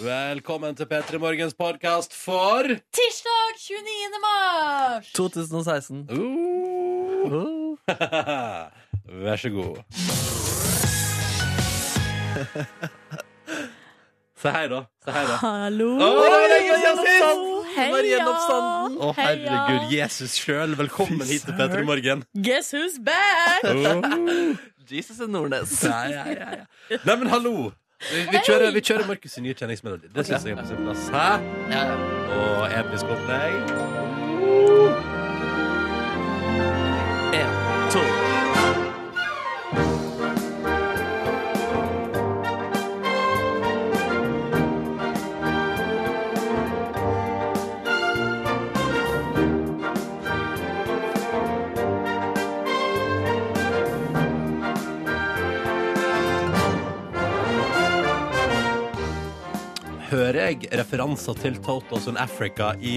Velkommen til P3 Morgens podkast for Tirsdag 29. mars! 2016. uh, Oh. Vær så god. Se her, da. Se her, da. Hallo! Å, det var lenge siden sist! Heia! Var gjenoppstanden. Å, herregud. Jesus sjøl, velkommen Fy hit til P3 søren. Morgen. Guess who's back! Uh. Jesus and Nordnes. Ja, ja, ja, ja. Nei, men hallo! Vi, vi kjører, vi kjører Markus' nye kjenningsmelodi. Det syns jeg er på sin plass. Hæ? Og episk opplegg. En, to. Hører jeg referanser til Totos and Africa i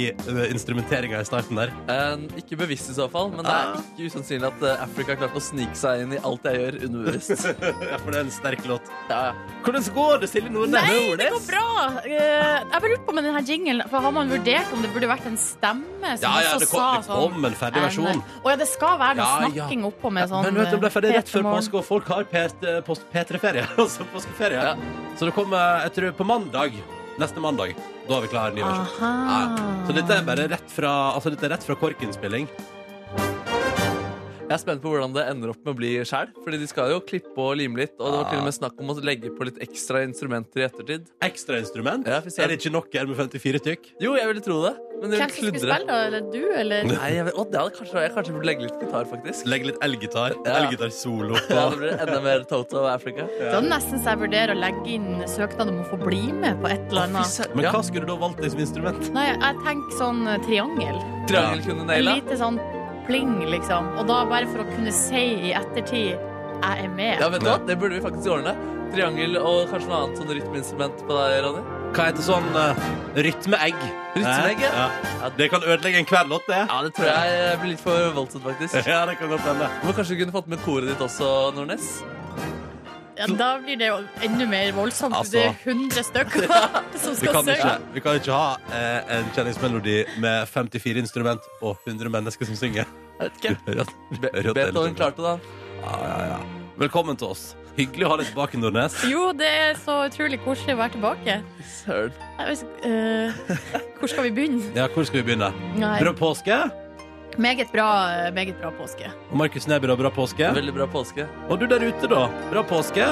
instrumenteringa i starten der? Eh, ikke bevisst i så fall, men det er ikke usannsynlig at eh, Africa har klart å snike seg inn i alt jeg gjør underbevisst. Ja, for det er en sterk låt. Ja, ja. Hvordan går det, Silje Nordnes? Nei, det går bra! Eh, jeg bare lurte på med denne jinglen, for har man vurdert om det burde vært en stemme som Ja, ja, også det kom, det sa sånn kom en ferdig versjon. Å ja, det skal være noe Ja, ja. snakking oppå med sånn Men vet du, det ble ferdig rett før Peter Morn. påske, og folk har P- eh, post- P3-ferie. Altså påskeferie. Ja. Så det kommer, jeg tror, på mandag. Neste mandag. Da er vi klare ny versjon. Ja. Aha. Så dette er bare rett fra, altså, dette er rett fra korkinnspilling. Jeg er spent på hvordan det ender opp med å bli sjæl. Fordi de skal jo klippe og lime litt, og det var til og med snakk om å legge på litt ekstra instrumenter i ettertid. Ekstrainstrument. Ja, fy søren. er det ikke nok med 54 stykk? Jo, jeg ville tro det, men Hvem det vil som skulle kludre. spille, da? Eller du, eller? Nei, jeg, vet, å, det hadde kanskje, jeg kanskje burde legge litt gitar, faktisk. Legg litt elgitar. Ja. Elgitarsolo. Ja, det blir enda mer Toto og Africa. Da er det nesten så jeg vurderer å legge inn søknad om å få bli med på et eller annet. Men Ja, hva skulle du da valgt deg som instrument? Nei, jeg tenker sånn eh, triangel. triangel kunne Et naila. lite sånn pling, liksom. Og da bare for å kunne si i ettertid jeg er med. Ja, vet du hva? Det burde vi faktisk ordne. Triangel og kanskje noe annet sånn rytmeinstrument på deg, Ronny. Hva heter sånn eh, rytmeegg? Rytmeegg, Eh, ja. ja. Det kan ødelegge en kveldlåt, det. Ja, det tror jeg blir litt for voldsomt, faktisk. Ja, det kan godt hende. Du må kanskje kunne fått med koret ditt også, Nordnes. Ja, da blir det jo enda mer voldsomt. Altså. det er 100 stykker som Vi skal kan ikke, synge. vi kan ikke ha eh, en kjenningsmelodi med 54 instrument og 100 mennesker som synger. Jeg vet ikke. Rødt- Be- rødt Beethoven eller- klarte det, han. Ja, ja, ja. Velkommen til oss. Hyggelig å ha deg tilbake, Nordnes. Jo, det er så utrolig koselig å være tilbake. Søren. Jeg vet, ikke, eh, hvor skal vi begynne? Ja, Hvor skal vi begynne? Nei. Bra påske. Meget bra, eh, meget bra påske. Og Markus Neby, da. Bra påske. Veldig bra påske. Og du der ute, da. Bra påske.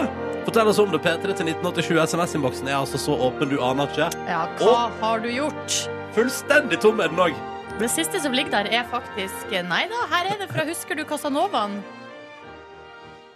Fortell oss om det, P3 til 1987. SMS-innboksen er altså så åpen, du aner ikke. Ja, hva Og- har du gjort? Fullstendig tom er den òg. Det siste som ligger der, er faktisk eh, Nei da, her er det fra Husker du Casanovaen?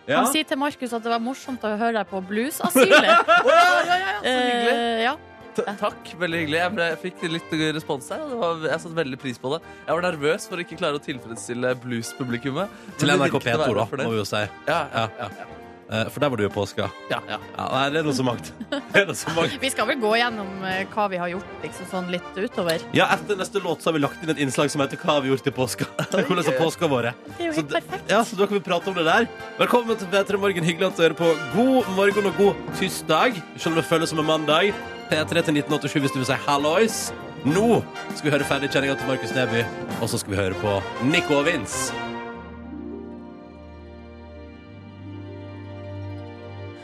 Ja. Han sier til Markus at det var morsomt å høre deg på Bluesasylet. hyggelig. Eh, ja. T takk, veldig hyggelig. Jeg, ble, jeg fikk litt respons her, og det var, jeg satte veldig pris på det. Jeg var nervøs for å ikke klare å tilfredsstille blues-publikummet. men Til det NRK virket å P2, være da, for må det. vi jo si. Ja, ja, Ja. ja. Eh, For der var du i påska. ja, ja. Ja, nei, det er noe som mangt. Det er noe som mangt. Vi skal vel gå gjennom eh, hva vi har gjort liksom, sånn litt utover. Ja, etter neste låt så har vi lagt inn et innslag som heter Hva har vi gjort i påska? Hvordan har påska vært? Det er jo Så helt det- perfekt. Ja, så da kan vi prate om det der. Velkommen til P3 Morgen. Hyggelig at du hører på. God morgen og god tirsdag. Selv om det føles som en mandag. P3 til 1987 hvis du vil si hallois. Nå skal vi høre ferdig kjenninga til Markus Neby, og så skal vi høre på Nico og Vince.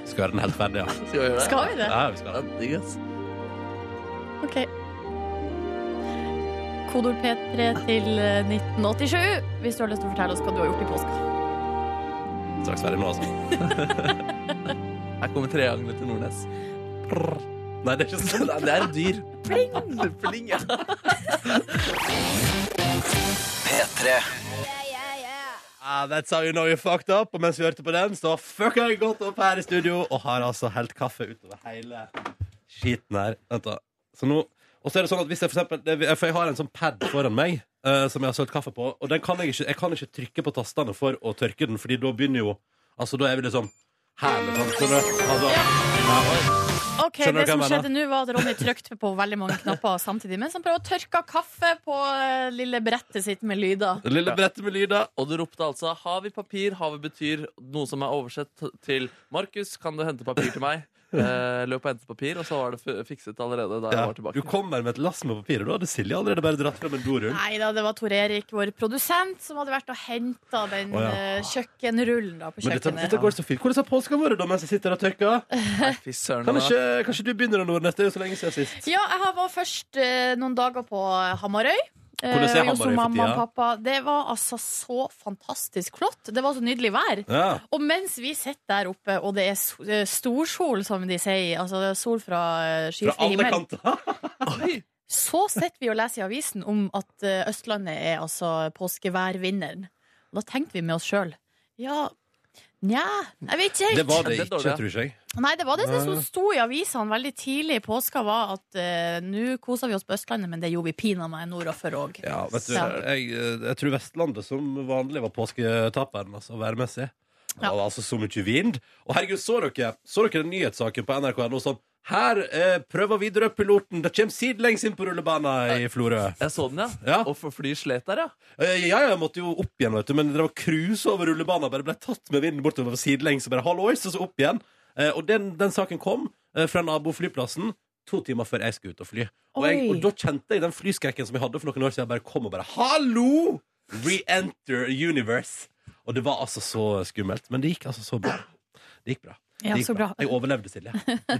Skal vi høre den helt ferdig, ja. Skal vi gjøre det? Skal vi det? ja vi skal. Ja, digg, ass. OK. Kodord P3 til eh, 1987 hvis du har lyst til å fortelle oss hva du har gjort i påska. Straks ferdig nå, altså. Her kommer triangelet til Nordnes. Nei, det er ikke sånn. Det er et dyr. Pling! Pling, ja. Ah, that's how you know you fucked up. Og mens vi hørte på den, så fucka jeg godt opp her i studio og har altså helt kaffe utover hele skiten her. Vent da. Så nå Og så er det sånn at hvis jeg for eksempel det- For jeg har en sånn pad foran meg eh, som jeg har sølt kaffe på, og den kan jeg ikke Jeg kan ikke trykke på tastene for å tørke den, Fordi da begynner jo Altså, da er vi liksom her, liksom. Skjønner du? Altså, Ok, Skjønner du hva Det jeg som mener? skjedde nå, var at Ronny trykte på veldig mange knapper samtidig mens han prøvde å tørke kaffe på eh, lille brettet sitt med lyder. det lille brettet med lyder. Og du ropte altså 'Har vi papir?' 'Har vi betyr?' Noe som er oversett til 'Markus, kan du hente papir til meg?' Eh, løp og hentet papir, og så var det f- fikset allerede da jeg var Du tilbake. kommer med et lass med papirer, da hadde Silje allerede bare dratt frem en dorull. Nei da, det var Tor Erik, vår produsent, som hadde vært og henta den Å, ja. eh, kjøkkenrullen da, på Men dette, kjøkkenet. dette går så fint. Hvordan har påska vært da, mens jeg sitter og tørker? Nei, fy søren. Kan det var- ikke, kanskje du begynner, Nordnes? Det er jo så lenge siden sist. Ja, jeg har- var først eh, noen dager på Hamarøy. Eh, Hvordan er og hos Hamarøy for mamma og tida? pappa. Det var altså så fantastisk flott. Det var så nydelig vær. Ja. Og mens vi sitter der oppe, og det er s- eh, storsol, som de sier, altså det er sol fra eh, Fra skyfri alle himmel, kanter. Oi! så sitter vi og leser i avisen om at eh, Østlandet er altså påskeværvinneren. Og da tenkte vi med oss sjøl. Ja, nja, jeg vet ikke helt. Det var det Det er ikke, dårlig, ja. tror ikke jeg. Nei, det var det som Nei. sto i avisene veldig tidlig i påska, var at eh, nå koser vi oss på Østlandet, men det gjorde vi pinadø meg nordafor òg. Ja, vet du, Ja. jeg, eh, jeg tror Vestlandet som vanlig var påsketaperen, altså værmessig. Det Ja. var altså så mye vind. Og herregud, så dere, så dere den nyhetssaken på NRK nå sånn Her eh, prøver Widerøe-piloten. Det kommer sidelengs inn på rullebanen i Florø. Jeg så den, ja. Ja. Og for fly slet der, ja. Eh, Ja, jeg måtte jo opp igjen, vet du, men det var cruise over rullebanen. Bare ble tatt med vinden bortover sidelengs og bare hallois, og så opp igjen. Eh, Og den, den saken kom eh, fra naboflyplassen to timer før jeg skulle ut og fly. Og, jeg, Oi. og da kjente jeg den flyskrekken som jeg hadde for noen år siden, bare kom og bare Hallo! Re-enter universe. Og det var altså så skummelt. Men det gikk altså så bra. Det gikk bra. Ja, det gikk så bra. Jeg overlevde, Silje.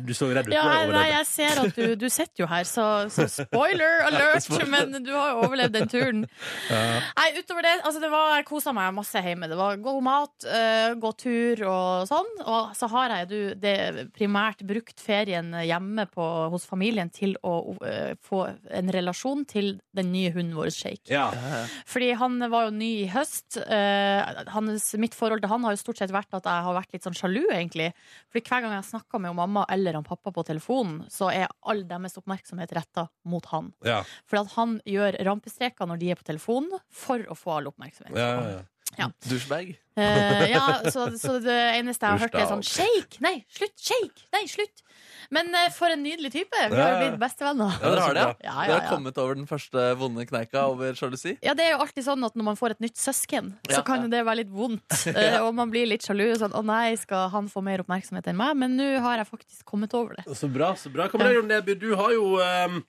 Du så jo redd ut. Ja, jeg- men jeg nei, overlevde. jeg ser at du, du sitter jo her, så, så spoiler alert! Men du har jo overlevd den turen. Nei, utover det, altså det var, jeg kosa meg masse hjemme. Det var god mat, eh, gå tur og sånn. Og så har jeg du, det primært brukt ferien hjemme på, hos familien til å eh, få en relasjon til den nye hunden vår, Shake. Ja. Fordi han var jo ny i høst. Eh, hans, mitt forhold til han har jo stort sett vært at jeg har vært litt sånn sjalu, egentlig. Fordi hver gang jeg snakker med jo mamma eller han pappa på telefonen, så er all deres oppmerksomhet retta mot han. Ja. Fordi at han gjør rampestreker når de er på telefonen, for å få all oppmerksomhet. Ja, ja, ja. Douchebag. Eh, ja, så, så det eneste jeg har hørt, er sånn Ursdag. Shake! Nei, slutt! Shake! Nei, slutt! Men eh, for en nydelig type. Vi har jo Ja. blitt bestevenner. Ja, dere har det, ja. Ja, ja, Dere ja. har kommet over den første vonde kneika over sjalusi. Ja, det er jo alltid sånn at Når man får et nytt søsken, så Ja. kan jo det være litt vondt. eh, Og man blir litt sjalu. Sånn, 'Å nei, skal han få mer oppmerksomhet enn meg?' Men nå har jeg faktisk kommet over det. Så bra, så bra. Kommer det, Jon Neby, du har jo ehm,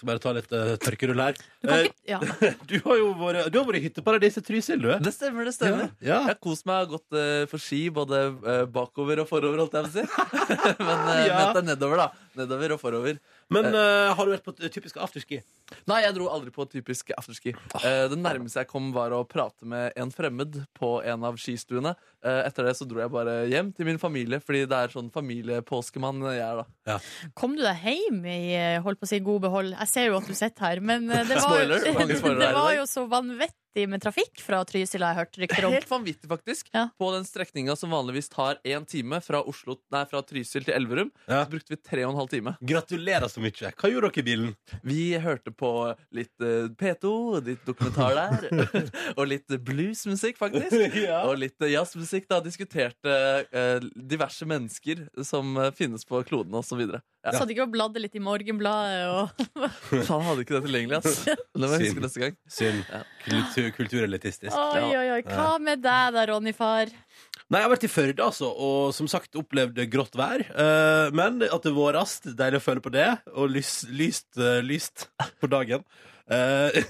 Skal bare ta litt eh, tørkerull her. Du kan ikke ja. Eh, du har jo vært, du har vært i hytteparadiset Trysil, du. Det stemmer, det stemmer. Ja. Jeg har kost meg og gått eh, for ski både eh, bakover og forover, holdt jeg på å si. Men uh, Ja. det er nedover, da. Nedover og forover. Men eh, har du vært på t- typisk afterski? Nei, jeg dro aldri på typisk afterski. Ah. Eh, det nærmeste jeg kom, var å prate med en fremmed på en av skistuene. Eh, etter det så dro jeg bare hjem til min familie, fordi det er sånn familiepåskemann jeg er, da. Kom du deg hjem i eh, holdt på å si, god behold? Jeg ser jo at du sitter her, men eh, det var, Spoiler, mange spoilere det her i var dag. jo så vanvittig med trafikk fra Trysil, har jeg hørt rykter om. Helt vanvittig, faktisk. Ja. På den strekninga som vanligvis tar én time fra, Oslo, nei, fra Trysil til Elverum, Ja. så brukte vi tre og en halv time. Gratulerer så mye. Hva gjorde dere i bilen? Vi hørte på litt eh, P2, litt dokumentar der, og litt bluesmusikk, faktisk. ja. Og litt eh, jazzmusikk, da. Diskuterte eh, diverse mennesker som eh, finnes på kloden, osv. Ja. Satt ikke og bladde litt i Morgenbladet og Faen, hadde ikke det tilgjengelig, ass. Det må jeg huske neste gang. Synd. Ja. Kultur, kulturelitistisk. Oi, oi, oi. Hva med deg da, Ronny far? Nei, jeg har vært i Førde, altså, og som sagt opplevde grått vær. eh, men at det vårast, deilig å føle på det, og lys, lyst, eh, lyst på dagen. Eh,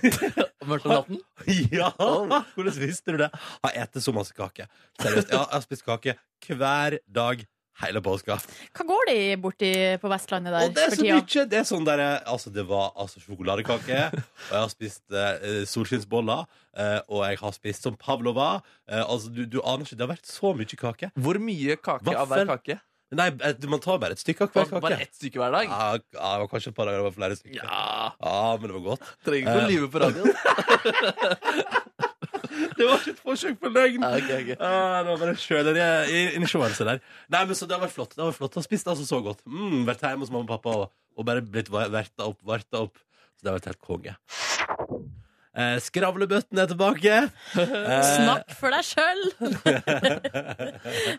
Mørkt om natten? ja! Hvordan visste du det? Har ete så masse kake. Seriøst. Ja, jeg har spist kake hver dag hele påska. Hva går de borti på Vestlandet der Og det er for så tida? mye! Det er sånn der, altså, det var altså sjokoladekake, og jeg har spist eh, solskinnsboller, eh, og jeg har spist som pavlova. Eh, altså, du, du aner ikke. Det har vært så mye kake. Hvor mye kake av hver kake? Nei, eh, du- man tar bare et stykke av hver Bare kake. ett stykke hver dag? Ja, ja, det var kanskje et par dager det var flere stykker. Ja. Ja, men det var godt. Trenger ikke å lyve på radioen. Det var ikke et forsøk på løgn. Ja, ok, ok. Ah, det var bare sjølere innsjåelse der. Nei, men så det har vært flott. Det har vært flott. Jeg har spist altså så godt. Mm, vært hjemme hos mamma og pappa og, og bare blitt va- verta opp, varta opp. Så det har vært helt konge. Eh, skravlebøtten er tilbake. Eh, Snakk for deg sjøl!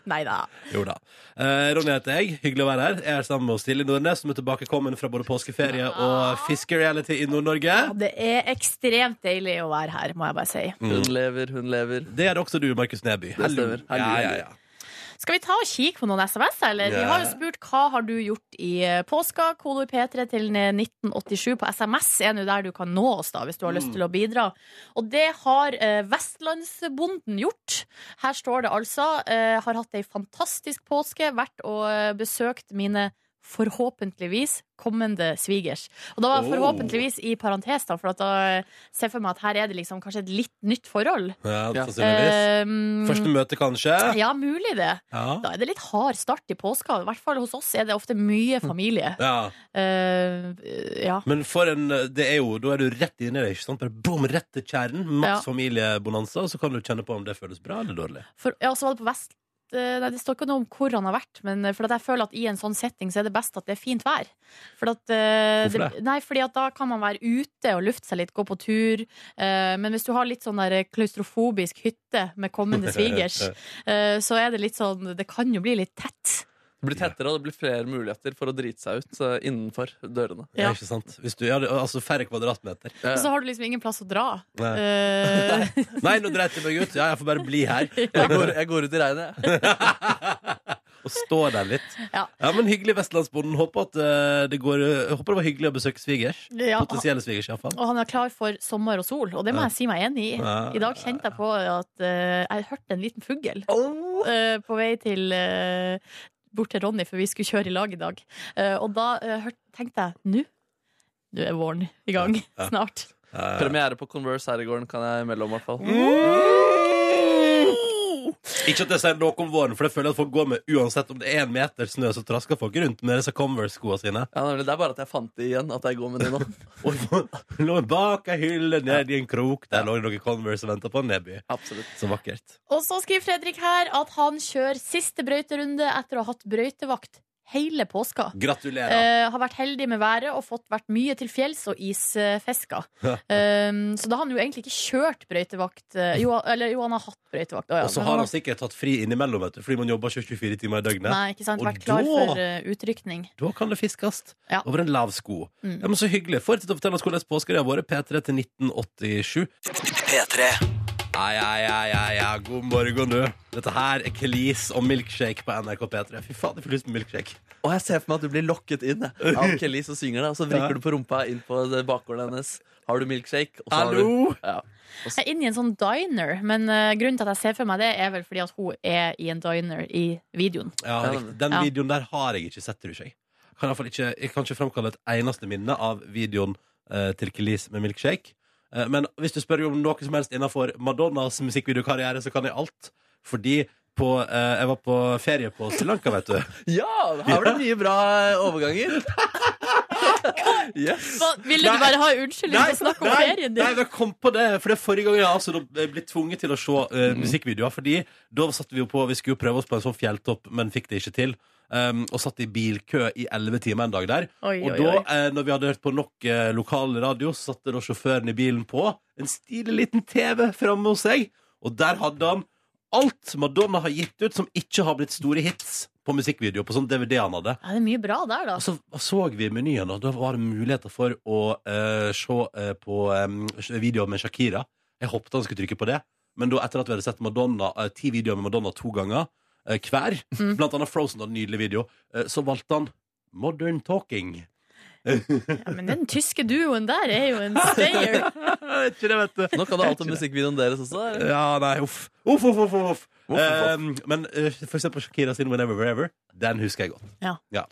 Nei da. jo da. Eh, Ronny heter jeg. Hyggelig å være her. Jeg er sammen med Silje Nordnes, som er tilbakekommen fra både påskeferie og fiskereality i Nord-Norge. Ja, det er ekstremt deilig å være her, må jeg bare si. Mm. Hun lever, hun lever. Det er det også du, Markus Neby. stemmer. Hallo. Ja, ja, ja. Skal vi ta og kikke på noen SMS, eller? Vi Ja. har jo spurt hva har du gjort i eh, påska. Kodord P3 til 1987 på SMS er nå der du kan nå oss, da, hvis du har lyst til å bidra. Og det har eh, Vestlandsbonden gjort. Her står det altså eh, har hatt ei fantastisk påske, vært og eh, besøkt mine Forhåpentligvis kommende svigers. Og da var jeg Oh. forhåpentligvis i parentes, da, for at da eh, ser jeg for meg at her er det liksom kanskje et litt nytt forhold. Ja, Ja. sannsynligvis. Ehm, Første møte, kanskje? ja, mulig det. Ja. Da er det litt hard start i påska. I hvert fall hos oss er det ofte mye Mm. familie. ja. Eh, ja. Men for en Det er jo Da er du rett inni det, ikke sant? Bare bom, rett til kjernen. Maks familiebonanza, og så kan du kjenne på om det føles bra eller dårlig. For, ja, så var det på Vest... eh, Nei, det står ikke noe om hvor han har vært, men eh, for at jeg føler at i en sånn setting så er det best at det er fint vær. For at, eh, Hvorfor det? Nei, fordi at da kan man være ute og lufte seg litt, gå på tur. Eh, men hvis du har litt sånn der eh, klaustrofobisk hytte med kommende svigers, eh, så er det litt sånn Det kan jo bli litt tett. Det blir tettere, og det blir flere muligheter for å drite seg ut eh, innenfor dørene. Ja. Ja. Ikke sant? Hvis du, ja, det- altså færre kvadratmeter. Ja. Og så har du liksom ingen plass å dra. Nei, Eh, Nei nå dreit jeg meg ut. Ja, jeg får bare bli her. Jeg går, jeg går ut i regnet. jeg. Og stå der litt. Ja. men Hyggelig, Vestlandsbonden. Håper, at, eh, det går, eh, håper det var hyggelig å besøke svigers. ja, Potensielle svigers, iallfall. Og han er klar for sommer og sol, og det må Ja. jeg si meg enig i. Ja. I dag kjente jeg på at eh, jeg hørte en liten fugl eh, på vei til eh, bort til Ronny, for vi skulle kjøre i lag i dag. Eh, og da eh, hørt, tenkte jeg nå nå er våren i gang. Ja. Mm. Snart. Eh, Premiere på Converse her i gården kan jeg melde om, i hvert fall. Ikke at jeg sier noe om våren, for det føler jeg at folk går med uansett om det er en meter snø, så trasker folk rundt med disse Converse-skoene sine. Ja, nemlig, det er bare at jeg fant det igjen, at jeg går med de nå. Og lå bak ei hylle, ned i en krok, der lå det noen Converse og venta på en nedby. Absolutt. Så vakkert. Og så skriver Fredrik her at han kjører siste brøyterunde etter å ha hatt brøytevakt hele påska. Eh, Gratulerer. har vært heldig med været og fått vært mye til fjells og isfiska. Ehm, så da har han jo egentlig ikke kjørt brøytevakt. eh, Jo, eller jo, han har hatt brøytevakt. å ja, Og så men har han sikkert tatt fri innimellom, vet du, fordi man jobber ikke 24 timer i døgnet. Nei, ikke sant? Og Vært klar da- for eh, utrykning. Da kan det fiskes Ja. over en lav sko. Mm. Ja, men Så hyggelig. Fortsett å fortelle oss hvordan påska di har vært. P3 til 1987. Ai, ai, ai, ai, ai. God morgen, du. Dette her er Kelis og milkshake på NRK P3. Fy faen, jeg får lyst på milkshake. Og jeg ser for meg at du blir lokket inn jeg, av Kelly som synger det, og så Ja. vrikker du på rumpa inn på det bakgården hennes. Har du milkshake? Og så har du Hallo! ja. Jeg er inne i en sånn diner, men eh, grunnen til at jeg ser for meg det, er vel fordi at hun er i en diner i videoen. Ja, riktig. Den Ja. videoen der har jeg ikke sett, tror jeg. Kan i hvert fall ikke, jeg kan ikke framkalle et eneste minne av videoen eh, til Kelis med milkshake. Eh, men hvis du spør om noe som helst innenfor Madonnas musikkvideokarriere, så kan jeg alt. Fordi på, eh, jeg var på ferie på Sri Lanka, vet du. ja! Her var det mye bra overganger. Yes. ville du Nei. bare ha unnskyldning for å snakke om nei, ferien nei, din? jeg kom på det, for det er forrige gang jeg altså, da ble tvunget til å se eh, musikkvideoer. Fordi da satt vi jo på, vi skulle jo prøve oss på en sånn fjelltopp, men fikk det ikke til. Um, og satt i bilkø i elleve timer en dag der. Oi, Og oi, da, oi. eh, når vi hadde hørt på nok eh, lokal radio, så satte da sjåføren i bilen på en stilig liten TV framme hos seg, og der hadde han alt Madonna har gitt ut som ikke har blitt store hits på musikkvideo, på sånn DVD han hadde. Ja, det er mye bra der, da. Og så så vi menyen, og da var det muligheter for å eh, se eh, på eh, videoer med Shakira. Jeg håpet han skulle trykke på det, men da etter at vi hadde sett Madonna, eh, ti videoer med Madonna to ganger eh, hver, Mm. blant annet Frozen, da, en nydelig video, eh, så valgte han Modern Talking. Ja, men den tyske duoen der er jo en stayer. ikke det, vet du. Nå kan du alt om musikkvideoen deres også. eller? Ja, nei, uff. Uff, uff, uff, uff, uff. Uff, uff, Um, men eh, for eksempel Shakira sin Whenever Wherever, den husker jeg godt.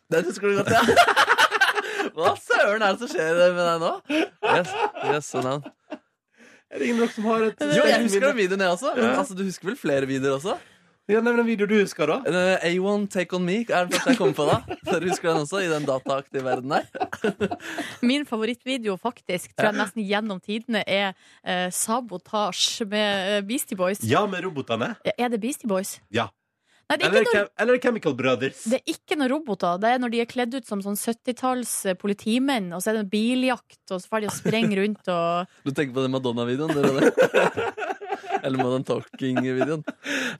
Den husker du godt, ja. Hva søren er det som skjer med deg nå? Yes, yes, sånn er det. Er det ingen av dere som har et jo, jeg husker den videoen, jeg også. Men altså, du husker vel flere videoer også? Ja, nevn en video du husker, da. Eh, A1 Take On Me er den første jeg kommer på da. Dere husker den også, i den dataaktive verden der? Min favorittvideo faktisk, tror jeg nesten gjennom tidene, er eh, Sabotasje med eh, Beastie Boys. Ja, med robotene. Er det Beastie Boys? Ja. Nei, det er, Eller, ikke noen, Chem- eller Chemical Brothers. det er ikke noen roboter. Det er når de er kledd ut som sånn 70-talls eh, politimenn, og så er det en biljakt, og så får de å sprenge rundt og Du tenker på den Madonna-videoen? dere, det? Eller Modern Talking-videoen.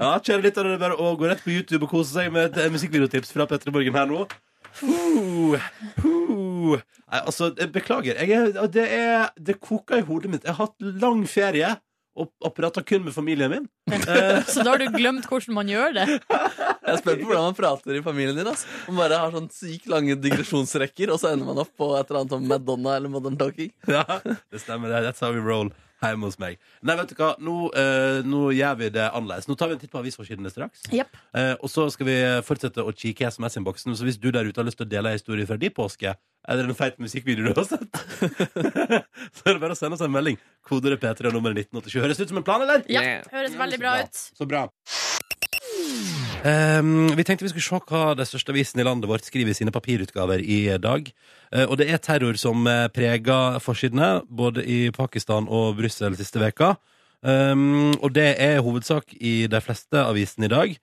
Ja, kjære lyttere, det er bare å gå rett på YouTube og kose seg med et eh, musikkvideotips fra Petter Morgen her nå. Uh, uh. Nei, altså, eh, beklager. Jeg er, det, er, det koker i hodet mitt. Jeg har hatt lang ferie, og, og prata kun med familien min. Eh. Så da har du glemt hvordan man gjør det. Jeg er spent på hvordan man prater i familien din. Ass. Man bare har sånn sykt lange digresjonsrekker, og så ender man opp på et eller annet om Madonna eller Modern Talking. Ja, det stemmer. det. That's how we roll hjemme hos meg. Nei, vet du hva, nå, eh, nå gjør vi det annerledes. Nå tar vi en titt på avisforsidene straks. Jepp. Eh, og så skal vi fortsette å kikke i SMS-innboksen. Så hvis du der ute har lyst til å dele en historie fra din påske, eller en feit musikkvideo du har sett, så er det bare å sende oss en melding. Kodet er P3 og nummeret 1987. Høres ut som en plan, eller? Ja, høres veldig bra ut. Så bra. Ehm, vi tenkte vi skulle se hva de største avisene i landet vårt skriver i sine papirutgaver i dag. Eh, og det er terror som eh, preger forsidene, både i Pakistan og Brussel siste veka. Ehm, og det er hovedsak i de fleste avisene i dag.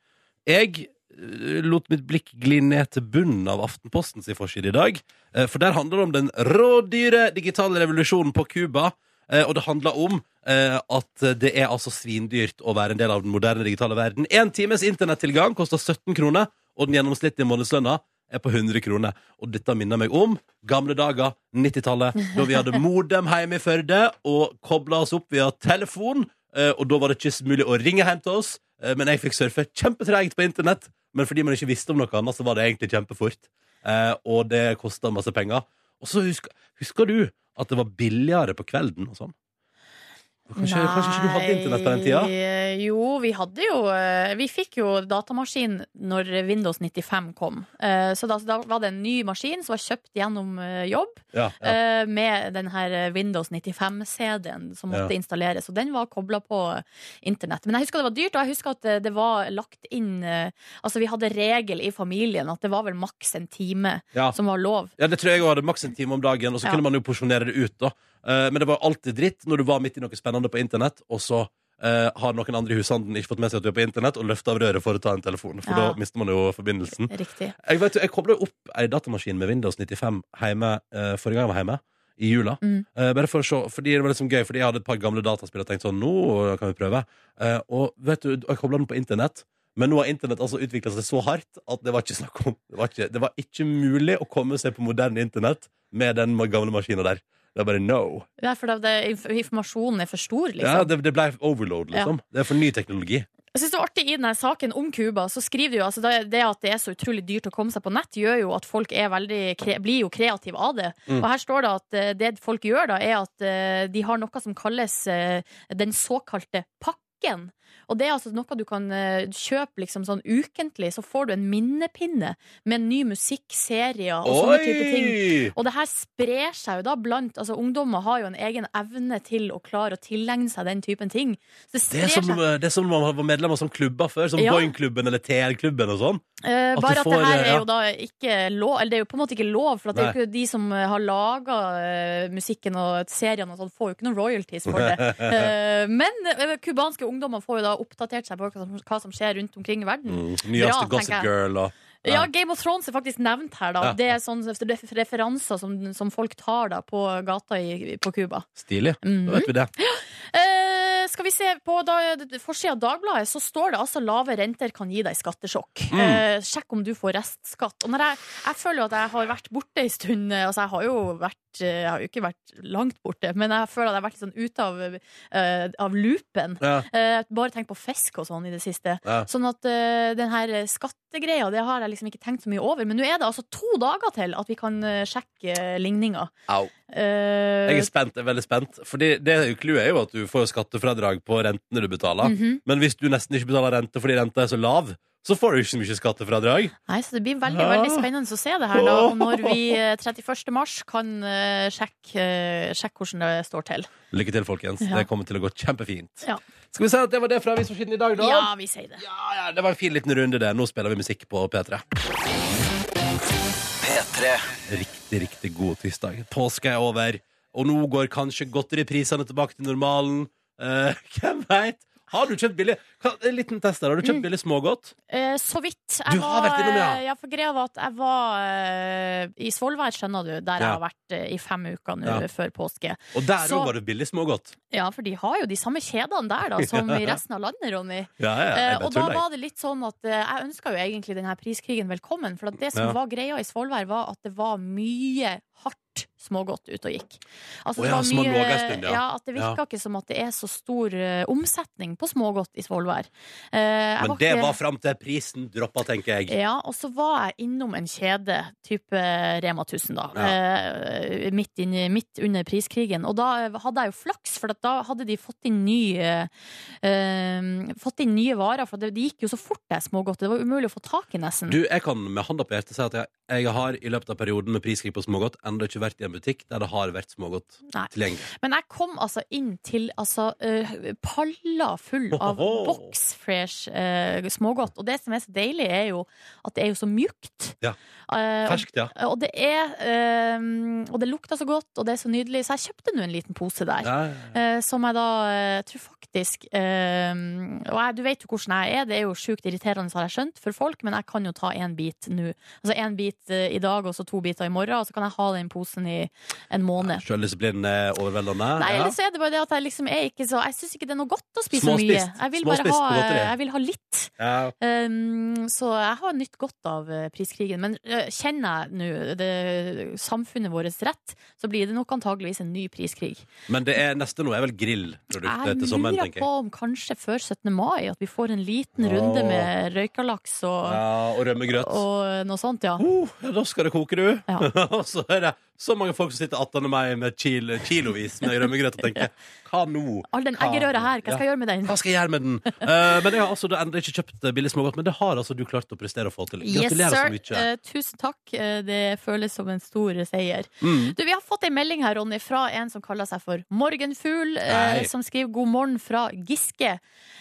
Jeg eh, lot mitt blikk gli ned til bunnen av Aftenpostens forside i dag. eh, For der handler det om den rådyre digitale revolusjonen på Cuba. eh, Og det handler om eh, at det er altså svindyrt å være en del av den moderne digitale verden. Én times internettilgang koster 17 kroner, og den gjennomsnittlige månedslønna er på 100 kroner. Og dette minner meg om gamle dager, 90-tallet, da vi hadde modem hjemme i Førde og kobla oss opp via telefon. Eh, Og da var det ikke mulig å ringe hjem til oss, eh, men jeg fikk surfe kjempetreigt på internett. Men fordi man ikke visste om noe annet, så var det egentlig kjempefort. Eh, Og det kosta masse penger. Og så husker, husker du at det var billigere på kvelden og sånn? Kanskje, kanskje ikke du hadde internett på den tida? Nei, eh, Jo, vi hadde jo eh, Vi fikk jo datamaskin når Windows 95 kom. Eh, Så da, da var det en ny maskin som var kjøpt gjennom eh, jobb, Ja, ja. eh, med den her eh, Windows 95-CD-en som måtte Ja. installeres. Og den var kobla på internett. Men jeg husker det var dyrt, og jeg husker at eh, det var lagt inn eh, Altså, vi hadde regel i familien at det var vel maks en time Ja. som var lov. Ja, det tror jeg jeg hadde maks en time om dagen, og Ja. så kunne man jo porsjonere det ut. da Eh, Men det var alltid dritt når du var midt i noe spennende på internett, og så eh, har noen andre i hushandelen ikke fått med seg at du er på internett, og løfter av røret for å ta en telefon. For Ja. da mister man jo forbindelsen. Riktig. Jeg, vet, jo, jeg kobla jo opp ei datamaskin med Windows 95 hjemme eh, forrige gang jeg var hjemme. I jula. Mm. Eh, bare for å se, fordi det var liksom gøy, fordi jeg hadde et par gamle dataspill og tenkte sånn, nå kan vi prøve. Eh, og vet du, jeg kobla den på internett, men nå har internett altså utvikla seg så hardt at det var ikke snakk om. Det var ikke, det var ikke mulig å komme seg på moderne internett med den gamle maskina der. Det er bare no. Det er fordi det, inf- informasjonen er for stor, liksom. Ja, det, det ble overload, liksom. Det er for ny teknologi. Jeg synes det var artig I denne saken om Cuba så skriver de jo altså det, det at det er så utrolig dyrt å komme seg på nett, gjør jo at folk er veldig, kre, blir jo kreative av det. Mm. Og her står det at eh, det folk gjør, da er at eh, de har noe som kalles eh, den såkalte pakken. Og det er altså noe du kan eh, kjøpe liksom sånn ukentlig. Så får du en minnepinne med ny musikk, serier og sånne type ting. Og det her sprer seg jo da blant altså Ungdommer har jo en egen evne til å klare å tilegne seg den typen ting. Så det Det sprer er, som, eh, seg. det er som om man var medlem av sånne klubber før, som Ja. Boing-klubben eller TR-klubben og sånn. Eh, At du bare at får, det her eh, er ja. jo da ikke lov Eller det er jo på en måte ikke lov, for at det er jo ikke de som eh, har laga musikken og seriene og sånn, får jo ikke noen royalties for det. Eh, men eh, cubanske ungdommer får jo da oppdatert seg på hva som, hva som skjer rundt omkring i verden. Mm, nyeste Bra, Gossip tenker jeg. Girl og Ja, Game of Thrones er faktisk nevnt her, da. Ja. Det er sånne refer- referanser som, som folk tar da på gata i, på Cuba. Mm. Stilig. Da vet vi det. Eh, skal vi se på da, forsida av Dagbladet, så står det altså lave renter kan gi deg skattesjokk. Mm. Eh, sjekk om du får restskatt. Og når jeg, jeg føler jo at jeg har vært borte en stund. eh, Altså, jeg har jo vært eh, Jeg har jo ikke vært langt borte, men jeg føler at jeg har vært litt sånn ute av, eh, av loopen. Ja. Eh, bare tenk på fisk og sånn i det siste. Ja. Sånn at eh, den her skattegreia, det har jeg liksom ikke tenkt så mye over. Men nå er det altså to dager til at vi kan eh, sjekke eh, ligninga. Au. Eh, Jeg er spent, jeg er veldig spent. Fordi det er jo clouet er jo at du får jo skattefradrag på rentene du betaler. mhm. Men hvis du nesten ikke betaler rente fordi renta er så lav, så får du ikke så mye skattefradrag. Nei, så Det blir veldig Ja. veldig spennende å se det her. da Og Når vi eh, 31. mars kan eh, sjekke, eh, sjekke hvordan det står til. Lykke til, folkens. Ja. Det kommer til å gå kjempefint. Ja. Skal vi si at det var det fra avisforsiden i dag, da? Ja, vi sier det. ja, ja, det var en fin liten runde, det. Nå spiller vi musikk på P3. Riktig, riktig god tirsdag. Påska er over, og nå går kanskje godteriprisene tilbake til normalen. Eh, hvem veit? Har du kjøpt billig Kan- En liten test der. Har du Mm. kjøpt billig smågodt? Eh, så vidt. Jeg Du har vært innom, ja. eh, ja, for greia var at jeg var eh, i Svolvær, skjønner du, der jeg har Ja. vært eh, i fem uker nå Ja. før påske. Og der Så- òg var det billig smågodt. Ja, for de har jo de samme kjedene der da som i resten av landet, Ronny. Ja, ja, Eh, jeg bare og da tuller, jeg. var det litt sånn at eh, jeg ønska jo egentlig denne priskrigen velkommen. For at det som Ja. var greia i Svolvær, var at det var mye hardt smågodt ute og gikk. Altså, Å det ja, var så man mye- lå en stund, ja. ja, at det virka Ja. ikke som at det er så stor eh, omsetning på smågodt i Svolvær. Eh, jeg Men det ikke- var fram til prisen droppa, tenker jeg. ja, og så var jeg innom en kjede, type Rema 1000, da. Ja. eh, Midt, inni- midt under priskrigen. Og da eh, hadde jeg jo flaks, for at da hadde de fått inn nye, eh, fått inn nye varer. For det, det gikk jo så fort, det smågodtet. Det var umulig å få tak i, nesten. Du, jeg kan med handa på hjertet si at jeg, jeg har i løpet av perioden med priskrig på smågodt ennå ikke vært i en butikk der det har vært smågodt Nei. tilgjengelig. Men jeg kom altså inn til altså, eh, paller full av Ohoho. boksfresh eh, smågodt. Og det som er så deilig, er jo at det er jo så mjukt. Ja. Eh, og, Ferskt, ja. og det er eh, Og det lukter så godt, og det er så nydelig, så jeg kjøpte nå en liten pose der. ja. eh, som jeg da eh, tror faktisk eh, Og jeg, du vet jo hvordan jeg er, det er jo sjukt irriterende, har jeg skjønt, for folk, men jeg kan jo ta én bit nå. Altså én bit eh, i dag, og så to biter i morgen, og så kan jeg ha den posen i en måned. Sjøldisiplin er overveldende. Nei, ja. eller så er det bare det at jeg liksom er ikke så Jeg syns ikke det er noe godt å spise mye. Småspist. Jeg vil bare Småspist ha, eh, på godteri. jeg vil ha litt. Ja. Um, så jeg har nytt godt av eh, priskrigen. Men eh, kjenner jeg nå det- samfunnet vårt rett, så blir det nok antageligvis en ny priskrig. Men det er neste nå er vel grillprodukter Jeg til sommeren, lurer tenker på jeg. om kanskje før 17. mai at vi får en liten Åh. runde med røykalaks og, Ja, og rømmegrøt. og noe sånt, ja. Oh, ja, da skal det koke, du. Ja. Og så er det så mange folk som sitter attende meg med kil, kilovis med rømmegrøt og tenker hva nå? All den eggerøra her, hva skal jeg gjøre med den? Hva skal jeg gjøre med den? Eh, men jeg har altså da ennå ikke kjøpt eh, billig smågodt, men det har altså du klart å prestere og få til. Yes, Gratulerer sir. så mye. Eh, tusen takk. Eh, det føles som en stor seier. Mm. Du, Vi har fått en melding her, Ronny, fra en som kaller seg for Morgenfugl, Hei. eh, som skriver 'God morgen fra Giske'.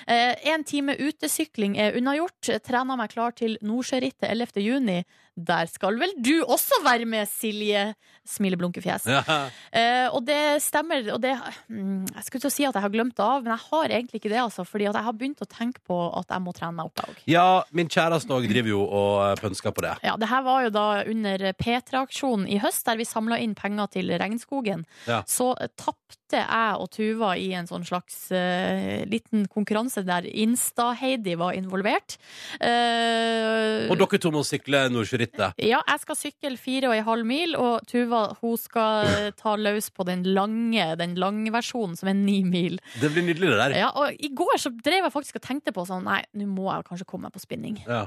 Eh, en time utesykling er unnagjort. Trener meg klar til Nordsjørittet 11. juni. Der skal vel du også være med, Silje? Smileblunkefjes. Ja. Eh, og det stemmer. Og det, mm, jeg skulle til å si at jeg har glemt det av, men jeg har egentlig ikke det. Altså, fordi at jeg har begynt å tenke på at jeg må trene meg opp. jeg også. ja, min kjæreste òg driver jo og eh, pønsker på det. Ja, det her var jo da under P3-aksjonen i høst, der vi samla inn penger til Regnskogen. Ja. Så eh, tapte jeg og Tuva i en sånn slags eh, liten konkurranse der Insta-Heidi var involvert. Eh, Og dere to må sykle Nordsjørittet. ja, jeg skal sykle fire og en halv mil, og Tuva hun skal eh, ta løs på den lange, den lange versjonen, som er ni mil. Det blir nydelig, det der. Ja, og i går så drev jeg faktisk og tenkte på sånn, nei, nå må jeg kanskje komme meg på spinning. Ja.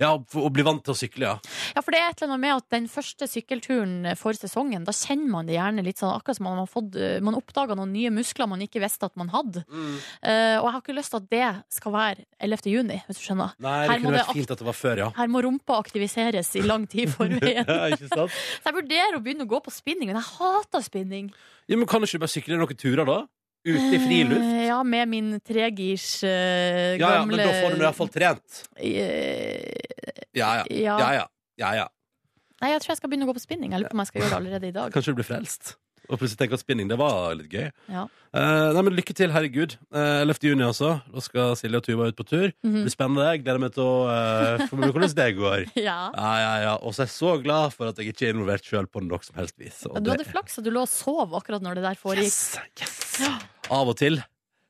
Ja, for å bli vant til å sykle, ja. Ja, for det er et eller annet med at den første sykkelturen for sesongen, da kjenner man det gjerne litt sånn, akkurat som man har fått, man oppdaga noen nye muskler man ikke visste at man hadde. Mm. Eh, og jeg har ikke lyst til at det skal være 11. juni, hvis du skjønner. Nei, Her det må kunne det vært fint at det var før, ja. Her må rumpa aktiviseres i lang tid forveien. ja ikke sant? Så jeg vurderer å begynne å gå på spinning, men jeg hater spinning. Ja, men kan du ikke bare sykle noen turer, da? Ute i friluft? Eh, ja, med min tregirs eh, Ja, ja, men gamle da får du i hvert fall trent. Eh, Ja, ja. ja. ja, ja. ja, ja. Nei, jeg tror jeg skal begynne å gå på spinning. Jeg lurer på om jeg skal gjøre det allerede i dag. Kanskje du blir frelst. Og plutselig tenker at spinning, det var litt gøy. Ja. Eh, nei, men Lykke til, herregud. Eh, 11. juni, altså. Da skal Silje og Tuva ut på tur. Mhm. Det blir spennende. Jeg gleder meg til å eh, få med meg hvordan det går. Ja. Ja, ja, ja. Og så er jeg så glad for at jeg ikke er involvert sjøl på noe som helst vis. Og Ja, Du det- hadde flaks at du lå og sov akkurat når det der foregikk. Yes, yes. Av og til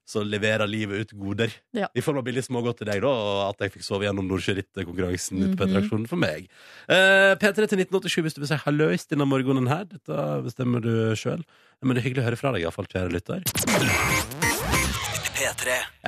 så leverer livet ut goder. Ja. I form av billig smågodt til deg, da, og at jeg fikk sove gjennom Nordsjørittet-konkurransen ute Mhm. på Interaksjonen for meg. Eh, P3 til 1987 hvis du vil si hallois denne morgenen her. Dette bestemmer du sjøl. Men det er hyggelig å høre fra deg, iallfall, kjære lytter. Jeg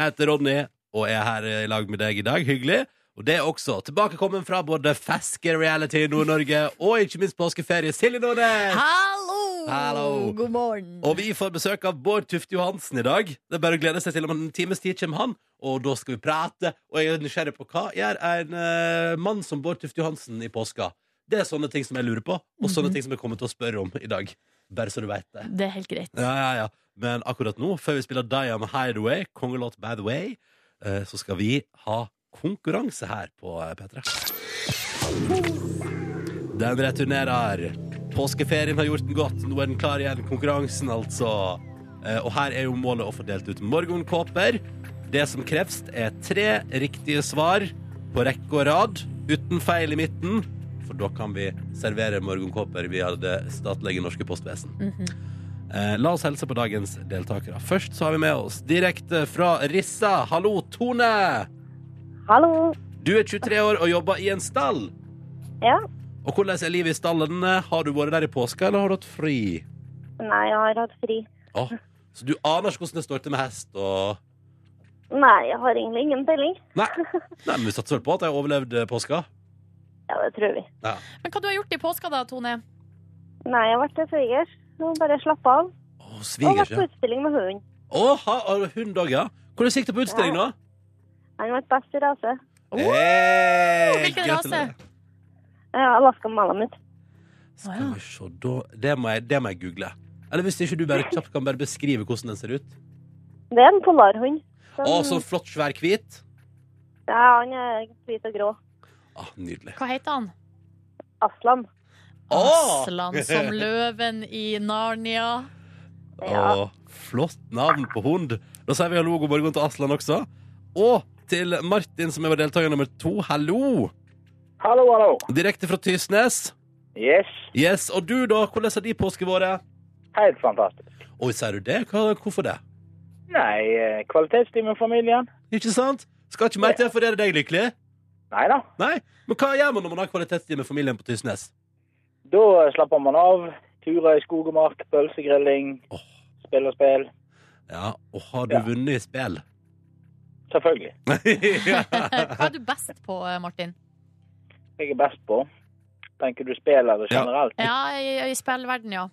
heter Ronny og er her i lag med deg i dag. Hyggelig. Og det er også tilbakekommen fra både Feske Reality i Nord-Norge og ikke minst påskeferie. Silje Nordnes! Hallo! Hallo! God morgen. Og vi får besøk av Bård Tufte Johansen i dag. Det er bare å glede seg til om en times tid kommer han, og da skal vi prate. Og jeg er nysgjerrig på hva gjør en eh, mann som Bård Tufte Johansen i påska? Det er sånne ting som jeg lurer på, og sånne Mhm. ting som jeg kommer til å spørre om i dag. Bare så du veit det. Det er helt greit. Ja, ja, ja. Men akkurat nå, før vi spiller Diam Hideaway, kongelåt By the Way, eh, så skal vi ha konkurranse her på eh, P3. Den returnerer. Påskeferien har gjort den godt. Nå er den klar igjen. Konkurransen, altså. Eh, Og her er jo målet å få delt ut morgenkåper. Det som kreves, er tre riktige svar på rekke og rad, uten feil i midten. For da kan vi servere morgenkåper via det statlige norske postvesen. Eh, La oss helse på dagens deltakere. Først så har vi med oss direkte fra Rissa. Hallo, Tone! Hallo. Du er 23 år og jobber i en stall. Ja. Og Og hvordan er livet i stallen? Har du vært der i påska, eller har du hatt fri? Nei, jeg har hatt fri. Åh, så du aner ikke hvordan det står til med hest og Nei, jeg har egentlig ingen telling. Nei, Nei men vi satser vel på at jeg overlevde påska. Ja, det tror vi. Men hva du har gjort i påska da, Tone? Nei, jeg har vært til svigers. Nå bare slappe av. Å, Og svigers, vært på ja. utstilling med hunden. Å, ha- har du hund òg, ja. Hvordan gikk det på utstilling, da? Han ble best i rase. Hey, Hvilken gratulerer. rase? Ja, Alaska Malamut. Skal vi se, da det må, jeg, det må jeg google. Eller hvis ikke du bare kjapt kan bare beskrive hvordan den ser ut. Det er en polarhund. Den- Å, så flott, svær, hvit. Ja, han er hvit og grå. Ah, nydelig. Hva heter han? Aslan. Åh! Aslan som løven i Narnia. Å, flott navn på hund. Da sier vi hallo og god morgen til Aslan også. Og til Martin, som er vår deltaker nummer to. Hallo! Hallo, hallo. Direkte fra Tysnes. Yes, Yes, Og du, da? Hvordan har de påske vært? helt fantastisk. Oi, sier du det? Hva, hvorfor det? Nei, eh, kvalitetstid med familien. Ikke sant? Skal ikke mer til for å gjøre deg lykkelig? Nei da. Nei? Men hva gjør man når man har kvalitetstid med familien på Tysnes? Da slapper man av. Turer i skog og mark, pølsegrilling, Åh. spill og spill. Ja, og har du Ja. vunnet i spill? Selvfølgelig. ja. Hva er du best på, eh, Martin? Jeg er best på. Tenker du spill eller Ja. generelt? Ja, i, i spillverden, ja.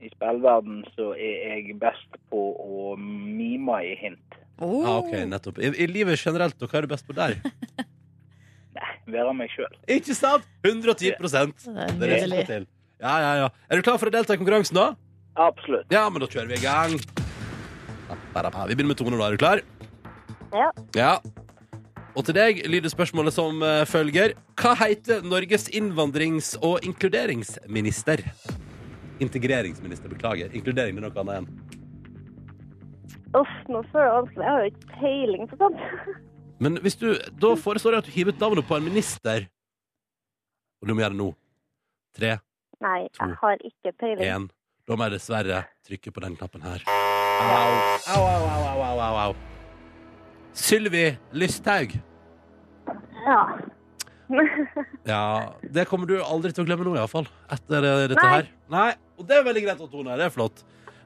I spillverden så er jeg best på å mime i hint. Oh. ja, Ah, OK, nettopp. I, I livet generelt, og hva er du best på der? Være meg sjøl. Ikke sant? 110 Det er Det er det som nydelig. skal til. Ja, ja, ja. Er du klar for å delta i konkurransen, da? Absolutt. Ja, men da kjører vi i gang. Vi begynner med Tone nå. Er du klar? Ja. ja. Og til deg lyder spørsmålet som eh, følger. Hva heter Norges innvandrings- og inkluderingsminister? Integreringsminister, beklager. Inkludering er noe annet igjen. Uff, nå føler jeg vanskelig. Jeg har jo ikke peiling på sånt. Men hvis du, da foreslår jeg at du hiver ut navnet på en minister. Og du må gjøre det nå. Tre, Nei, To. jeg har ikke peiling. én. Da må jeg dessverre trykke på den knappen her. Au, au, au, au, au, au, au, au. Sylvi Lysthaug. Ja. Ja, det kommer du aldri til å glemme nå, iallfall. Etter eh, dette Nei. her. Nei. Og det er veldig greit, og Tone. Det er flott.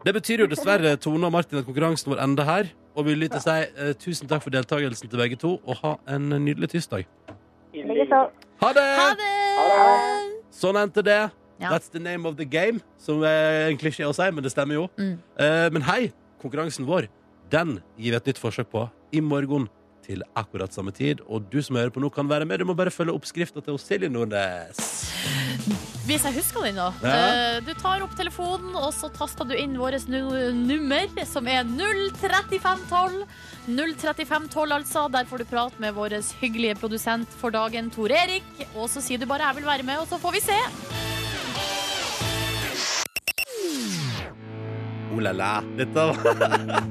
Det betyr jo dessverre, Tone og Martin, at konkurransen vår ender her. Og vi vil til å si eh, tusen takk for deltakelsen til begge to, og ha en nydelig tirsdag. I Likeså. Ha det! Ha det! Sånn endte det. Ja. That's the name of the game, som er en klisjé å si, men det stemmer jo. Mm. Eh, men hei, konkurransen vår, den gir vi et nytt forsøk på i morgen til akkurat samme tid. Og du som hører på nå, kan være med. Du må bare følge oppskrifta til Silje Nordnes. Hvis jeg husker den, da. Ja. Eh, Du tar opp telefonen, og så taster du inn vårt nu nummer, som er 03512. 03512, altså. Der får du prat med vår hyggelige produsent for dagen, Tor Erik. Og så sier du bare 'jeg vil være med', og så får vi se. O-la-la. Dette var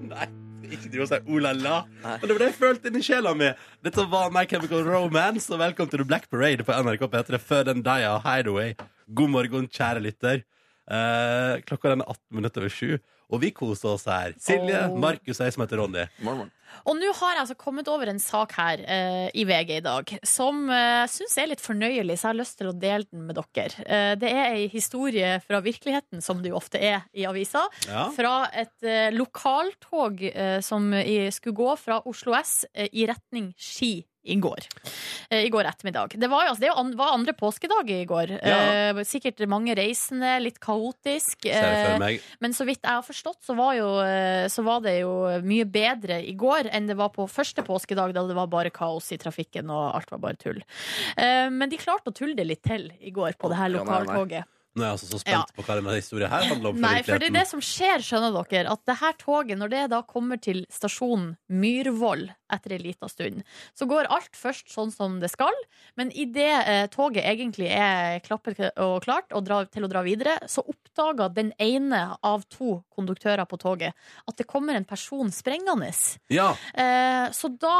Nei, ikke driv og si o-la-la. Men det var det jeg følte inni sjela mi. Dette var My Chemical Romance, og velkommen til The Black Parade på NRK P3 før den dia hideaway. God morgen, kjære lytter. Eh, klokka den er 18 minutter over sju, og vi koser oss her. Silje, Åh. Markus og jeg som heter Ronny. Morgen, morgen. Og nå har jeg altså kommet over en sak her eh, i VG i dag som eh, jeg syns er litt fornøyelig, så jeg har lyst til å dele den med dere. Eh, det er ei historie fra virkeligheten, som det jo ofte er i avisa, Ja. fra et eh, lokaltog eh, som i, skulle gå fra Oslo S eh, i retning Ski. I går. Eh, I går ettermiddag. Det var jo altså, det an var andre påskedag i går. Ja. Eh, sikkert mange reisende, litt kaotisk. Ser jeg eh, for meg. men så vidt jeg har forstått, så var, jo, eh, så var det jo mye bedre i går enn det var på første påskedag, da det var bare kaos i trafikken og alt var bare tull. Eh, Men de klarte å tulle det litt til i går på det her Ja, nei, nei. lokaltoget. Nå er jeg altså så Ja. spent på hva denne historien her handler om. for Nei, for det er virkeligheten. det som skjer, skjønner dere, at det her toget, når det da kommer til stasjonen Myrvoll etter ei lita stund, så går alt først sånn som det skal, men idet eh, toget egentlig er klappet og klart og drar, til å dra videre, så oppdager den ene av to konduktører på toget at det kommer en person sprengende. Ja. Eh, så, da,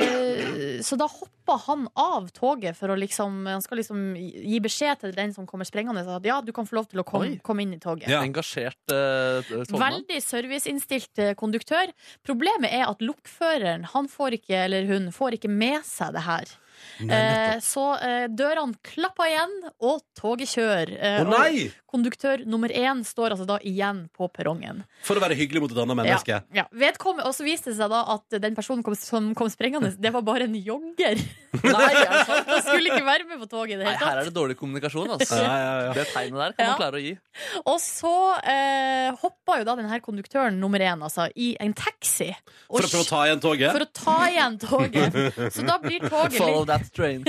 eh, så da hopper han av toget for å liksom Han skal liksom gi beskjed til den som kommer sprengende at ja, du kan få lov til å komme, Oi. komme inn i toget. Ja. Engasjert eh, togmann. Veldig serviceinnstilt eh, konduktør. Problemet er at lokføreren han får ikke, eller hun får ikke med seg det her. Eh, så eh, dørene klappa igjen, og toget kjører. Eh, Å og nei! konduktør nummer én står altså da igjen på perrongen. For å være hyggelig mot et annet menneske. Ja, vedkommende- Og så viste det seg da at den personen kom, som kom sprengende, det var bare en jogger. Nei, er det sant? Han skulle ikke være med på toget i det Nei, hele her tatt. er det dårlig kommunikasjon, altså. Ja, ja, ja. Det tegnet der kan Ja. man klare å gi. Og så eh, hoppa jo da den her konduktøren nummer én altså, i en taxi. Og For å prøve å ta igjen toget? for å ta igjen toget. Så da blir toget litt Follow that train.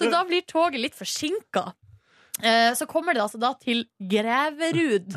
Så da blir toget litt forsinka. Eh, Så kommer det altså da til Greverud.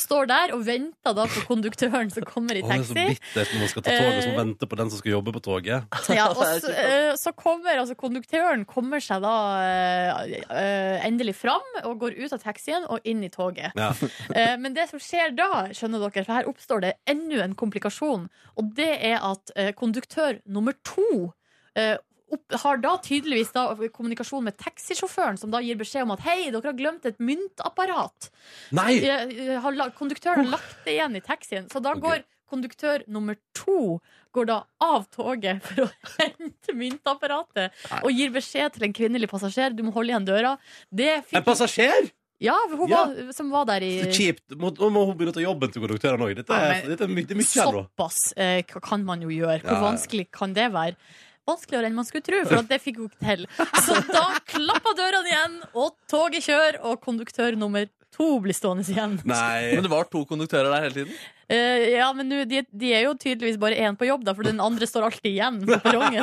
Står der og venter da på konduktøren som kommer i Å, det er så taxi. bittert når man skal ta toget hvis man venter på den som skal jobbe på toget. Ja, og så, eh, så kommer altså konduktøren kommer seg da eh, eh, endelig fram og går ut av taxien og inn i toget. Ja. Eh, Men det som skjer da, skjønner dere, for her oppstår det enda en komplikasjon. Og det er at eh, konduktør nummer to eh, opp, har da tydeligvis da kommunikasjon med taxisjåføren, som da gir beskjed om at hei, dere har glemt et myntapparat. Nei! Eh, eh, har la- Konduktøren har lagt det igjen i taxien. Så da Ok. går konduktør nummer to går da av toget for å hente myntapparatet og gir beskjed til en kvinnelig passasjer du må holde igjen døra. Det En fikk passasjer! Ja, hun Ja. Var, som var der i Det er kjipt. Må, nå må hun begynne å ta jobben til konduktøren òg. Dette, Ja, er- men- dette er my- det er mye her nå. Såpass eh, k- kan man jo gjøre. Hvor Ja, ja. vanskelig kan det være? Vanskeligere enn man skulle tro, for at det fikk hun ikke til. Så da klappa dørene igjen, og toget kjører, og konduktør nummer to blir stående igjen. Nei. Men det var to konduktører der hele tiden. Eh, ja, men nå, de, de er jo tydeligvis bare én på jobb, da, for den andre står alltid igjen på perrongen.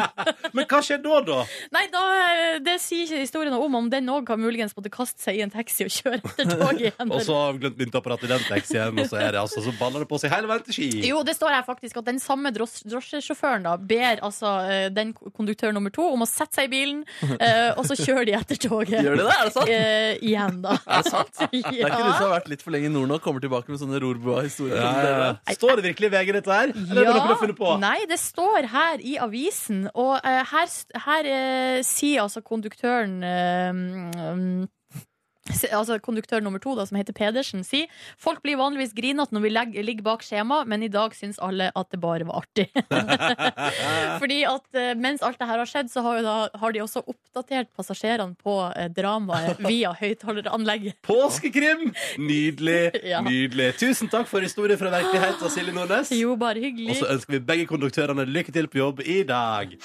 Men hva skjer da, da? Nei, da, eh, det sier ikke historien noe om, om den òg kan muligens måtte kaste seg i en taxi og kjøre etter toget igjen. Og så har vi glemt myntapparatet i den taxien, og så, er det, altså, så baller det på seg hele veien til Ski. Jo, det står her faktisk at den samme dros drosjesjåføren da ber altså eh, den k- konduktør nummer to om å sette seg i bilen, eh, og så kjører de etter toget. Gjør de det? Er det sant? Eh, igjen, da. Er det sant? Det er ikke du som ja. har vært litt for lenge i nord nå, kommer tilbake med sånne rorboa-historier. Ja, som ja, dere. ja. Står det virkelig i VG, dette her? Eller er det noe du har funnet på? Nei, det står her i avisen, og eh, her, st- her eh, sier altså konduktøren eh, mm, se- Altså Konduktør nummer to, da, som heter Pedersen, sier folk blir vanligvis grinete når vi legger, ligger bak skjema, men i dag syns alle at det bare var artig. Fordi at eh, mens alt det her har skjedd, så har, jo da, har de også oppdatert passasjerene på eh, dramaet via høyttaleranlegget. Påskekrim! Nydelig. Ja. nydelig Tusen takk for historien fra virkeligheten, Silje Nordnes. Jo, bare Og hyggelig. så ønsker vi begge konduktørene lykke til på jobb i dag.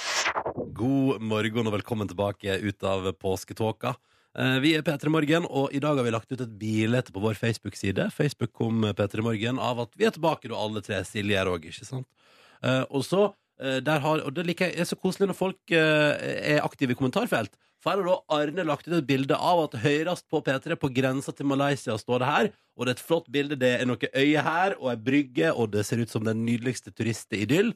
God morgen og velkommen tilbake ut av påsketåka. Eh, Vi er P3 Morgen, og i dag har vi lagt ut et bilde på vår Facebook-side. Facebook kom P3 Morgen av at vi er tilbake, da alle tre. Silje er òg, ikke sant? Eh, Og så eh, der har, og det liker jeg, er så koselig når folk eh, er aktive i kommentarfelt. For her har da Arne lagt ut et bilde av at høyrest på P3, på grensa til Malaysia, står det her. Og det er et flott bilde. Det er noen øyer her, og ei brygge, og det ser ut som den nydeligste turistidyll.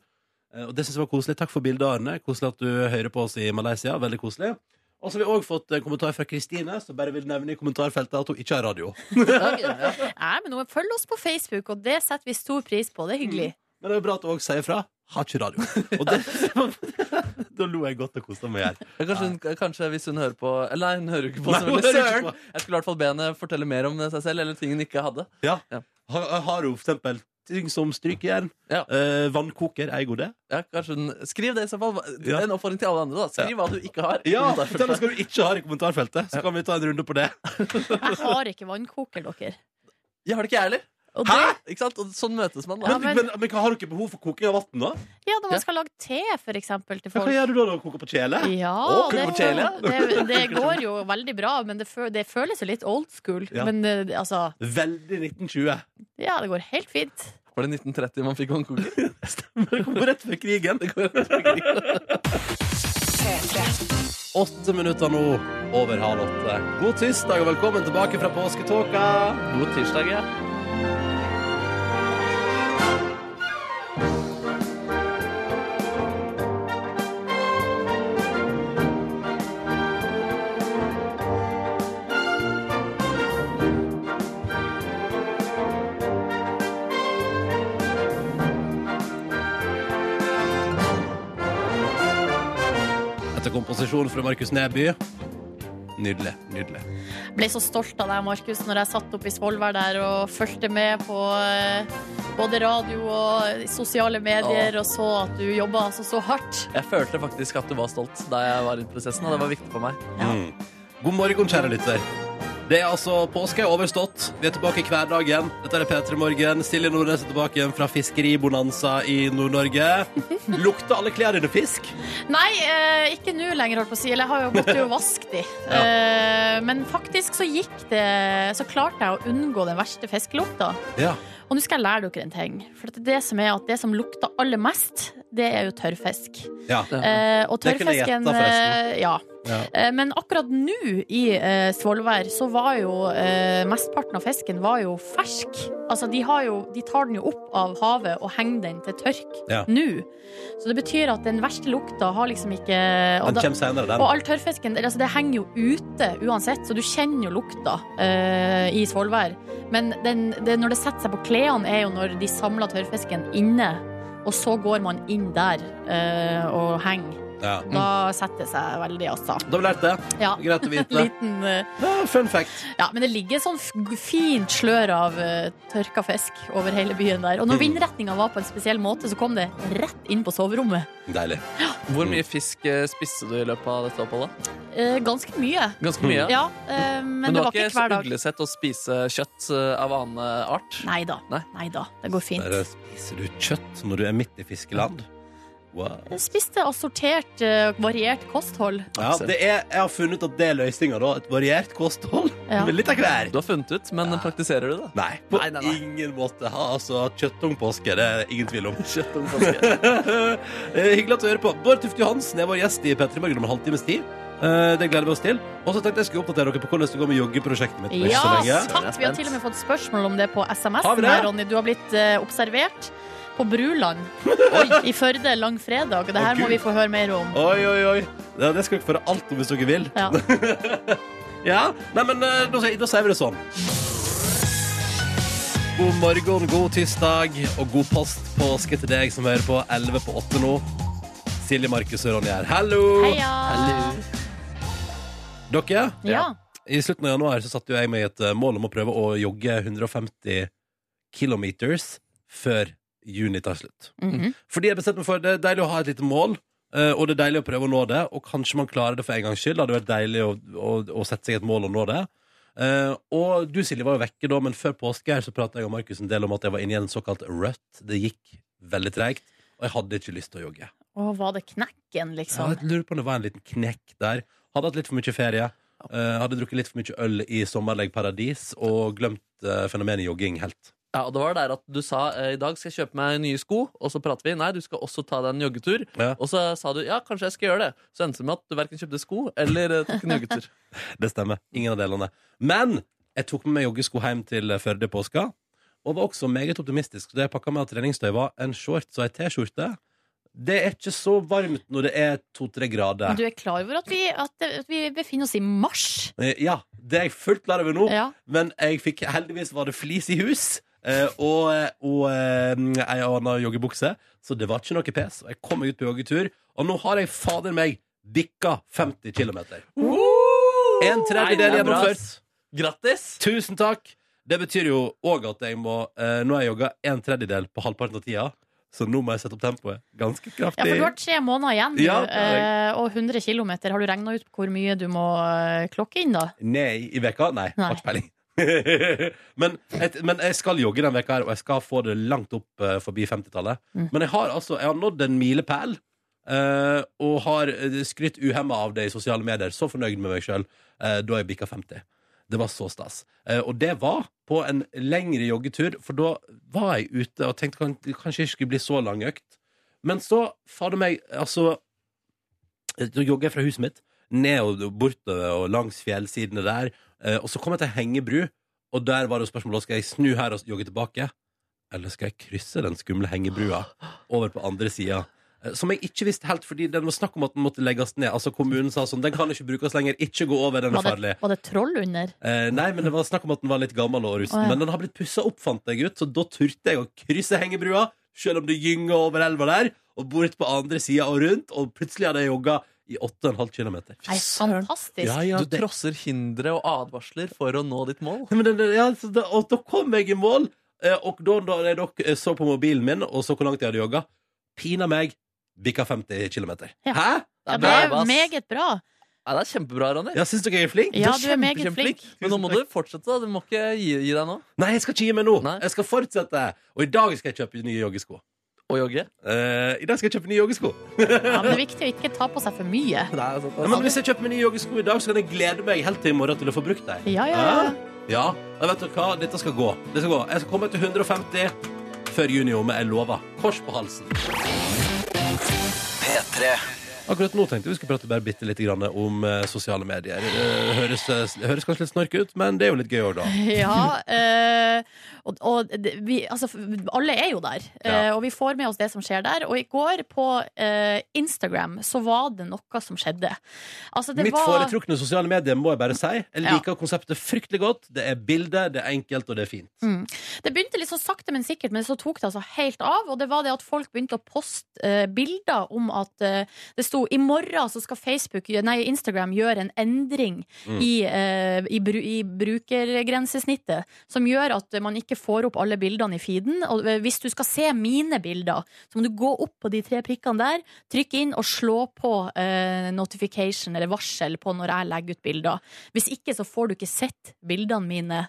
Eh, Og det synes jeg var koselig. Takk for bildet, Arne. Koselig at du hører på oss i Malaysia. Veldig koselig. Og så har vi òg fått en kommentar fra Kristine, som bare vil nevne i kommentarfeltet at hun ikke har radio. Nei, men nå Følg oss på Facebook, og det setter vi stor pris på. Det er hyggelig. Men det er bra at hun òg sier fra. Har ikke radio. Og det, da lo jeg godt og kosa meg her. Ja, Kanskje, hun, kanskje hvis hun hører på Eller nei, hun hører jo ikke på. Nei, hun selvfølgelig. hører ikke Søren! Jeg skulle i hvert fall be henne fortelle mer om seg selv eller ting hun ikke hadde. Ja. Ja. Har, har hun for eksempel ting som strykejern, Ja. eh, vannkoker, er en god det? Ja, kanskje hun, skriv det i så fall. Ja. En oppfordring til alle andre. da Skriv hva du ikke har. Ja, Derfor- fortell oss hva du ikke har i kommentarfeltet, så kan vi ta en runde på det. Jeg har ikke vannkoker, dere. Jeg har det ikke, jeg heller. Og det, Hæ? Ikke sant? Og sånn møtes man. da Men, Ja, men- men, men hva har du ikke behov for koking av vann, da? ja, når Ja. man skal lage te, for eksempel, til Ja, Hva folk. gjør du da når du koker på kjele? Ja, Å, det, konvertere. det, det går jo veldig bra, men det, fø, det føles jo litt old school. Ja. Men eh, altså Veldig 1920. Ja, det går helt fint. Var det 1930 man fikk vannkoker? Det kommer rett før krigen. Åtte minutter nå over halv åtte. God tirsdag og velkommen tilbake fra påsketåka. God tirsdag, ja. Etter komposisjon fra Markus Neby. Nydelig. nydelig Ble så stolt av deg, Markus, når jeg satt oppe i Svolvær der og fulgte med på eh, både radio og sosiale medier og så at du jobba altså så hardt. Jeg følte faktisk at du var stolt da jeg var rundt prosessen, og det var viktig for meg. Mm. God morgen, kjære lytter. Det er altså påske er overstått. Vi er tilbake i hverdagen. Dette er P3 Morgen. Silje Nordnes er tilbake igjen fra fiskeribonanza i Nord-Norge. Lukter alle klærne dine fisk? Nei, eh, ikke nå lenger, holdt på å si. Eller jeg har jo måttet jo vaske de. Ja. Eh, men faktisk så gikk det Så klarte jeg å unngå den verste fiskelukta. Ja. Og nå skal jeg lære dere en ting. For at det som er at det som lukter aller mest, det er jo tørrfisk. ja. Eh, og Det kunne jeg tørrfisken gjette, forresten. eh, Ja. Ja. Eh, Men akkurat nå i eh, Svolvær så var jo eh, mesteparten av fisken var jo fersk. Altså de, har jo, de tar den jo opp av havet og henger den til tørk Ja. nå. Så det betyr at den verste lukta har liksom ikke og, Den da, kommer senere, og den. all tørrfisken altså det henger jo ute uansett, så du kjenner jo lukta eh, i Svolvær. Men den, det, når det setter seg på klærne, er jo når de samler tørrfisken inne. Og så går man inn der eh, og henger. Ja. Da setter det seg veldig, altså. Da har vi lært det. Mm. Ja. Greit å vite. Liten eh, Ja, fun fact. Ja, men det ligger sånn f- fint slør av eh, tørka fisk over hele byen der. Og når vindretninga var på en spesiell måte, så kom det rett inn på soverommet. Deilig. Hvor mye fisk eh, spiste du i løpet av dette oppholdet? Eh, ganske mye. Ganske mye. Ja, eh, men, Men du det har var ikke ikke hver dag. uglesett å spise kjøtt eh, av annen art? Nei da. Nei? Nei da. Det går fint. Der spiser du kjøtt når du er midt i fiskeland. Wow. Jeg Spiste assortert, eh, variert kosthold. Ja, det er, jeg har funnet ut at det er løsninga, da. Et variert kosthold Ja. med litt av hver. Du har funnet ut, men eh, praktiserer du det? Nei, på Nei, nei, nei. ingen måte. Ha, altså, kjøtttung påske, det er ingen tvil om. Kjøtt om påske. Eh, Hyggelig at du hører på. Bård Tufte Johansen er vår gjest i P3 Morgen om en halvtimes tid. Eh, Det gleder vi oss til. Og så tenkte jeg skulle oppdatere dere på hvordan det går med joggeprosjektet mitt. om ikke Ja, så lenge. takk! Vi har til og med fått spørsmål om det på SMS. Har vi -en det? her, Ronny. Du har blitt eh, observert på Bruland i Førde langfredag. Og det Å, her må Gud. vi få høre mer om. Oi, oi, oi. Ja, det skal dere få høre alt om hvis dere vil. Ja. Ja, nei, men eh, da, sier- da sier vi det sånn. God morgen, god tirsdag og god post påske til deg som hører på 11 på 8 nå. Silje, Markus og Ronny her. Hallo! Heia! Dere, Ja. i slutten av januar så satte jo jeg meg et eh, mål om å prøve å jogge 150 kilometers før juni tar slutt. Mhm. Fordi jeg bestemte meg for Det er deilig å ha et lite mål eh, Og det er deilig å prøve å nå det Og kanskje man klarer det for en gangs skyld Det hadde vært deilig å, å, å sette seg et mål og nå det Eh, Og du Silje var jo vekke da Men før påske her så pratet jeg og Markus en del om at jeg var inne i en såkalt rødt Det gikk veldig tregt Og jeg hadde ikke lyst til å jogge Å, var det knekken, liksom? Jeg lurer på om det var en liten knekk der Hadde hatt litt for mye ferie eh, Hadde drukket litt for mye øl i sommerlegg paradis Og glemt eh, fenomenet jogging helt Ja, og det var der at du sa eh, i dag skal jeg kjøpe meg nye sko, og så prater vi. Nei, du skal også ta deg en joggetur. Ja. Og så sa du ja, kanskje jeg skal gjøre det. Så endte det med at du verken kjøpte sko eller eh, tok en joggetur. Det stemmer. Ingen av delene. Men jeg tok med meg joggesko hjem til Førde i påska. Og var også meget optimistisk. Så det jeg pakka med av treningstøy, var en shorts og ei T-skjorte. Det er ikke så varmt når det er to-tre Men grader. du er klar over at vi, at, det- at vi befinner oss i mars? Eh, Ja, det er jeg fullt klar over nå. Ja. Men jeg fikk heldigvis var det flis i hus. eh, Og, og eh, ei anna joggebukse. Så det var ikke noe pes. Og jeg kom meg ut på joggetur. Og nå har jeg fader meg bikka 50 km. En Nei, tredjedel det er bra, gjennomført. ass. Grattis! Tusen takk! Det betyr jo òg at jeg må eh, Nå har jeg jogga en tredjedel på halvparten av tida, så nå må jeg sette opp tempoet ganske ja, kraftig. for du har tre måneder igjen, Ja, du, det har eh, og 100 km. Har du regna ut hvor mye du må eh, klokke inn, da? Nei, i veka? Nei, Nei. har ikke peiling. men, et, men jeg skal jogge den veka her, og jeg skal få det langt opp eh, forbi 50-tallet. Mm. Men jeg har altså Jeg har nådd en milepæl. eh, og har eh, skrytt uhemma av det i sosiale medier. Så fornøyd med meg sjøl da jeg bikka 50. Det var så stas. Eh, og det var på en lengre joggetur, for da var jeg ute og tenkte kan, kanskje det ikke skulle bli så lang økt. Men så, fader meg, altså Da jogger jeg fra huset mitt, ned og bortover og langs fjellsidene der. Eh, og så kom jeg til Hengebru, og der var det jo spørsmålet skal jeg snu her og jogge tilbake. Eller skal jeg krysse den skumle hengebrua over på andre sida? Eh, Som jeg ikke visste helt, fordi det var snakk om at den måtte legges ned. Altså Kommunen sa sånn, den kan ikke brukes lenger. Ikke gå over, den er Var farlig. det, var det troll under? Eh, nei, men det var snakk om at den var litt gammel og Å, rusten. ja. Men den har blitt pussa opp, fant jeg ut, så da turte jeg å krysse hengebrua, selv om det gynger over elva der, og bort på andre sida og rundt, og plutselig hadde jeg jogga i 8,5 km. Nei, fantastisk. Ja, ja, Du du trosser hindre og advarsler for å nå ditt mål. Men den, ja, så da, og da kom jeg i mål, eh, og da, da jeg nok eh, så på mobilen min og så hvor langt jeg hadde jogga, pina meg bikka 50 km. Ja. Hæ? Ja, det bra er jobba, ass. meget bra. Nei, det er kjempebra, Ronny. Ja, Syns dere jeg er flink? Ja, er du er meget kjempe- flink. kjempeflink. Men nå må du fortsette. da Du må ikke gi, gi deg nå Nei, jeg skal ikke gi meg nå. Nei. Jeg skal fortsette. Og i dag skal jeg kjøpe nye joggesko. å jogge. Eh, I dag skal jeg kjøpe nye joggesko. Ja, men det er viktig å ikke ta på seg for mye. Nei, altså, Ja, men hvis jeg kjøper nye joggesko i dag, så kan jeg glede meg helt til i morgen til å få brukt dem. Ja, ja, ja. Ja, og vet dere hva? Dette skal gå. Det skal gå. Jeg skal komme til 150 før juni om, jeg lover. Kors på halsen. Akkurat nå tenkte jeg vi skulle prate bare bitte litt grann om eh, sosiale medier. Det høres, eh, høres kanskje litt snork ut, men det er jo litt gøy òg, da. Ja, eh, og, og det- vi, altså, f- alle er jo der, eh, og vi får med oss det som skjer der. Og i går på eh, Instagram så var det noe som skjedde. Altså, det Mitt var foretrukne sosiale medier, må jeg bare si. Jeg Ja. liker konseptet fryktelig godt. Det er bilder, det er enkelt, og det er fint. Det begynte litt så sakte, men sikkert, men så tok det altså helt av. Og det var det at folk begynte å poste eh, bilder om at eh, det sto i morgen så skal Facebook, nei, Instagram gjøre en endring Mm. i, eh, i, bru, i brukergrensesnittet, som gjør at man ikke får opp alle bildene i feeden. Og eh, hvis du skal se mine bilder, så må du gå opp på de tre prikkene der, trykke inn og slå på eh, notification eller varsel på når jeg legger ut bilder. Hvis ikke så får du ikke sett bildene mine.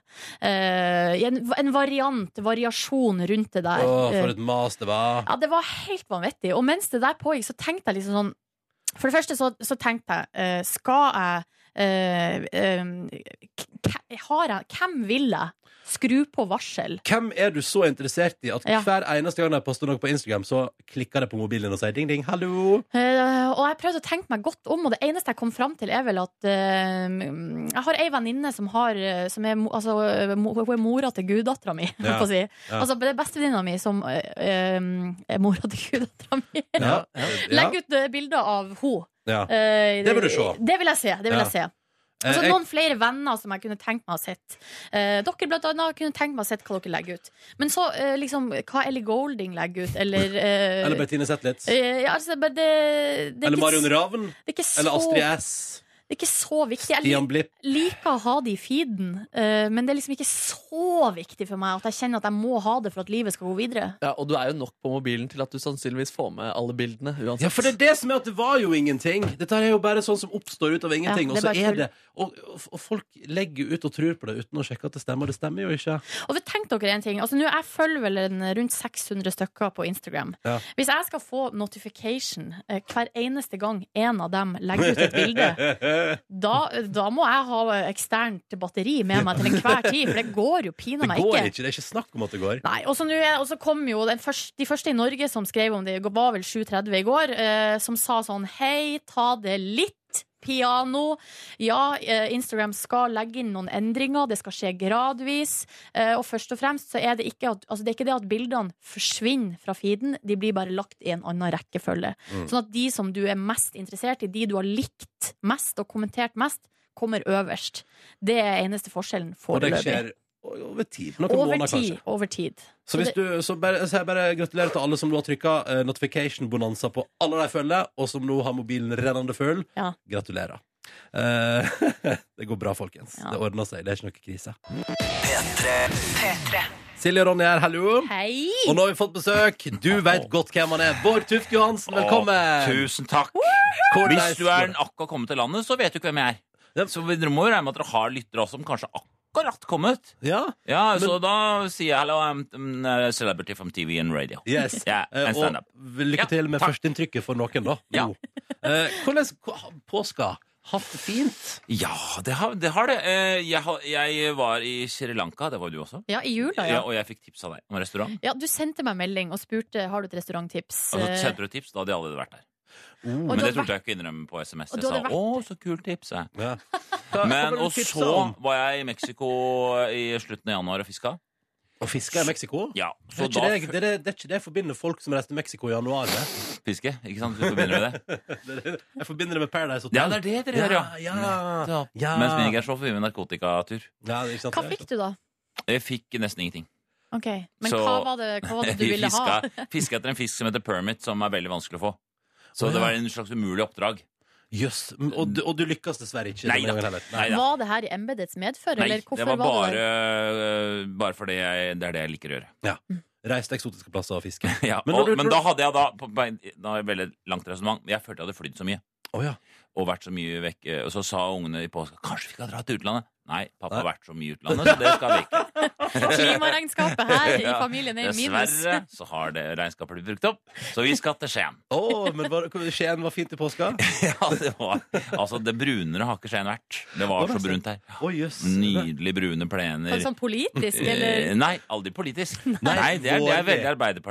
Eh, i en, en variant, variasjon rundt det der. Å, Eh, for et mas det var. ja, det var helt vanvittig. Og mens det der pågikk, så tenkte jeg liksom sånn For det første så, så tenkte jeg, eh, skal jeg eh, eh, k- har jeg, Hvem vil jeg skru på varsel? Hvem er du så interessert i at Ja. hver eneste gang jeg poster noe på Instagram, så klikker det på mobilen og sier ding, ding, hallo? Eh, og jeg prøvde å tenke meg godt om, og det eneste jeg kom fram til, er vel at eh, Jeg har ei venninne som, har, eh, som er, mo- altså, eh, mo- hun er mora til guddattera mi, holdt Ja, på å si. ja. Altså det er bestevenninna mi som eh, eh, er mora til guddattera mi. Ja. Legg ut eh, bilder av henne. Ja. det vil du se. Det vil jeg se. Det vil Ja. jeg se. Eh, Altså, jeg- noen flere venner som jeg kunne tenkt meg å ha sett. Eh, dere blant annet kunne tenkt meg å ha sett hva dere legger ut. Men så eh, liksom hva Ellie Golding legger ut, eller eh, Eller Bettine Zetlitz. eh, ja, altså, men det, det, er Eller ikke, Marion Ravn. det, er ikke så, Eller Astrid det S. er ikke så viktig. Jeg Stian lik- Blipp. liker å ha det i feeden, eh, men det er liksom ikke så viktig for meg at jeg kjenner at jeg må ha det for at livet skal gå videre. Ja, og du er jo nok på mobilen til at du sannsynligvis får med alle bildene. uansett Ja, for det er det som er at det var jo ingenting. Dette her er jo bare sånn som oppstår ut av ingenting. Ja, og det er så bare er tull. det og, og, og folk legger ut og tror på det uten å sjekke at det stemmer. og Det stemmer jo ikke. Og så tenk dere en ting altså, nå, Jeg følger vel en, rundt 600 stykker på Instagram Ja. Hvis jeg skal få notification eh, Hver eneste gang en av dem legger ut et bilde da, da må jeg ha eksternt batteri med meg til enhver tid For det går jo Det pina meg går ikke ikke. Det er ikke snakk om at det går. Nei, og så nå er- og så kom jo den første, De første i Norge som skrev om det Var vel 7.30 i går eh, Som sa sånn, hei, ta det litt Piano Ja, eh, Instagram skal legge inn noen endringer Det skal skje gradvis eh, Og først og fremst så er det ikke at, altså det er ikke det at bildene forsvinner fra feeden De blir bare lagt i en annen rekkefølge Mm. Sånn at de som du er mest interessert i De du har likt mest og kommentert mest Kommer øverst Det er eneste forskjellen Og det foreløpig skjer over tid. Noen Over måneder, kanskje. tid, over tid Så, hvis du, så, bare, så jeg bare gratulerer til alle som nå har trykka eh, notification-bonanza på alle de følger, og som nå har mobilen rennende full. Ja. Gratulerer. Eh, det går bra, folkens. Ja. Det ordner seg. Det er ikke noe krise. Silje og Ronny her, hallo. Hei! Og nå har vi fått besøk. Du veit godt hvem han er. Bård Tufte Johansen, velkommen. Å, tusen takk. Hvordan- Hvis du er akkurat kommet til landet, så vet du ikke hvem jeg Yep. er. Så dere må jo regne med at dere har lyttere også, som kanskje akkurat kommet. Ja. Ja, Så da sier jeg hello, I'm um, a celebrity from TV and radio. Yes. Ja, Eh, and og stand-up. lykke Ja, til med takk. førsteinntrykket for noen, da. Ja. Nå. Eh, hvordan hva- påska? Hatt det fint? Ja, det har det. Har det. Eh, Jeg, har- jeg var i Sri Lanka, det var du også. Ja, i jula, ja. Ja, og jeg fikk tips av deg om restaurant. ja. Du sendte meg melding og spurte har du et restauranttips. Og så Eh, sendte du tips, da hadde jeg allerede vært der. Oh. Og Altså, Men du det hadde torde jeg ikke å innrømme på SMS. og Jeg du sa hadde 'Å, så kult tips', jeg. Ja. Hva- hva Men, var det du og tipset så om? var jeg i Mexico i slutten av januar og fiska. Og fiska i Mexico? Ja, Det er, ikke så da det, det, er, det er ikke det jeg forbinder folk som reiser til Mexico i januar med. fiske, ikke sant? Du forbinder med det? Det er- Jeg forbinder det med Paradise Hotel. Ja, det er det dere gjør, ja. Ja, ja, Nettopp. ja. Mens vi ikke er så forbi med narkotikatur. Ja, ikke sant? Hva fikk du, da? Jeg fikk nesten ingenting. Ok, Men Så- hva, var det, hva var det du Vi ville ha? fiska, fiska etter en fisk som heter permit, som er veldig vanskelig å få. Å, Så ja. det var en slags umulig oppdrag. Jøss. Mm, Og, du- og du lykkes dessverre ikke. Nei denne da. gangen heller. Nei da. Var det her i embetets medfør, Nei, eller hvorfor det var var det bare, der? øh, bare fordi jeg, det er det jeg liker å gjøre. Reis til eksotiske plasser og fiske. Ja, Men men, når og, du men tror- da hadde jeg da på, på, en- Da har jeg veldig langt resonnement. men Jeg følte jeg hadde flydd så mye. Å ja. Og vært så mye vekk eh, Og så sa ungene i påska Kanskje vi skal dra til utlandet? Nei, pappa Nei. har vært så mye i utlandet, så det skal vi ikke. Klimaregnskapet her i Ja, familien er i minus. Dessverre så har det regnskapet blitt brukt opp, så vi skal til Skien. Å, men var, Skien var fint i påska? Ja, det var Altså, det brunere har ikke Skien vært. Det var så brunt her. Å, jøss. Nydelig brune plener. Sånn sånn politisk, Eh, eller Nei, aldri politisk. Nei, det er, det er veldig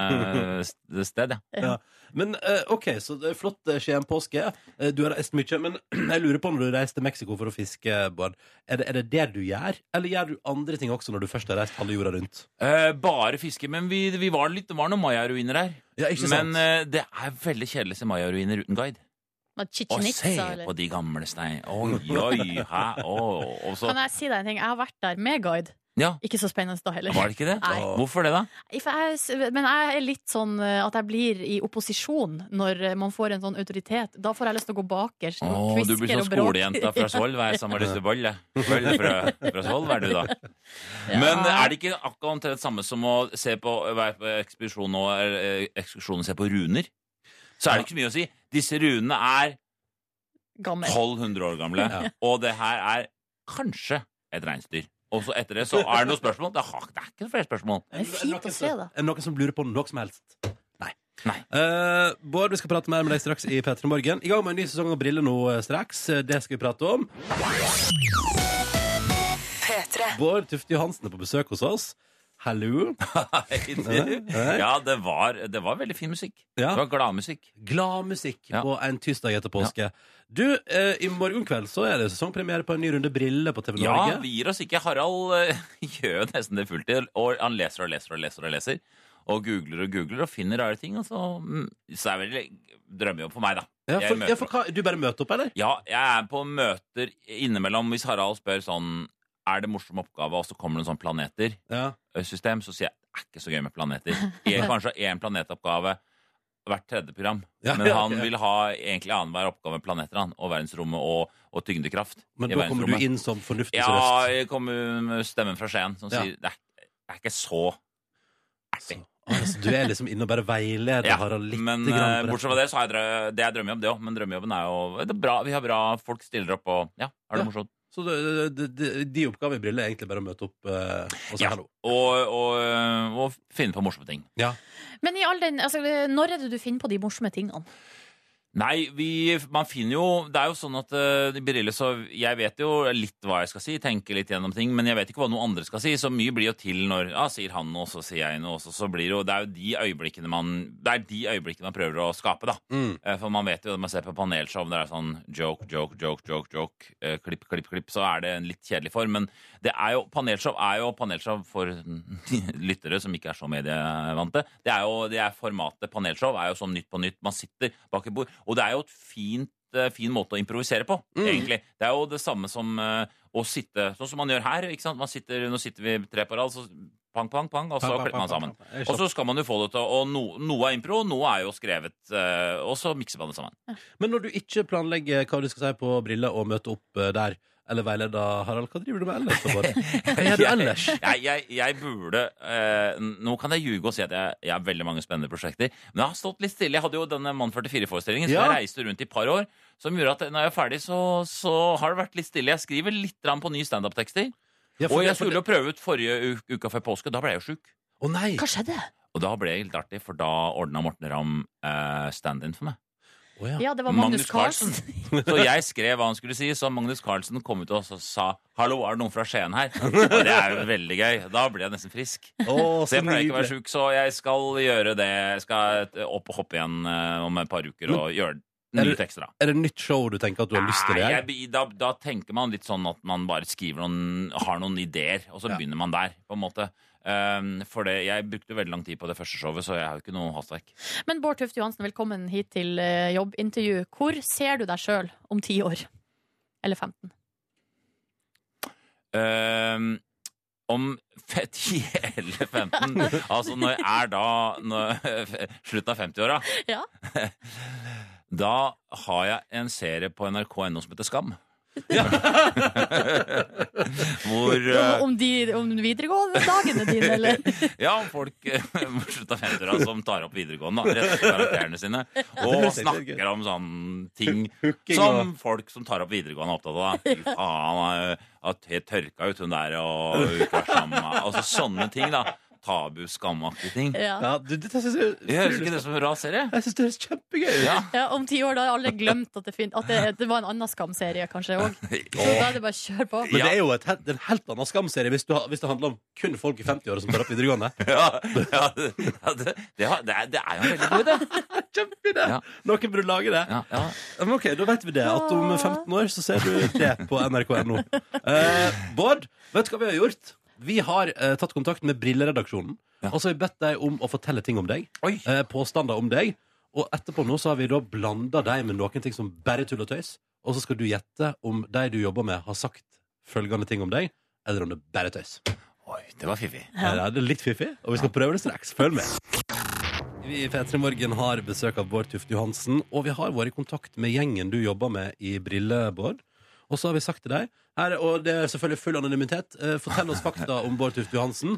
Arbeiderparti-sted, ja. Ja. Men eh, OK, så det er flott eh, Skien påske. Eh, Du har reist mye, men jeg lurer på når du reiser til Mexico for å fiske, Bård. Er det, er det det du gjør, eller gjør du andre ting også når du først har reist halve jorda rundt? Eh, Bare fiske. Men vi, vi var litt, det var noen mayaruiner her. Ja, ikke sant? Men eh, det er veldig kjedelig å se mayaruiner uten guide. Å, Chichen se Itza, på eller de gamle stein... Oi, oi, hæ? Å, og så Kan jeg si deg en ting? Jeg har vært der med guide. Ja, Ikke så spennende da heller. var det ikke det? Nei. Hvorfor det, da? If jeg, men jeg er litt sånn eh, at jeg blir i opposisjon når eh, man får en sånn autoritet. Da får jeg lyst til å gå bakerst Å, og du blir kvisker sånn og bråker. skolejenta fra Svolv her som har lyst til boll, jeg. Boll fra, fra Svolv er du, da. Men Ja. er det ikke akkurat omtrent samme som å se på, være på ekspedisjon og, eh, ekskursjon og se på runer? Så er det ikke så mye å si. Disse runene er Gammel. 1200 år gamle, Ja. og det her er kanskje et reinsdyr. Og så etter det så er det noen spørsmål. Det har- det er ikke noen flere spørsmål. Det er fint noen å se, da. som- Er det noen som lurer på noe som helst? Nei. Nei. Eh, Bård, vi skal prate mer med deg straks i P3 Morgen. I gang med en ny sesong av Briller nå eh, straks. Eh, Det skal vi prate om. Bård Tufte Johansen er på besøk hos oss. Hallo. Nei. Ja, det var, det var veldig fin musikk. Ja. Det var gladmusikk. Gladmusikk Ja. på en tirsdag etter påske. Du, eh, i morgen kveld så er det sesongpremiere på en ny runde Briller på TV Ja, Norge. vi gir oss ikke. Harald eh, gjør jo nesten det fulltid. Og han leser og leser og leser og leser. Og googler og googler og finner rare ting. Og så, mm, så er det vel drømmejobb for meg, da. Ja, Jeg for, møter ja, for hva, du bare møter opp, eller? Ja, jeg er på møter innimellom hvis Harald spør sånn Er det morsom oppgave, og så kommer det en sånn planetersystem, Ja. så sier jeg det er ikke så gøy med planeter. Jeg, kanskje én planetoppgave hvert tredje program. Ja, Men ja, han ok. vil ha egentlig annenhver oppgave med planeter han, og verdensrommet og, og tyngdekraft. Men i da kommer du verdensrommet. inn som fornuftens Ja, røst. jeg kommer med stemmen fra Skien som Ja. sier det er, det er ikke så Så, altså, du er liksom inne og bare veileder ja. Harald litt. Men eh, grann på rett. bortsett fra det, så er det, det er drømmejobb, det òg. Men drømmejobben er jo det er bra. Vi har bra folk stiller opp og ja, har det Ja. morsomt. Så de, de, de, de oppgave i briller er egentlig bare å møte opp eh, og si Ja. hallo. Og, og, og finne på morsomme ting. Men i all den, altså, når er det du finner på de morsomme tingene? Nei, vi, man finner jo Det er jo sånn at eh, i Brille så Jeg vet jo litt hva jeg skal si, tenker litt gjennom ting, men jeg vet ikke hva noen andre skal si, så mye blir jo til når Ja, sier han noe, så sier jeg noe, så, så blir det jo Det er jo de øyeblikkene man Det er de øyeblikkene man prøver å skape, da. Mm. Eh, For man vet jo når man ser på panelshow, det er sånn joke, joke, joke, joke, joke, eh, klipp, klipp, klipp, så er det en litt kjedelig form. Men det er jo, panelshow er jo panelshow for lyttere som ikke er så medievante. Det er jo det er formatet panelshow er jo sånn Nytt på nytt. Man sitter bak et bord. Og det er jo et fint eh, fin måte å improvisere på, Mm. egentlig. Det er jo det samme som eh, å sitte sånn som man gjør her. ikke sant? Man sitter, nå sitter vi tre på rad, så pang, pang, pang, og så Pang, pang, klipper man pang, sammen. pang, pang. Jeg Og så skal man jo få det til Og no, noe er impro, noe er jo skrevet eh, Og så mikser man det sammen Men når du ikke planlegger hva du skal si på briller og møte opp eh, der, eller veileder Harald, hva driver du med ellers? da, Bård? Hva gjør du ellers? Jeg, jeg, jeg burde eh, Nå kan jeg ljuge og si at jeg, jeg har veldig mange spennende prosjekter Men jeg har stått litt stille Jeg hadde jo denne Mann 44-forestillingen Som Ja. jeg reiste rundt i et par år Som gjorde at når jeg er ferdig så, så har det vært litt stille Jeg skriver litt grann på nye stand-up-tekster Ja, for Og det- jeg for skulle det- jo prøve ut forrige u- uka før påske Da ble jeg jo syk Å nei! Hva skjedde? Og da ble jeg litt artig For da ordnet Morten Ram eh, stand-in for meg Å, ja. Ja, det var Magnus, Carlsen. Så jeg skrev hva han skulle si, så Magnus Carlsen kom ut og så sa 'hallo, er det noen fra Skien her?' Og det er jo veldig gøy. Da blir jeg nesten frisk. Å, Så jeg pleier ikke å være nydelig. sjuk, så jeg skal gjøre det. Jeg skal eh, opp og hoppe igjen eh, om et par uker og gjøre Er nye det- tekster. da. Er det nytt show du tenker at du har lyst til å Nei, gjøre? jeg, blir- da, da tenker man litt sånn at man bare skriver noen, har noen ideer, og så Ja. begynner man der, på en måte. Um, for det, jeg brukte veldig lang tid på det første showet, så jeg har jo ikke noe hastverk. Men Bård Tufte Johansen, velkommen hit til eh, jobbintervju. Hvor ser du deg sjøl om ti år? Eller 15? Ehm, om fe- 10 eller 15 Altså, når jeg er da når, Slutten av 50-åra? Ja. Da har jeg en serie på nrk.no som heter Skam. Hvor eh, Om, om de om videregående dagene dine, eller? Ja, folk eh, mot slutten av 50-åra som altså, tar opp videregående, da, retter karakterene sine, og høres helt gøy. snakker om sånne ting Hooking som folk som tar opp videregående, er opptatt av. da. Fy faen, eh, at hun tørka ut hun der, og hun ikke var sammen med meg. Altså sånne ting, da. Tabu, skamaktige ting. Ja. Ja, du, dette synes jeg, Jeg høres ikke det som en rar serie. jeg synes det høres kjempegøy ut. Ja. Ja, om ti år da har alle glemt at det, fin at det, det var en annen skamserie, kanskje òg. Så da er det bare å kjøre på. Men Ja. det er jo et, helt- en helt annen skamserie hvis, du, har- hvis det handler om kun folk i 50-åra som tar opp videregående. Ja, ja, det, ja, det, det, har- det, er, det er jo en veldig god idé. Kjempeidé! Ja. Noen burde lage det. Ja, Ah. ja. Ja, Men ok, Da vet vi det. At om 15 år så ser du det på nrk.no. Eh, Bård, vet du hva vi har gjort? Vi har eh, tatt kontakt med Brilleredaksjonen. Ja. Og så har vi bedt dem om å fortelle ting om deg. Oi. Eh, påstander om deg. Og etterpå nå så har vi da blanda dem med noen ting som bare tull og tøys. Og så skal du gjette om de du jobber med, har sagt følgende ting om deg, eller om det bare er tøys. Oi, det var fiffig. Ja. det er litt fiffig, og vi skal prøve det straks. Følg med. Vi i P3 Morgen har besøk av Bård Tufte Johansen, og vi har vært i kontakt med gjengen du jobber med i Brille, Bård. Og så har vi sagt til deg, her, og det er selvfølgelig full anonymitet, eh, fortell oss fakta om Bård Tufte Johansen.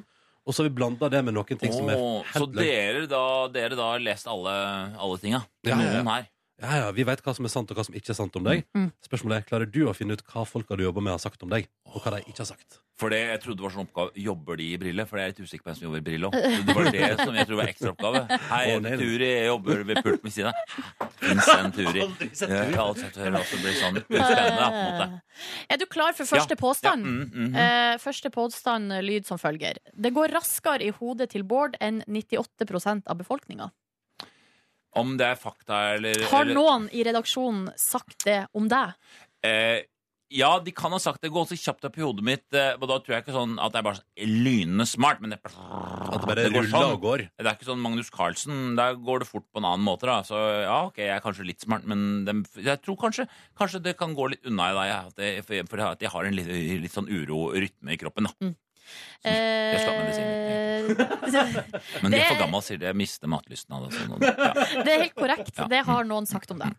Og så har vi blanda det med noen ting som er Åh, så helt løgn. dere da, dere da har lest alle, alle tinga? Ja, ja, ja. Noen her. Ja, ja, Vi vet hva som er sant, og hva som ikke er sant om deg. Mm. Spørsmålet er, Klarer du å finne ut hva folka du jobber med, har sagt om deg? Og hva de ikke har sagt? For det, jeg trodde det var sånn oppgave Jobber de i brille? For jeg er litt usikker på hvem som jobber i brille også. Så Det var det som jeg tror var ekstraoppgave. Hei, jeg Å, nei. heter Turi, jeg jobber ved pulten ved siden av. Fins en Turi. Aldri sett Jeg har alltid sett henne også bli sånn spennende, da, på en måte. Eh, Er du klar for første Ja, påstand? Ja, mm, mm. Eh, første påstand eh, lyd som følger. Det går raskere i hodet til Bård enn 98 av befolkninga. Om det er fakta eller Har eller- noen i redaksjonen sagt det om deg? Eh, ja, de kan ha sagt det går så kjapt opp i hodet mitt, eh, og da tror jeg ikke sånn at det er bare sånn lynende smart, men det, At det bare går ruller sånn. og går? Det er ikke sånn Magnus Carlsen. Der går det fort på en annen måte, da. Så ja, ok, jeg er kanskje litt smart, men dem, jeg tror kanskje, kanskje det kan gå litt unna i deg, at jeg- for, for at jeg har en litt, litt sånn uro rytme i kroppen, da. Jeg skal ha Eh, Men de er Det- for gammel, sier de. Jeg mister matlysten av det. Sånn, og, ja. Eh, Det er helt korrekt. Ja. Det har noen sagt om deg.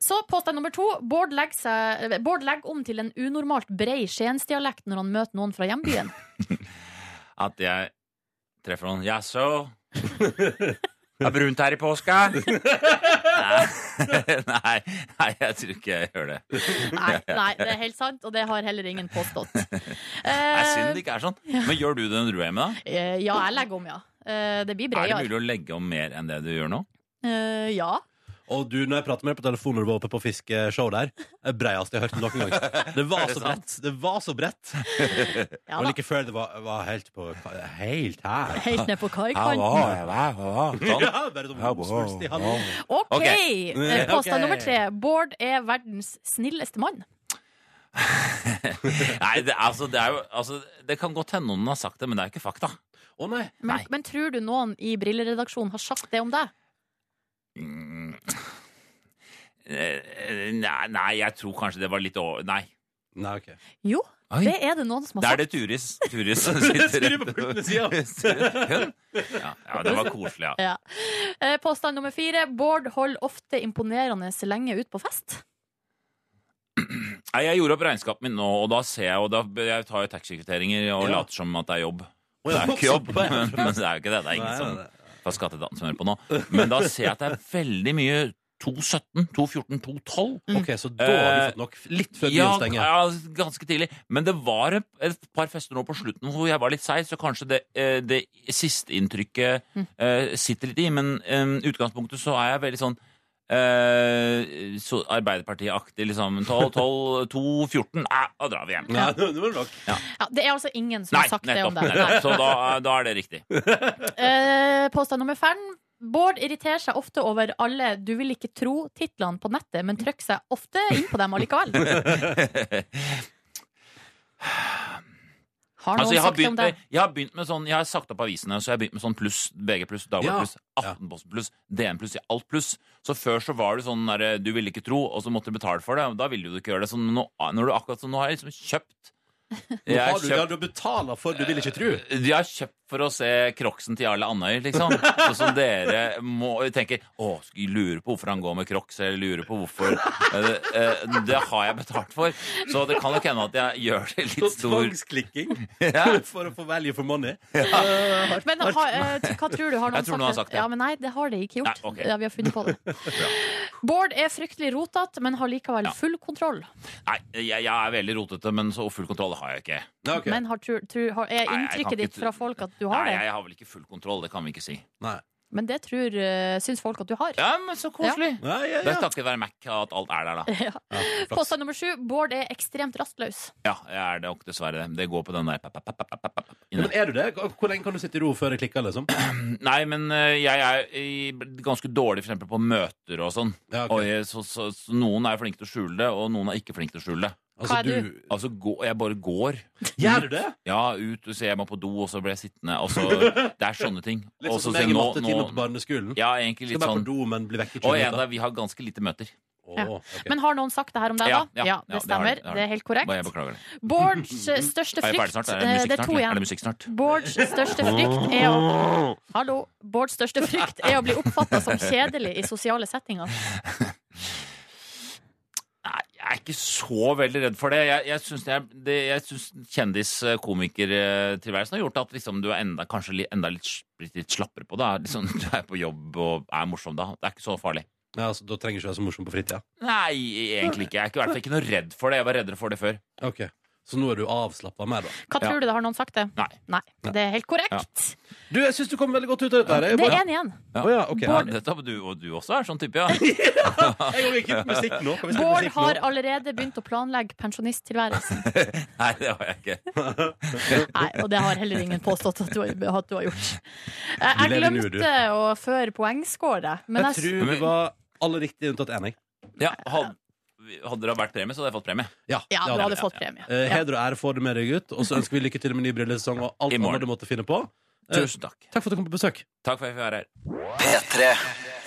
Så påstand nummer to. Bård legger, seg, eh, Bård legger om til en unormalt brei skiensdialekt når han møter noen fra hjembyen. At jeg treffer noen Jaså? Det er brunt her i påska? Nei. Nei, nei, jeg tror ikke jeg gjør det. Det Nei, nei, det er helt sant, og det har heller ingen påstått. er synd Eh, det ikke er sånn. Men gjør du det når du er med, da? eh, ja, jeg legger om, ja. Eh, det blir Er det breiere. mulig å legge om mer enn det du gjør nå? Eh, ja. Og du, når jeg prater med deg på telefon når du var oppe på fiskeshow der, er breiast jeg har hørt noen gang. Det var Er det så sant? bredt. Det var så bredt. ja Og da. like før det var, var helt på Helt her. Helt ned på kaikanten. Sånn. Ja, bare sånn svulstig hand. OK! Ok. Eh, Påstand Ok. nummer tre. Bård er verdens snilleste mann. Nei, det, altså, det er jo altså, Det kan godt hende noen har sagt det, men det er ikke fakta. Å nei. Men, Nei. men tror du noen i Brilleredaksjonen har sagt det om deg? Mm. Eh, Nei, nei, jeg tror kanskje det var litt over Nei. Nei, ok. Jo, Oi. det er det noen som Det har er sagt. det Turis. Turis som sitter Skriver på pulten ved siden. Ja, ja, det var koselig, ja. Ja. Eh, Påstand nummer fire. Bård holder ofte imponerende lenge ut på fest. Nei, jeg gjorde opp regnskapet mitt nå, og da ser jeg og da, Jeg tar jo taxikvitteringer og Ja. later som at det er jobb. Å, Det ja. er jo ikke jobb, men, men det er jo ikke sånn. det. Det er Nei, ingen som nei, nei. fra Skatteetaten som hører på nå. Men da ser jeg at det er veldig mye 217, 214, 212. Ok, så da har du fått nok. Litt før byen stenger. Ja, ganske tidlig. Men det var et, et par fester nå på slutten hvor jeg var litt seig, så kanskje det, eh, det siste inntrykket Mm. eh, sitter litt i. Men eh, utgangspunktet så er jeg veldig sånn eh, så Arbeiderpartiaktig, liksom. 12, 12, 2, 14. Eh, da drar vi hjem. Nei, nå nå er det nok. Ja, det er altså ingen som Nei, har sagt det om nettopp. deg. nettopp. Så da, da er det riktig. Eh, Påstand nummer fem. Bård irriterer seg ofte over alle 'du vil ikke tro'-titlene på nettet, men trykker seg ofte inn på dem allikevel. Har noen Altså, jeg, har sagt det om begynt, deg? jeg har begynt med sånn Jeg har sagt opp avisene, så jeg har begynt med sånn pluss, BG pluss, Ja. Dagbladet pluss, Ja. Aftenposten pluss, DN pluss, ja, alt pluss. Så før så var det sånn der, du ville ikke tro, og så måtte du betale for det. og Da ville du ikke gjøre det. Så nå, når du akkurat sånn, nå har jeg liksom kjøpt Nå Jeg har har du, ja, kjøpt, du betaler for du vil ikke tro. de har kjøpt for å se Crocsen til Jarle Andøy, liksom. Sånn som dere må, tenker Å, skal jeg lure på hvorfor han går med Crocs, eller lurer på hvorfor eh, eh, Det har jeg betalt for. Så det kan nok hende at jeg gjør Så det litt stor tvangsklikking ja. for å få value for money. Men har, eh, t- hva tror du? Har noen Jeg tror noen har sagt det. Ja, men nei, det har de ikke gjort. Nei, ok. ja, vi har funnet på det. Bård er fryktelig rotete, men har likevel Ja. full kontroll. Nei, jeg, jeg er veldig rotete, men så full kontroll har jeg ikke. Ja, ok. Men har, tru- tru- har, er Nei, jeg kan inntrykket ikke ditt tru- fra folk at du har Nei, det? jeg har vel ikke full kontroll, det kan vi ikke si. Nei. Men det tror, eh, syns folk at du har. Ja, men så koselig. Ja, ja, Det er ja. takket være Mac at alt er der, da. Påstand nummer sju. Bård er ekstremt rastløs. Ja, jeg er det nok dessverre. Det Det går på den der pap, pap, pap, pap, pap, pap, Ja, inne. Men er du det? Hvor lenge kan du sitte i ro før det klikker, liksom? Nei, men eh, jeg er i- ganske dårlig for eksempel på møter og sånn. Ja, ok. Og jeg, så, så, så noen er flinke til å skjule det, og noen er ikke flinke til å skjule det. Hva er du? Altså, gå, jeg bare går. Gjør du det? Ja, ut, så jeg må på do, og så blir jeg sittende. Altså, det er sånne ting. Litt Og sånn som så sier jeg jeg, i nå- mattetimen på nå- barneskolen. Ja, egentlig Skal litt bare sånn. på do, men bli vekk i 20 Og en minutter. der, vi har ganske lite møter. Å, ok. Men har noen sagt det her om deg, da? Ja, ja, ja, det det har stemmer. de, Det, det har er de. helt korrekt. Og jeg beklager det. Bords største Er jeg ferdig frykt snart? Er det eh, musikk Det er snart? to eller? Er igjen. det musikk snart? Bårds største frykt er å Hallo. Bårds største frykt er å bli oppfatta som kjedelig i sosiale settinger. Nei, jeg er ikke så veldig redd for det. Jeg, jeg syns, det er- det- jeg syns kjendis-komikertilværelsen har gjort at liksom du er enda, kanskje li, enda litt, s- blitt litt slappere på det. Er Liksom, du er på jobb og er morsom da. Det er ikke så farlig. Ja, altså, da trenger du ikke være så morsom på fritida. Nei, egentlig ikke. Jeg er ikke, i hvert fall ikke noe redd for det. Jeg var reddere for det før. Ok, Så nå er du avslappa mer, da? Hva Ja. tror du det har noen sagt det? Nei. Nei. Det er helt korrekt. Du, jeg syns du kom veldig godt ut av dette. her. Jeg Det bare- er én igjen. Ja. Å ja, ok. Ja, dette, du, og du også er sånn type, ja. Jeg går ikke ut på musikk nå. Kan vi spille Bård musikk nå? har allerede begynt å planlegge pensjonisttilværelsen. Nei, det har jeg ikke. Nei, og det har heller ingen påstått at du har, at du har gjort. Eh, Jeg lever nu, du. glemte å føre poengscore, men Jeg jeg, tror det var alle riktige unntatt én, jeg. Ja, hadde, hadde det vært premie, så hadde jeg fått premie. Ja, ja, det du hadde hadde jeg. fått premie. Eh, Ja. Heder og ære får du med deg ut. Og så ønsker vi lykke til med ny brillesesong og alt I morgen. annet du måtte finne på. Eh, Tusen takk. Takk for at du kom på besøk. Takk for at jeg fikk være her.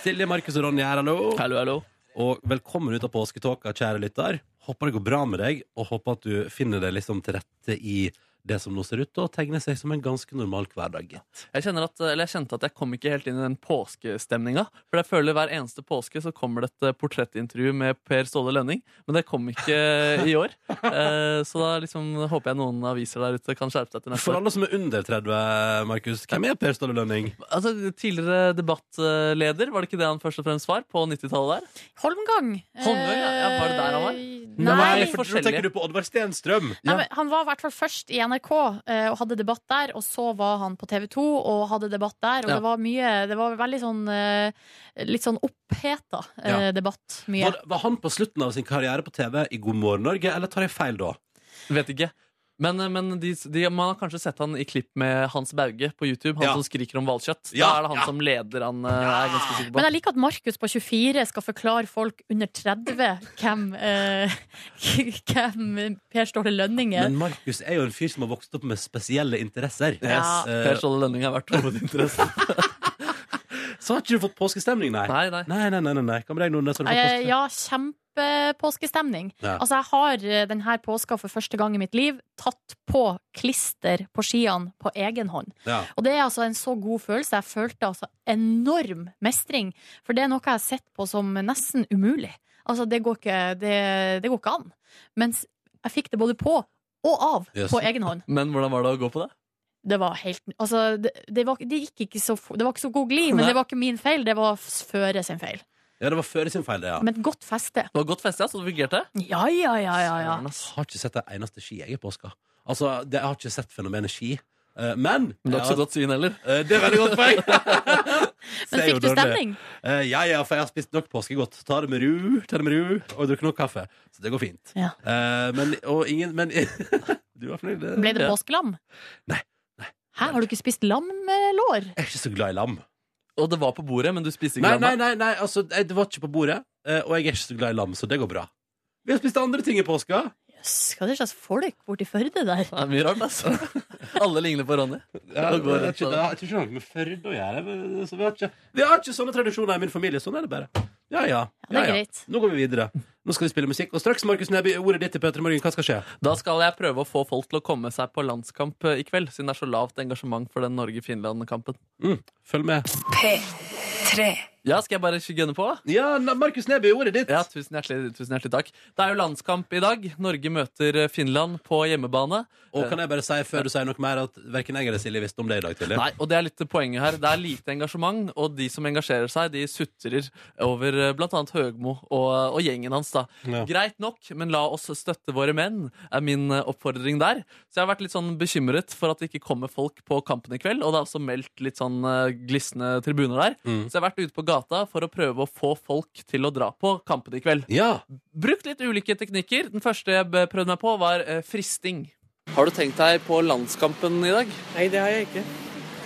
Silje, Markus og Ronny her, hallo. Hallo, hallo. Og velkommen ut av påsketåka, kjære lytter. Håper det går bra med deg, og håper at du finner deg liksom til rette i det som nå ser ut til å tegne seg som en ganske normal hverdag. Jeg, kjenner at, eller jeg kjente at jeg kom ikke helt inn i den påskestemninga. For jeg føler hver eneste påske så kommer det et portrettintervju med Per Ståle Lønning. Men det kom ikke i år. Eh, Så da liksom håper jeg noen aviser der ute kan skjerpe seg til For neste år. alle som er under 30, Markus, hvem er Per Ståle Lønning? Altså, tidligere debattleder, var det ikke det han først og fremst var på 90-tallet der? Holmgang. eh, Holmgang, ja. Ja, var det der han var? Nei. Nei, for nå forskjellige. tenker du på Oddvar Stenstrøm. Nei, men han var i hvert fall først i NRK eh, og hadde debatt der, og så var han på TV 2 og hadde debatt der, og Ja. det var mye Det var veldig sånn eh, litt sånn oppheta eh, Ja. debatt. Mye. Var, var han på slutten av sin karriere på TV i God morgen Norge, eller tar jeg feil da? Vet ikke. Men, eh, men de, de, man har kanskje sett han i klipp med Hans Bauge på YouTube. Han Ja. som skriker om hvalkjøtt. Ja, Da er det han ja. som leder han, eh, er jeg ganske sikker på. Men jeg liker at Markus på 24 skal forklare folk under 30 hvem, eh, hvem Per Ståle Lønning er. Men Markus er jo en fyr som har vokst opp med spesielle interesser. Ja. Eh, Per Ståle Lønning har vært hovedinteressen. så har ikke du fått påskestemning, nei? Nei, nei. Nei, nei, nei, nei, nei. Hva med deg, Nordnes? Har du fått Eh, påske- ja, kjempepåskestemning. Ja. Altså, jeg har eh, denne påska for første gang i mitt liv tatt på klister på skiene på egen hånd. Ja. Og det er altså en så god følelse. Jeg følte altså enorm mestring. For det er noe jeg har sett på som nesten umulig. Altså, det går ikke, det, det går ikke an. Mens jeg fikk det både på og av Yes. på egen hånd. Men hvordan var det å gå på det? Det var helt Altså, det, det, var, det gikk ikke så fo- Det var ikke så god glid, men Nei. det var ikke min feil. Det var s- føre sin feil. ja, det var før sin feil, det, ja. Men et godt feste. Det var godt feste, ja, så det fungerte. Ja, ja, ja, ja. ja. Søren, ass. Jeg har ikke sett det eneste ski jeg er på påska. Altså, det, jeg har ikke sett fenomenet ski. Eh, men Men det var ikke Ja, så godt syn heller. eh, det er veldig godt poeng! Men Ser fikk jo du dårlig. stemning? Eh, ja, ja, for jeg har spist nok påskegodt. Ta det med ru, ta det med ru og drukket nok kaffe. Så det går fint. Ja. Eh, men, og ingen Men du var fornøyd? Ble det Ja. påskelam? Nei, Hæ, har du ikke spist lammelår? Jeg er ikke så glad i lam. Og det var på bordet, men du spiste ikke Nei, nei, lammet. nei, nei altså, jeg- det var ikke på bordet. eh, Og jeg er ikke så glad i lam, så det går bra. Vi har spist andre ting i påska. Jøss, hva er det slags folk borti Førde der? Det er mye rart, altså. Alle ligner på Ronny. Ja, det går rett ikke, det på det. har ikke noe med Førde å gjøre. men- så Vi har, ikke, vi har ikke sånne tradisjoner i min familie. Sånn er det bare. Vi Ja, ja. det er ja, ja. greit. Nå går vi videre. Nå skal vi spille musikk. Og straks, Markus Neby, ordet ditt til Petra Morgen. Hva skal skje? Da skal jeg prøve å få folk til å komme seg på landskamp eh, i kveld, siden det er så lavt engasjement for den Norge-Finland-kampen. Mm, følg med. Ja, skal jeg bare gønne på? Ja, na- Markus Neby, ordet ditt. Ja, tusen hjertelig, tusen hjertelig takk. Det er jo landskamp i dag. Norge møter eh, Finland på hjemmebane. Og kan jeg bare si før du sier noe mer, at verken jeg eller Silje visste om det i dag tidlig. Nei, og det er litt poenget her. Det er lite engasjement, og de som engasjerer seg, de sutrer over eh, blant annet Høgmo og, eh, og gjengen hans, da. Ja. Greit nok, men la oss støtte våre menn, er min eh, oppfordring der. Så jeg har vært litt sånn bekymret for at det ikke kommer folk på kampen i kveld, og det er også meldt litt sånn eh, glisne tribuner der. Mm. Så jeg har vært ute på gata for å prøve å få folk til å dra på kampen i kveld. Ja. Brukt litt ulike teknikker. Den første jeg b- prøvde meg på, var eh, fristing. Har du tenkt deg på landskampen i dag? Nei, det har jeg ikke.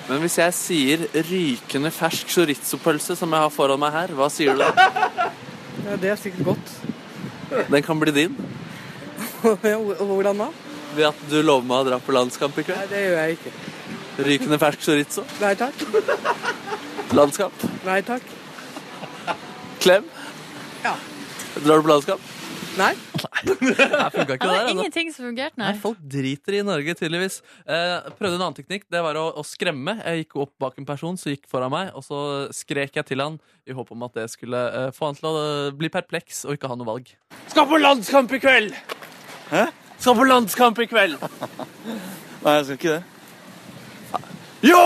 Men hvis jeg sier rykende fersk chorizo-pølse, som jeg har foran meg her, hva sier du da? Ja, det er sikkert godt. Den kan bli din Ja, og- og Hvordan da? ved at du lover meg å dra på landskamp i kveld. Nei, det gjør jeg ikke. Rykende fersk chorizo, Nei takk. landskamp, Nei takk. klem. Ja. Drar du på landskamp? Nei. Nei, funka Ja, ikke det det var der. altså. ingenting som fungerte, nei. Nei, folk driter i Norge, tydeligvis. Eh, prøvde en annen teknikk. Det var å, å skremme. Jeg gikk opp bak en person som gikk foran meg, og så skrek jeg til han i håp om at det skulle eh, få han til å eh, bli perpleks og ikke ha noe valg. Skal på landskamp i kveld! Skal på landskamp i kveld! Nei, jeg skal ikke det. Yo!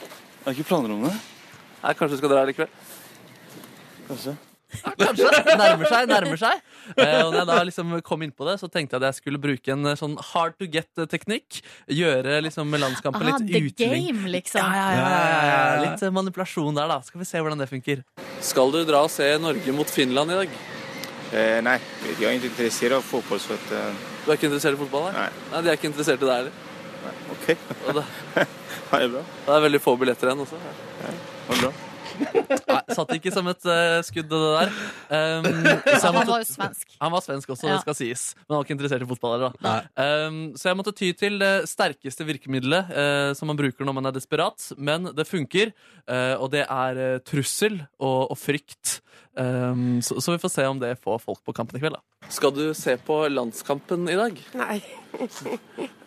Jeg har ikke planer om det. Nei, kanskje du skal dra likevel. Kanskje. Kanskje. Nærmer seg, nærmer seg. Eh, og når jeg da liksom kom inn på det, så tenkte jeg at jeg skulle bruke en eh, sånn hard to get-teknikk. Gjøre liksom landskampen Ah, litt the utling. game, liksom. Ja, ja, ja, ja, ja. Litt eh, manipulasjon der, da. Skal vi se hvordan det funker. Skal du dra og se Norge mot Finland i dag? Eh, nei, jag är inte intresserad av fotboll så att... Eh, Du er ikke interessert i fotball? Nei. Nei, De er ikke interessert i deg heller. Okej, Og det, ha det bra. det er veldig få billetter igjen også. Ha det bra. Nei, satt ikke som et eh, skudd, det der. Um, så jeg Han måtte- var jo svensk. Han var svensk også, Ja. det skal sies. Men han var ikke interessert i fotball. heller, Da. Um, så jeg måtte ty til det sterkeste virkemiddelet eh, som man bruker når man er desperat. Men det funker, eh, og det er eh, trussel og, og frykt. Um, så, så vi får se om det får folk på kampen i kveld. Da. Skal du se på landskampen i dag? Nei.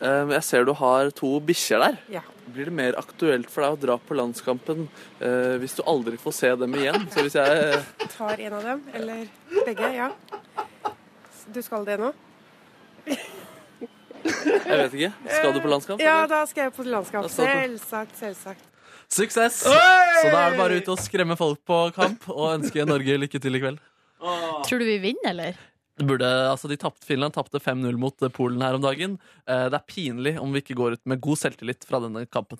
Um, jeg ser du har to bikkjer der. Ja. Blir det mer aktuelt for deg å dra på landskampen eh, hvis du aldri får se dem igjen? Så hvis jeg... eh, Tar en av dem, eller begge, ja. Du skal det nå? Jeg vet ikke. Skal du på landskamp? Ja, eller? da skal jeg på landskamp. Da skal du Selvsagt, selvsagt. Suksess! Så da er det bare ut og skremme folk på kamp og ønske Norge lykke til i kveld. Tror du vi vinner, eller? Det burde, altså de tapte, Finland tapte 5-0 mot eh, Polen her om dagen. Eh, Det er pinlig om vi ikke går ut med god selvtillit fra denne kampen.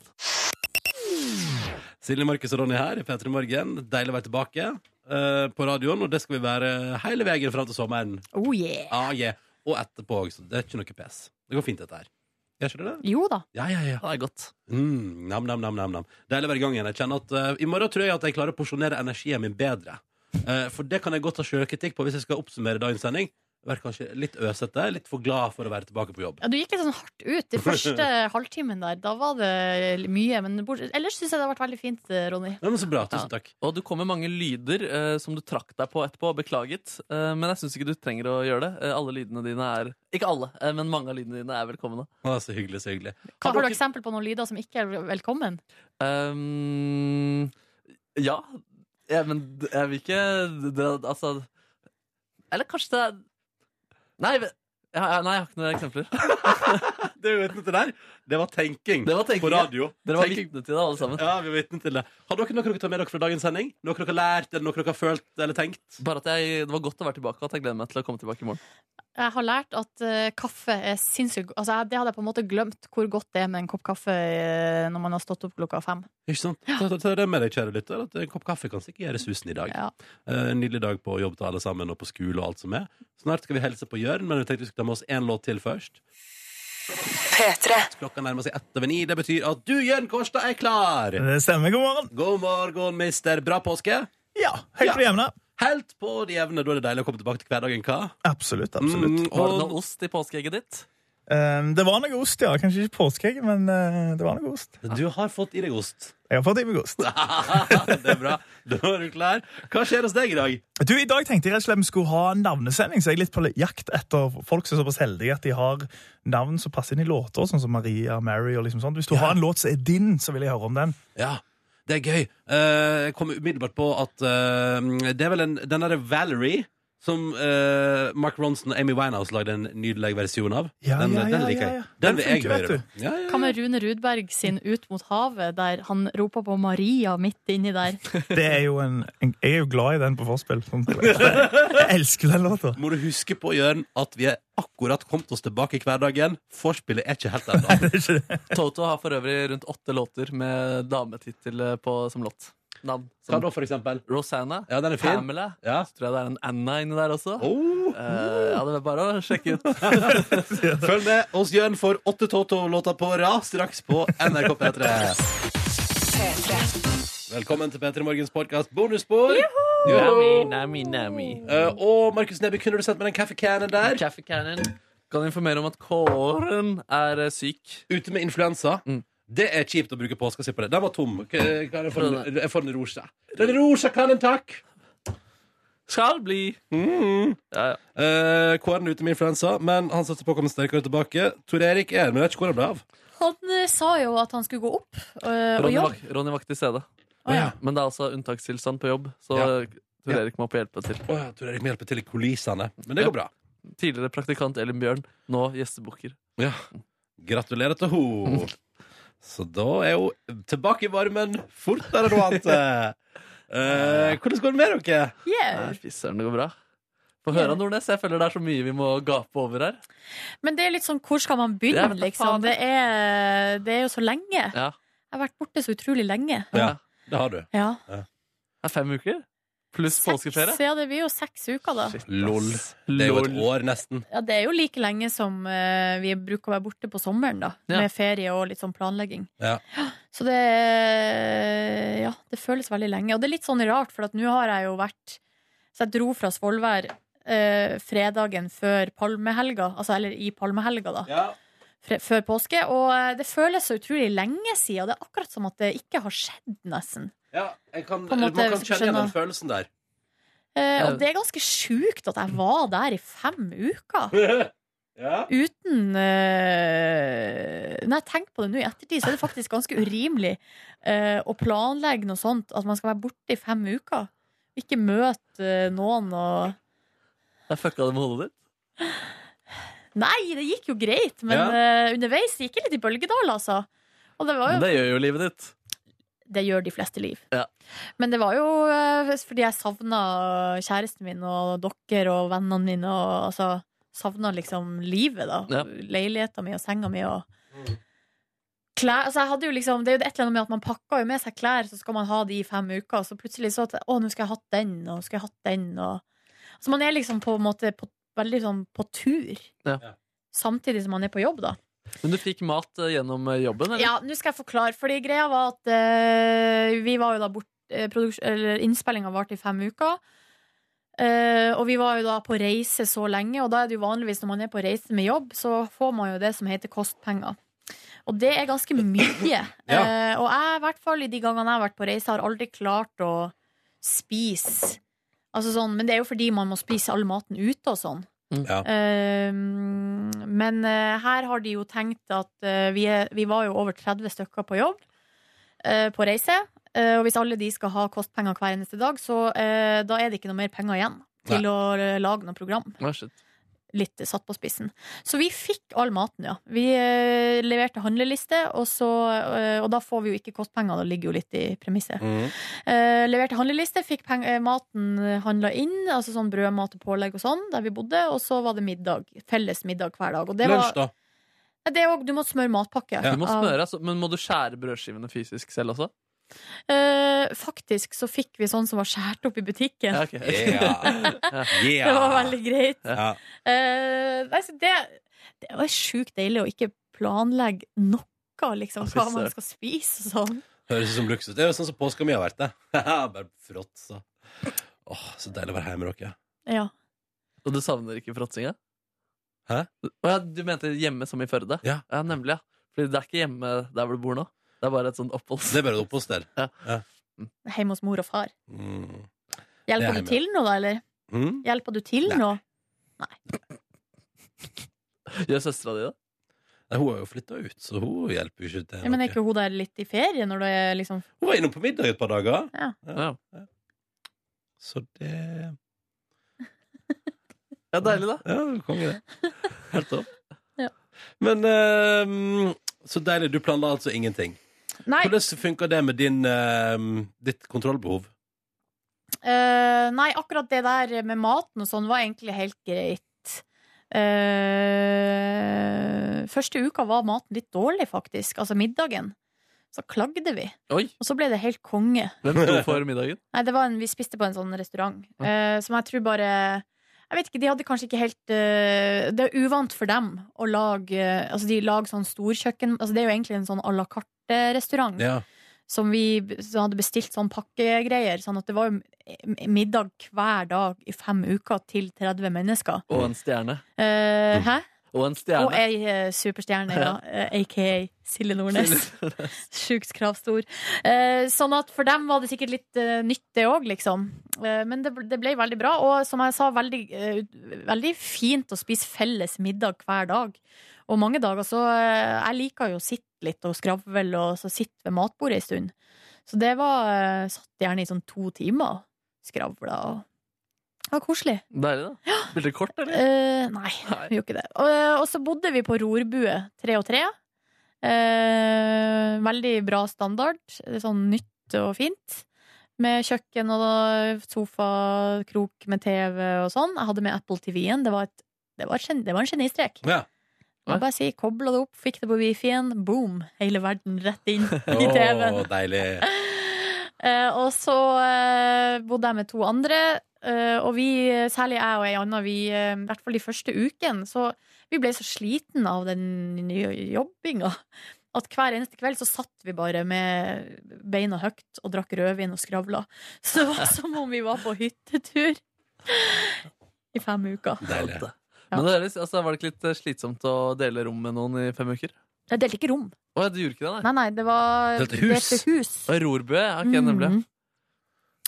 Silje, Markus og Ronny her i P3 Morgen. Deilig å være tilbake eh, på radioen, og det skal vi være hele veien fram til sommeren. Oh yeah. Ah, yeah. Og etterpå også. Det er ikke noe pes. Det går fint, dette her. Gjør ikke det det? Jo da. Ja, ja, ja. Ja, Det er godt. Mm, nam, nam, nam, nam, nam. Deilig å være i gang igjen. Jeg kjenner at eh, I morgen tror jeg at jeg klarer å porsjonere energien min bedre. Eh, for det kan jeg godt ta sjølkritikk på hvis jeg skal oppsummere dagens sending. Være kanskje litt øsete, litt for glad for å være tilbake på jobb. Ja, du gikk litt sånn hardt ut i første halvtimen der. Da var det mye. Men bort- ellers syns jeg det har vært veldig fint, eh, Ronny. Ja, men så bra. Tusen takk. Og du kom med mange lyder eh, som du trakk deg på etterpå og beklaget. Eh, men jeg syns ikke du trenger å gjøre det. Eh, alle lydene dine er Ikke alle, eh, men mange av lydene dine er velkomne. Å, så hyggelig, så hyggelig. Hva, har du eksempel på noen lyder som ikke er velkommen? Ehm, ja. ja, men d- jeg vil ikke det, Altså Eller kanskje det er Nei, ve- ja, ja, nei, jeg har ikke noen eksempler. Det vi vitne til der, det var tenking Det var på tenking. ja. radio. Dere var Tenking- vitne til det, alle sammen. Ja, vi var vitne til det. Har dere noe dere tar med dere fra dagens sending? Noe dere har lært, eller noe dere har følt eller tenkt? Bare at jeg, Det var godt å være tilbake, og at jeg gleder meg til å komme tilbake i morgen. Jeg har lært at eh, kaffe er sinnssykt altså, jeg- Det hadde jeg på en måte glemt hvor godt det er med en kopp kaffe eh, når man har stått opp klokka fem. Ikke sant? Ta, ta, ta det med deg, kjære lytter, at en kopp kaffe kan sikkert gjøre susen i dag. Ja. Eh, En nydelig dag på jobb til alle sammen, og på skole og alt som er. Snart skal vi helse på Jørn, men vi tenkte vi skulle ta med oss én låt til først. Klokka nærmer seg ett over ni. Det betyr at du, Jørn Kårstad, er klar! Det stemmer. God morgen. God morgen, mister. Bra påske. Ja, helt Ja. på det jevne. Helt på det jevne. Da er det deilig å komme tilbake til hverdagen, hva? Absolutt. absolutt. Mm, Var det og noe ost i påskeegget ditt? Ehm, det var noe ost, ja. Kanskje ikke påskeegg, men eh, det var noe ost. Du har fått i deg ost. Jeg har fått i meg ost. det er bra. Da er du klar. Hva skjer hos deg i dag? Du, I dag tenkte jeg rett og slett vi skulle ha en navnesending, så jeg er litt på jakt etter folk som er såpass heldige at de har navn som passer inn i låter, sånn som Maria, Mary og liksom sånt. Hvis du har en låt som er din, så vil jeg høre om den. Ja, det er gøy. Eh, jeg kom umiddelbart på at eh, det er vel en, den derre Valerie som eh, Mark Ronson og Amy Winehouse lagde en nydelig versjon av. Ja, den, ja, ja, den liker ja, jeg. ja. Den Den vil jeg funker, vet høre. du. Ja, ja. Hva med Rune Rudberg sin Ut mot havet, der han roper på Maria midt inni der? Det er jo en, en, jeg er jo glad i den på forspill. sånn. Jeg elsker den låta. Må du huske på, Jørn, at vi er akkurat kommet oss tilbake i hverdagen. Forspillet er ikke helt ennå. Det er ikke det. Toto har for øvrig rundt åtte låter med dametittel eh, på- som låt. Navn. Hva Som da, for eksempel? Rosanna. Ja, den er fin. Pamela. Ja. Så tror jeg det er en Anna inni der også. Oh. Eh, ja, det er bare å sjekke ut. Følg med oss, Jørn, for åtte Toto-låter på rad straks på NRK P3. Velkommen til P3 Morgens podkast bonusspor. Nami, nami, nami. Eh, og Markus Neby, kunne du sett med den kaffekannen der? Kaffe Cannon. Kan informere om at Kåren er eh, syk. Ute med influensa. Mm. Det er kjipt å bruke påska si på det. Den var tom. K- Kan jeg, få den, jeg får den rosa. Den rosa kan en takk! Skal bli. Mm. Ja, ja. Eh, Kåren er ute med influensa, men han satser på å komme sterkere tilbake. Tor Erik er men jeg vet ikke hvor han ble av. Han eh, sa jo at han skulle gå opp øh, og Ronny, jobbe. vak Ronny var ikke til stede. Å, ja. Men det er altså unntakstilstand på jobb, så Ja. Tor Erik må opp og hjelpe til. Å ja, Tor Erik må hjelpe til i kulissene. Men det går bra. Tidligere praktikant Elin Bjørn, nå gjestebukker. Ja. Gratulerer til ho Så da er hun tilbake i varmen fortere enn hun ante. Eh, hvordan går det med dere? Yeah. Nei, Fy søren, det går bra. Få høre, Nordnes. Jeg føler det er så mye vi må gape over her. Men det er litt sånn, hvor skal man Ja, begynne, men hva faen? liksom? Det er, det er jo så lenge. Jeg Ja. har vært borte så utrolig lenge. Ja, det har du. Ja. Det er fem uker, pluss påskeferie. Seks, ja, det blir jo seks uker, da. Lol. Det er jo et Lol. år, nesten. Ja, det er jo like lenge som eh, vi bruker å være borte på sommeren, da. Ja. Med ferie og litt sånn planlegging. Ja. Så det eh, Ja, det føles veldig lenge. Og det er litt sånn rart, for at nå har jeg jo vært Så jeg dro fra Svolvær eh, fredagen før palmehelga, altså eller i palmehelga, da. Fre før påske. Og eh, det føles så utrolig lenge siden. Det er akkurat som at det ikke har skjedd, nesten. Ja, jeg kan, På en måte, man kan hvis du kjenne igjen den skjønner. følelsen der. Eh, Ja. og det er ganske sjukt at jeg var der i fem uker. Ja. Uten eh, Nei, tenk på det nå i ettertid, så er det faktisk ganske urimelig eh, å planlegge noe sånt. At man skal være borte i fem uker. Ikke møte eh, noen og Jeg fucka det med hodet ditt. Nei, det gikk jo greit, men Ja. eh, underveis gikk det litt i bølgedal, altså. Og det var jo Men det gjør jo livet ditt. det gjør de fleste liv. Ja. Men det var jo eh, fordi jeg savna kjæresten min og dere og vennene mine. Og, altså, savna liksom livet, da. Ja. Leiligheta mi og senga mi og Klær, altså jeg hadde jo liksom, det er jo et eller annet med at Man pakker jo med seg klær, så skal man ha de i fem uker. Og så plutselig så at Å, nå skal jeg ha hatt den, og nå skal jeg ha hatt den. Og, så man er liksom på en måte på, veldig sånn på tur. Ja. Samtidig som man er på jobb, da. Men du fikk mat eh, gjennom eh, jobben, eller? Ja, nå skal jeg forklare. Fordi greia var at eh, vi var jo da bort eh, produks- eller Innspillinga varte i fem uker. Eh, og vi var jo da på reise så lenge, og da er det jo vanligvis når man er på reise med jobb, så får man jo det som heter kostpenger. Og det er ganske mye. Ja. Eh, og jeg, i hvert fall i de gangene jeg har vært på reise, har aldri klart å spise. Altså sånn, men det er jo fordi man må spise all maten ute og sånn. Mm. Ja. Eh, men eh, her har de jo tenkt at eh, vi, er, vi var jo over 30 stykker på jobb, eh, på reise. Eh, og hvis alle de skal ha kostpenger hver eneste dag, så eh, da er det ikke noe mer penger igjen til å eh, lage noe program Å, shit. litt satt på spissen. Så vi fikk all maten, ja. Vi eh, leverte handleliste, og, så, eh, og da får vi jo ikke kostpenger, det ligger jo litt i premisset. Mhm. Eh, leverte handleliste, fikk peng eh, maten handla inn, altså sånn brød, mat og pålegg og sånn, der vi bodde, og så var det middag. Felles middag hver dag. Og det Lunsj, var da. Nei, det er også, Du må smøre matpakke. Du må smøre, altså. Men må du skjære brødskivene fysisk selv også? Eh, faktisk så fikk vi sånn som var skåret opp i butikken. Ja, ok. Yeah. yeah. Det var veldig greit. ja. Eh, nei, så det, det var sjukt deilig å ikke planlegge noe, liksom, Å, fy hva man søren. skal spise og sånn. Høres ut som luksus. Det er jo sånn som påska mi har vært, det. Bare frått, så. Åh, så deilig å være hjemme med dere. Ja. Og du savner ikke fråtsinga? Hæ? Å ja, du mente hjemme som i Førde? Ja. nemlig, ja. Fordi det er ikke hjemme der hvor du bor nå. Det er bare et sånt oppholds... Det er bare et oppholdssted. Ja. Ja. Hjemme hos mor og far. Mm. Det Hjelper er du til nå, da, eller? Mm. Hjelper du til nå? Gjør søstera di det? Nei, hun har jo flytta ut, så hun hjelper jo ikke til. Ja, men er noe. ikke hun der litt i ferie når det er liksom Hun var innom på middag et par dager. Ja. Ja. Så det Ja, deilig, da. Ja, konge, det. Helt topp. Ja. Men ehm, så deilig. Du planla altså ingenting. Nei, Hvordan funka det med din, ehm, ditt kontrollbehov? eh, nei, akkurat det der med maten og sånn var egentlig helt greit. Eh, første uka var maten litt dårlig, faktisk. Altså middagen. Så klagde vi. Oi! Og så ble det helt konge. Hvem sto for middagen? Nei, det var en, vi spiste på en sånn restaurant eh, Som jeg tror bare Jeg vet ikke, de hadde kanskje ikke helt eh, Det er uvant for dem å lage eh, Altså de lager sånn storkjøkken altså, Det er jo egentlig en sånn à la carte Mm. restaurant Ja. Som vi b- som hadde bestilt sånn pakkegreier Sånn at det var jo m- middag hver dag I fem uker til 30 mennesker Og en stjerne. Eh, Hæ? Og Og en stjerne. ei eh, superstjerne, ja. Eh, AKA Silje Nordnes. Sjukt kravstor. Eh, sånn at for dem var det sikkert litt eh, nytt, det òg, liksom. Eh, men det, det ble veldig bra. Og som jeg sa, veldig, eh, veldig fint å spise felles middag hver dag. Og mange dager så eh, Jeg liker jo å sitte litt og skravle og så sitte ved matbordet ei stund. Så det var eh, Satt gjerne i sånn to timer. Skravla og Det var koselig. Deilig, da. Spilte kort, eller? Eh, nei, vi gjorde ikke det. Og, eh, og så bodde vi på Rorbue 3 og 3. Eh, veldig bra standard. Sånn nytt og fint. Med kjøkken og sofa, krok med TV og sånn. Jeg hadde med Apple TV-en. Det, var et- det, var et gen- det var en genistrek. Ja. Jeg må bare si, Kobla det opp, fikk det på wifi-en. Boom! Hele verden rett inn i TV-en. Å, deilig. Eh, og så eh, bodde jeg med to andre, eh, og vi, eh, særlig jeg og ei anna, vi, eh, i hvert fall de første ukene, så vi ble så sliten av den nye jobbinga at hver eneste kveld så satt vi bare med beina høyt og drakk rødvin og skravla. Så det var som om vi var på hyttetur i fem uker. deilig. Men det høres, altså, var det ikke litt eh, slitsomt å dele rom med noen i fem uker? Jeg delte ikke rom. Å, ja, du gjorde ikke det, nei? Nei, nei, det var Delte hus? Delte hus. Og Rorbø, ja, ok, nemlig. Mm.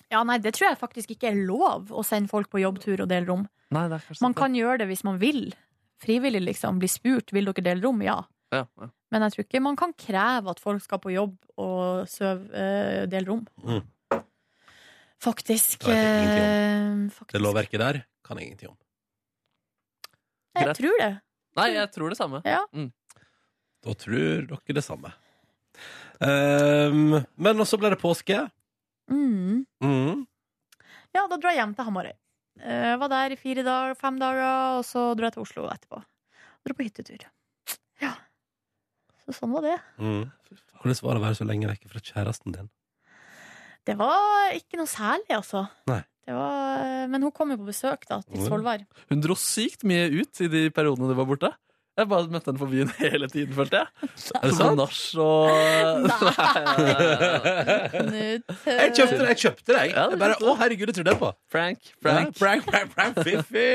Ja, nei, det tror jeg faktisk ikke er lov å sende folk på jobbtur og dele rom. Nei, det er kanskje Man sant, kan gjøre det hvis man vil. Frivillig, liksom. Bli spurt. Vil dere dele rom? Ja. det. ja, ja. Men jeg tror ikke man kan kreve at folk skal på jobb og sove, eh, dele rom. Mm. Faktisk. Det vet jeg ingenting eh, faktisk. Det lovverket der kan jeg ingenting om. Jeg tror det. Nei, jeg tror det samme. Da tror dere det samme. Ehm, men også ble det påske. Mm. Mm. Ja, da drar jeg hjem til Hamarøy. Eh, var der i fire dager, fem dager, og så dro jeg til Oslo etterpå. Dro på hyttetur. Ja. Så sånn var det. Mm. Hvordan var det å være så lenge vekke fra kjæresten din? Det var ikke noe særlig, altså. Nei. Det var, eh, men hun kom jo på besøk da, til Mm. Svolvær. Hun dro sykt mye ut i de periodene du var borte. Jeg bare møtte henne på byen hele tiden, følte jeg. Er det På sant? Nach og Nei, nei, nei. Jeg kjøpte det, jeg kjøpte det, jeg. Ja, det jeg bare, kjøpte å, herregud, det trodde jeg på. Frank, Frank, Ja, prank, prank, prank, fiffi.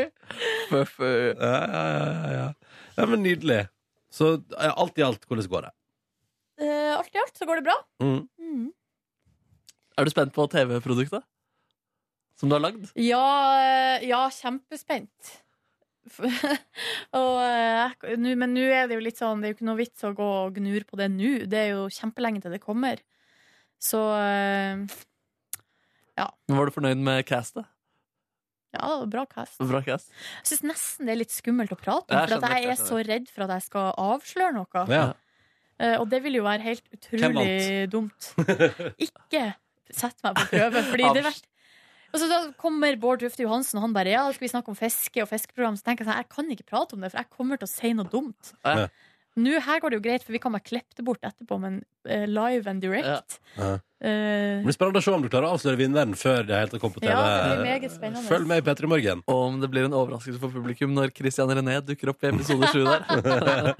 Fuff, eh, Ja, ja, ja, ja. ja, men nydelig. Så ja, alt i alt, hvordan går det? Eh, alt i alt så går det bra. Mm. Er du spent på TV-produktet? Som du har lagd? Ja, eh, ja kjempespent. F- og, eh, jeg- nå- men nå er det jo litt sånn Det er jo ikke noe vits å gå og gnure på det nå. Det er jo kjempelenge til det kommer. Så eh, Men Var du fornøyd med castet? ja, det var bra cast. Bra cast. Jeg syns nesten det er litt skummelt å prate om, Jeg for skjønner, at jeg er jeg så redd for at jeg skal avsløre noe. Ja. Eh, og det vil jo være helt Hvem utrolig vant? dumt. Ikke sett meg på prøve, fordi det er verst. Og så da kommer Bård Tufte Johansen, og han bare ja, da skal vi snakke om fiske og fiskeprogram. Så tenker jeg sånn, jeg kan ikke prate om det, for jeg kommer til å si noe dumt. Ja. Nå her går det jo greit, for vi kan bare klippe det bort etterpå, men eh, live and direct Ja. Eh, Det blir spennende å se om du klarer å avsløre vinneren før det helt har kommet på TV. Ja, det blir meget spennende. Følg med i P3 Morgen. Og om det blir en overraskelse for publikum når Christian René dukker opp i episode 7 der.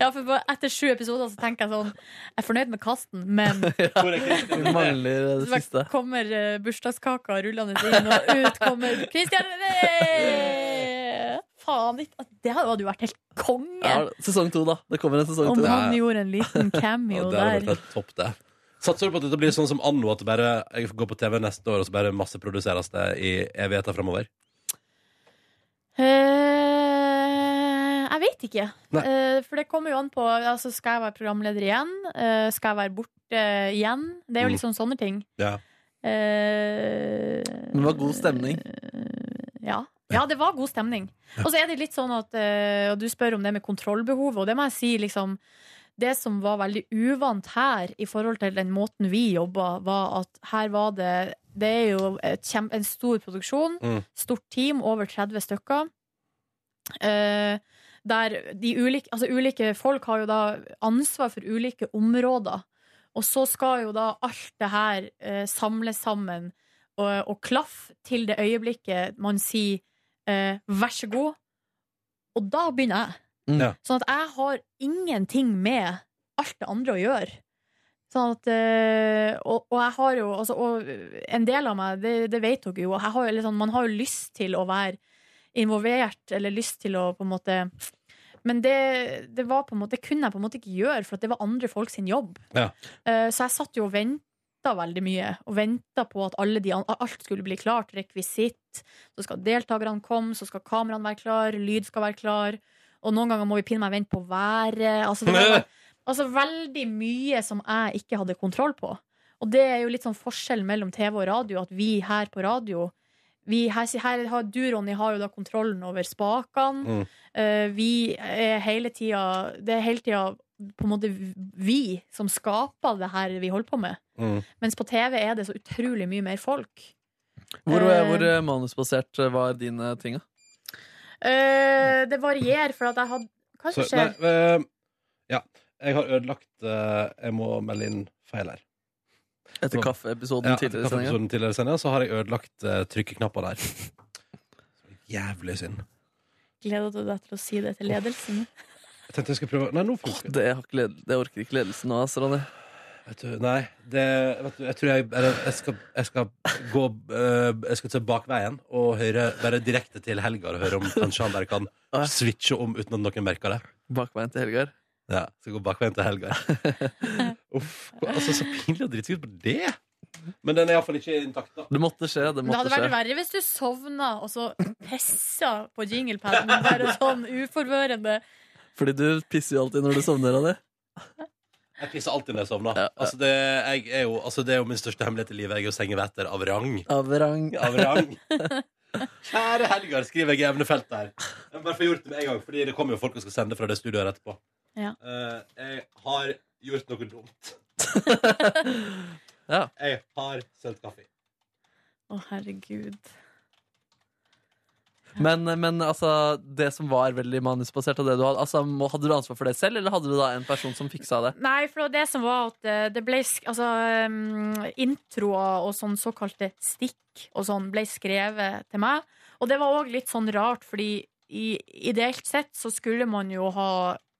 Ja, for bare etter sju episoder så tenker jeg sånn Jeg er fornøyd med kasten, men Vi mangler det så siste. kommer eh, bursdagskaka rullende inn, og ut kommer Christian René! faen ikke at Det hadde jo vært helt konge! Ja, sesong to, da. Det kommer en sesong Om to. han gjorde en liten cameo Og det hadde vært der. helt topp, det. Satser du på at dette blir sånn som anno, at det bare jeg får gå på TV neste år, og så bare masseproduseres det i evigheter framover? Eh, jeg vet ikke. Nei. Eh, for det kommer jo an på altså, Skal jeg være programleder igjen? Eh, skal jeg være borte igjen? Det er jo Mm. liksom sånne ting. Ja. Eh, Men det var god stemning. ja. ja, det var god stemning. Og så er det litt sånn at eh, Og du spør om det med kontrollbehovet, og det må jeg si, liksom det som var veldig uvant her i forhold til den måten vi jobba, var at her var det Det er jo et kjem, en stor produksjon, Mm. stort team, over 30 stykker. Eh, der de ulike, altså ulike folk har jo da ansvar for ulike områder. Og så skal jo da alt det her eh, samles sammen og, og klaffe til det øyeblikket man sier eh, 'vær så god', og da begynner jeg. Ja. Sånn at jeg har ingenting med alt det andre å gjøre. Sånn at, eh, og, og jeg har jo altså, og En del av meg, det, det vet dere jo, jeg har jo, litt sånn- man har jo lyst til å være involvert, eller lyst til å på en måte Men det, det, var på en måte, det kunne jeg på en måte ikke gjøre, for at det var andre folk sin jobb. Ja. Eh, Så jeg satt jo og venta veldig mye, og venta på at alle de, an- alt skulle bli klart. Rekvisitt, så skal deltakerne komme, så skal kameraene være klar, lyd skal være klar. Og noen ganger må vi pinne meg vente på været. Altså, det var, altså veldig mye som jeg ikke hadde kontroll på. Og det er jo litt sånn forskjell mellom TV og radio, at vi her på radio vi her, her har, du, Ronny, har jo da kontrollen over spakene. Mm. Eh, vi er hele tida Det er hele tida på en måte vi som skaper det her vi holder på med. Mm. Mens på TV er det så utrolig mye mer folk. Hvor, Eh, hvor manusbasert var dine ting, da? Eh, det varierer, for at jeg hadde Hva som Så, skjer? nei, eh, ja. Jeg har ødelagt eh, Jeg må melde inn feil her. Etter Så- kaffeepisoden ja, tidligere etter i sendinga? kaffeepisoden tidligere i sendinga. Så har jeg ødelagt uh, trykkeknapper der. Jævlig synd. Gleder du deg til å si det til ledelsen? Jeg tenkte jeg skulle prøve Nei, nå funker det. har ikke led- det orker ikke ledelsen nå, ass, Ronny. Vet du, nei, det, vet du, jeg tror jeg, eller, jeg, skal, jeg skal gå eh, Jeg skal ta bakveien og høre bare direkte til Helgar og høre om kanskje han bare kan switche om uten at noen merker det. Bakveien til Helgar? Ja, skal gå bakveien til Helgar. Uff, altså så pinlig å drite seg ut på det! Men den er iallfall ikke intakt, da. Det måtte skje. Det hadde vært verre hvis du sovna og så pissa på jinglepaden. Bare sånn uforvørende. Fordi du pisser jo alltid når du sovner, Ronny. Jeg pisser alltid når jeg sovner. Altså, det, jeg er jo, altså, det er jo min største hemmelighet i livet. Jeg er jo sengeveter av rang. Av rang. Av rang. Kjære Helgar, skriver jeg i evnefeltet her. Jeg må bare få gjort det med en gang, fordi det kommer jo folk og skal sende fra det studioet her etterpå. Ja. Eh, jeg har gjort noe dumt. Jeg har sølt kaffe. Å, herregud. Men, men altså, det som var veldig manusbasert, og det du hadde, altså, må- hadde du ansvar for det selv, eller hadde du da en person som fiksa det? Nei, for det var det som var at eh, det ble sk- altså, eh, introer og sånn såkalte stikk og sånn ble skrevet til meg. Og det var òg litt sånn rart, fordi i, ideelt sett så skulle man jo ha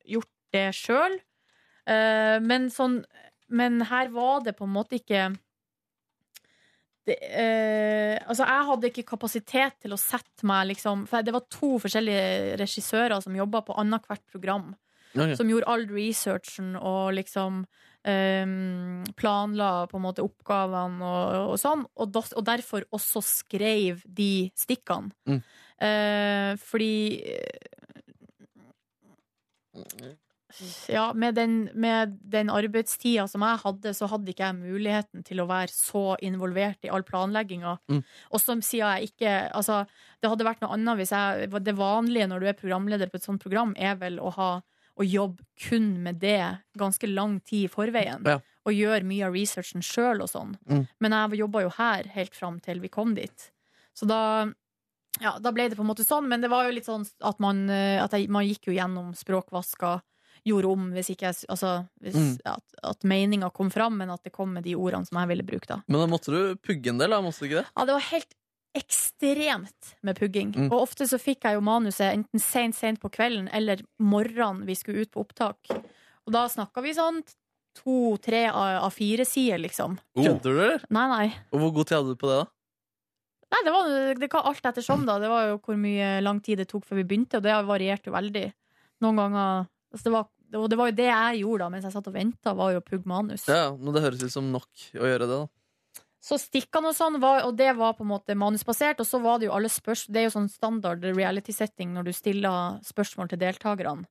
gjort det sjøl. men sånn Men her var det på en måte ikke det, eh, altså jeg hadde ikke kapasitet til å sette meg liksom, For det var to forskjellige regissører som jobba på annethvert program. Ja, ja. Som gjorde all researchen og liksom eh, planla på en måte oppgavene og, og sånn. Og, dos- og derfor også skrev de stikkene. Mm. Eh, fordi eh, ja, med den, med den arbeidstida som jeg hadde, så hadde ikke jeg muligheten til å være så involvert i all planlegginga. Mm. Og som sier jeg ikke Altså, det hadde vært noe annet hvis jeg Det vanlige når du er programleder på et sånt program, er vel å ha å jobbe kun med det ganske lang tid i forveien. Ja. Og gjøre mye av researchen sjøl og sånn. Mm. Men jeg jobba jo her helt fram til vi kom dit. Så da ja, da ble det på en måte sånn, men det var jo litt sånn at man, eh, at jeg, man gikk jo gjennom språkvaska, gjorde om hvis ikke jeg s- altså, hvis, Mm. at, at meninga kom fram, men at det kom med de ordene som jeg ville bruke, da. Men da måtte du pugge en del, da, måtte du ikke det? Ja, det var helt ekstremt med pugging. Mm. Og ofte så fikk jeg jo manuset enten sent, sent på kvelden eller morgenen vi skulle ut på opptak. Og da snakka vi sånn to-tre av fire sider, liksom. Kødder du, eller? Nei, nei. Og hvor god tid hadde du på det, da? Nei, det var det var alt ettersom, da. Det var jo hvor mye lang tid det tok før vi begynte, og det varierte jo veldig. Noen ganger altså det var, Og det var jo det jeg gjorde da mens jeg satt og venta, var jo å pugge manus. Ja, ja, men det høres ut som nok å gjøre det, da. Så stikkene og sånn, var, og det var på en måte manusbasert. Og så var det jo alle spørsmål Det er jo sånn standard reality-setting når du stiller spørsmål til deltakerne.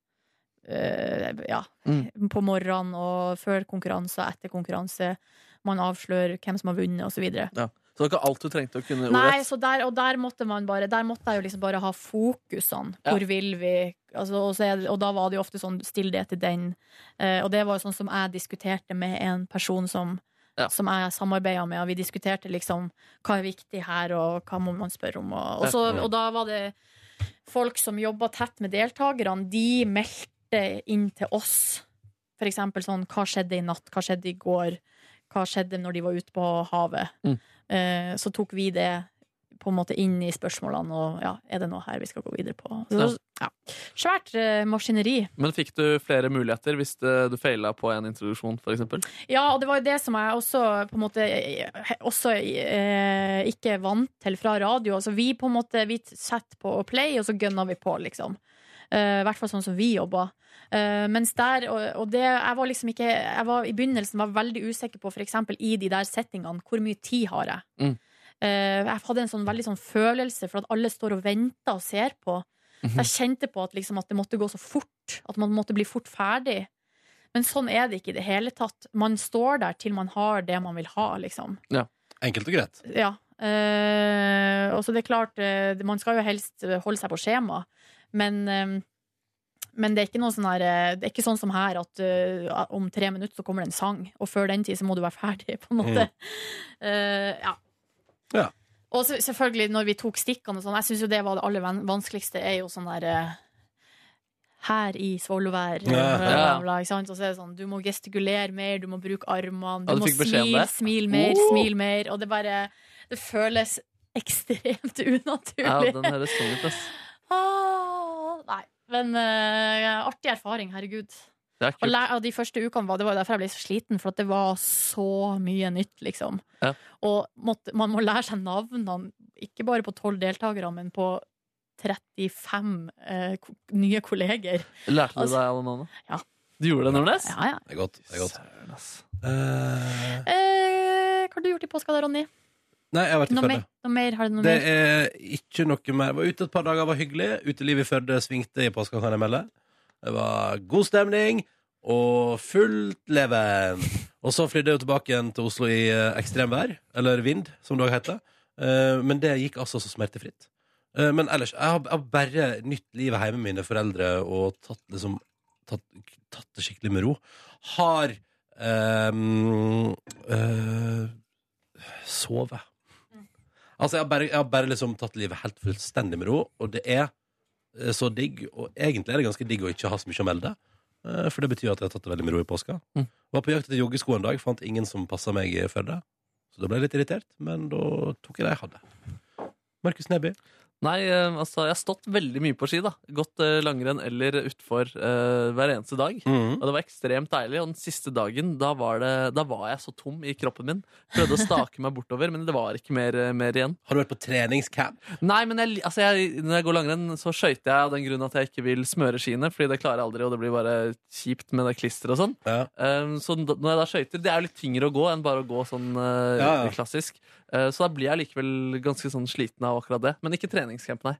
Eh, ja, Mm. på morgenen og før konkurranse og etter konkurranse. Man avslører hvem som har vunnet, og så videre. Ja. Så det var ikke alt du trengte å kunne Nei, ordrett? så der, og der måtte man bare Der måtte jeg jo liksom bare ha fokusene. Ja. Hvor vil vi? Altså, og, så er, det- og da var det jo ofte sånn still det til den. Eh, og det var jo sånn som jeg diskuterte med en person som Som jeg samarbeida med, og vi diskuterte liksom hva er viktig her, og hva må man spørre om. Og, og, så, Ja. og da var det folk som jobba tett med deltakerne, de meldte inn til oss. For eksempel sånn hva skjedde i natt, hva skjedde i går, hva skjedde når de var ute på havet. Mm. Eh, så tok vi det på en måte inn i spørsmålene, og ja, er det noe her vi skal gå videre på? Ja. Så, ja. Svært eh, maskineri. Men fikk du flere muligheter hvis eh, du feila på en introduksjon, for eksempel? Ja, og det var jo det som jeg også på en måte eh, også, eh, ikke vant til fra radio. Altså, vi på en måte vi setter på play, og så gønner vi på, liksom. Eh, I hvert fall sånn som vi jobba. Eh, mens der, og, og det Jeg var liksom ikke jeg var, I begynnelsen var jeg veldig usikker på, for eksempel i de der settingene, hvor mye tid har jeg? Eh, jeg hadde en sånn, veldig sånn følelse for at alle står og venter og ser på. Så jeg kjente på at, liksom, at det måtte gå så fort. At man måtte bli fort ferdig. Men sånn er det ikke i det hele tatt. Man står der til man har det man vil ha, liksom. Enkelt og greit. Ja. Eh, og så det er klart, eh, det- man skal jo helst eh, holde seg på skjema, men eh, men det er ikke noe sånn her eh, Det er ikke sånn som her at eh, om tre minutter så kommer det en sang, og før den tid så må du være ferdig, på en måte. Mm. Eh, ja. Ja. Og så, selvfølgelig, når vi tok stikkene og sånn, jeg syns jo det var det aller van- vanskeligste, er jo sånn der eh, her i Svolvær. Ja. bla, bla, Ja. bla, ikke sant? Og så er det sånn, du må gestikulere mer, du må bruke armene, Ja, du du må fikk beskjed om smile, det? smil mer, Oh! smil mer. Og det bare Det føles ekstremt Ja, unaturlig. den høres tung ut, ass. Åh, nei. Men eh, artig erfaring, herregud. Det er Og kult. lær, av de første ukene var det var jo derfor jeg ble så sliten, for at det var så mye nytt, liksom. Ja. Og måtte, man må lære seg navnene, ikke bare på tolv deltakere, men på 35 eh, ko- nye kolleger. Lærte du Altså- deg alle navnene? Ja. Du gjorde det, Nordnes? Ja, ja. Det er godt. Det er godt. Eh, hva har du gjort i påska da, Ronny? Nei, jeg har vært i Noe Førde. mer? Noe mer? Har du noe Det mer? er ikke noe mer. Var ute et par dager, var hyggelig. Utelivet i Førde svingte i påska, kan jeg melde. Det var god stemning og fullt leven. Og så flydde jeg jo tilbake igjen til Oslo i eh, ekstremvær, eller vind, som det òg heter. Eh, Men det gikk altså så smertefritt. Eh, Men ellers, jeg har- jeg har bare nytt livet hjemme med mine foreldre og tatt, liksom, tatt, tatt det skikkelig med ro. Har ehm, eh, sovet. Altså, jeg har, bare, jeg har bare liksom tatt livet helt fullstendig med ro, og det er eh, så digg. Og egentlig er det ganske digg å ikke ha så mye å melde, eh, for det betyr at jeg har tatt det veldig med ro i påska. Mm. Var på jakt etter joggesko en dag, fant ingen som passa meg i Førde. Så da ble jeg litt irritert, men da tok jeg det jeg hadde. Markus Neby. Nei, eh, altså, jeg har stått veldig mye på ski. da Gått eh, langrenn eller utfor eh, hver eneste dag. Og det var ekstremt deilig. Og den siste dagen, da var, det, da var jeg så tom i kroppen min. Prøvde å stake meg bortover, men det var ikke mer, eh, mer igjen. Har du vært på treningscamp? Nei, men jeg, li- altså jeg, når jeg går langrenn, så skøyter jeg av den grunn at jeg ikke vil smøre skiene, fordi det klarer jeg aldri, og det blir bare kjipt med det klisteret og sånn. Um, så da- når jeg da skøyter, det er jo litt tyngre å gå enn bare å gå sånn eh, Ja, ja. klassisk. Eh, så da blir jeg likevel ganske sånn sliten av akkurat det. Men ikke treningscamp, nei.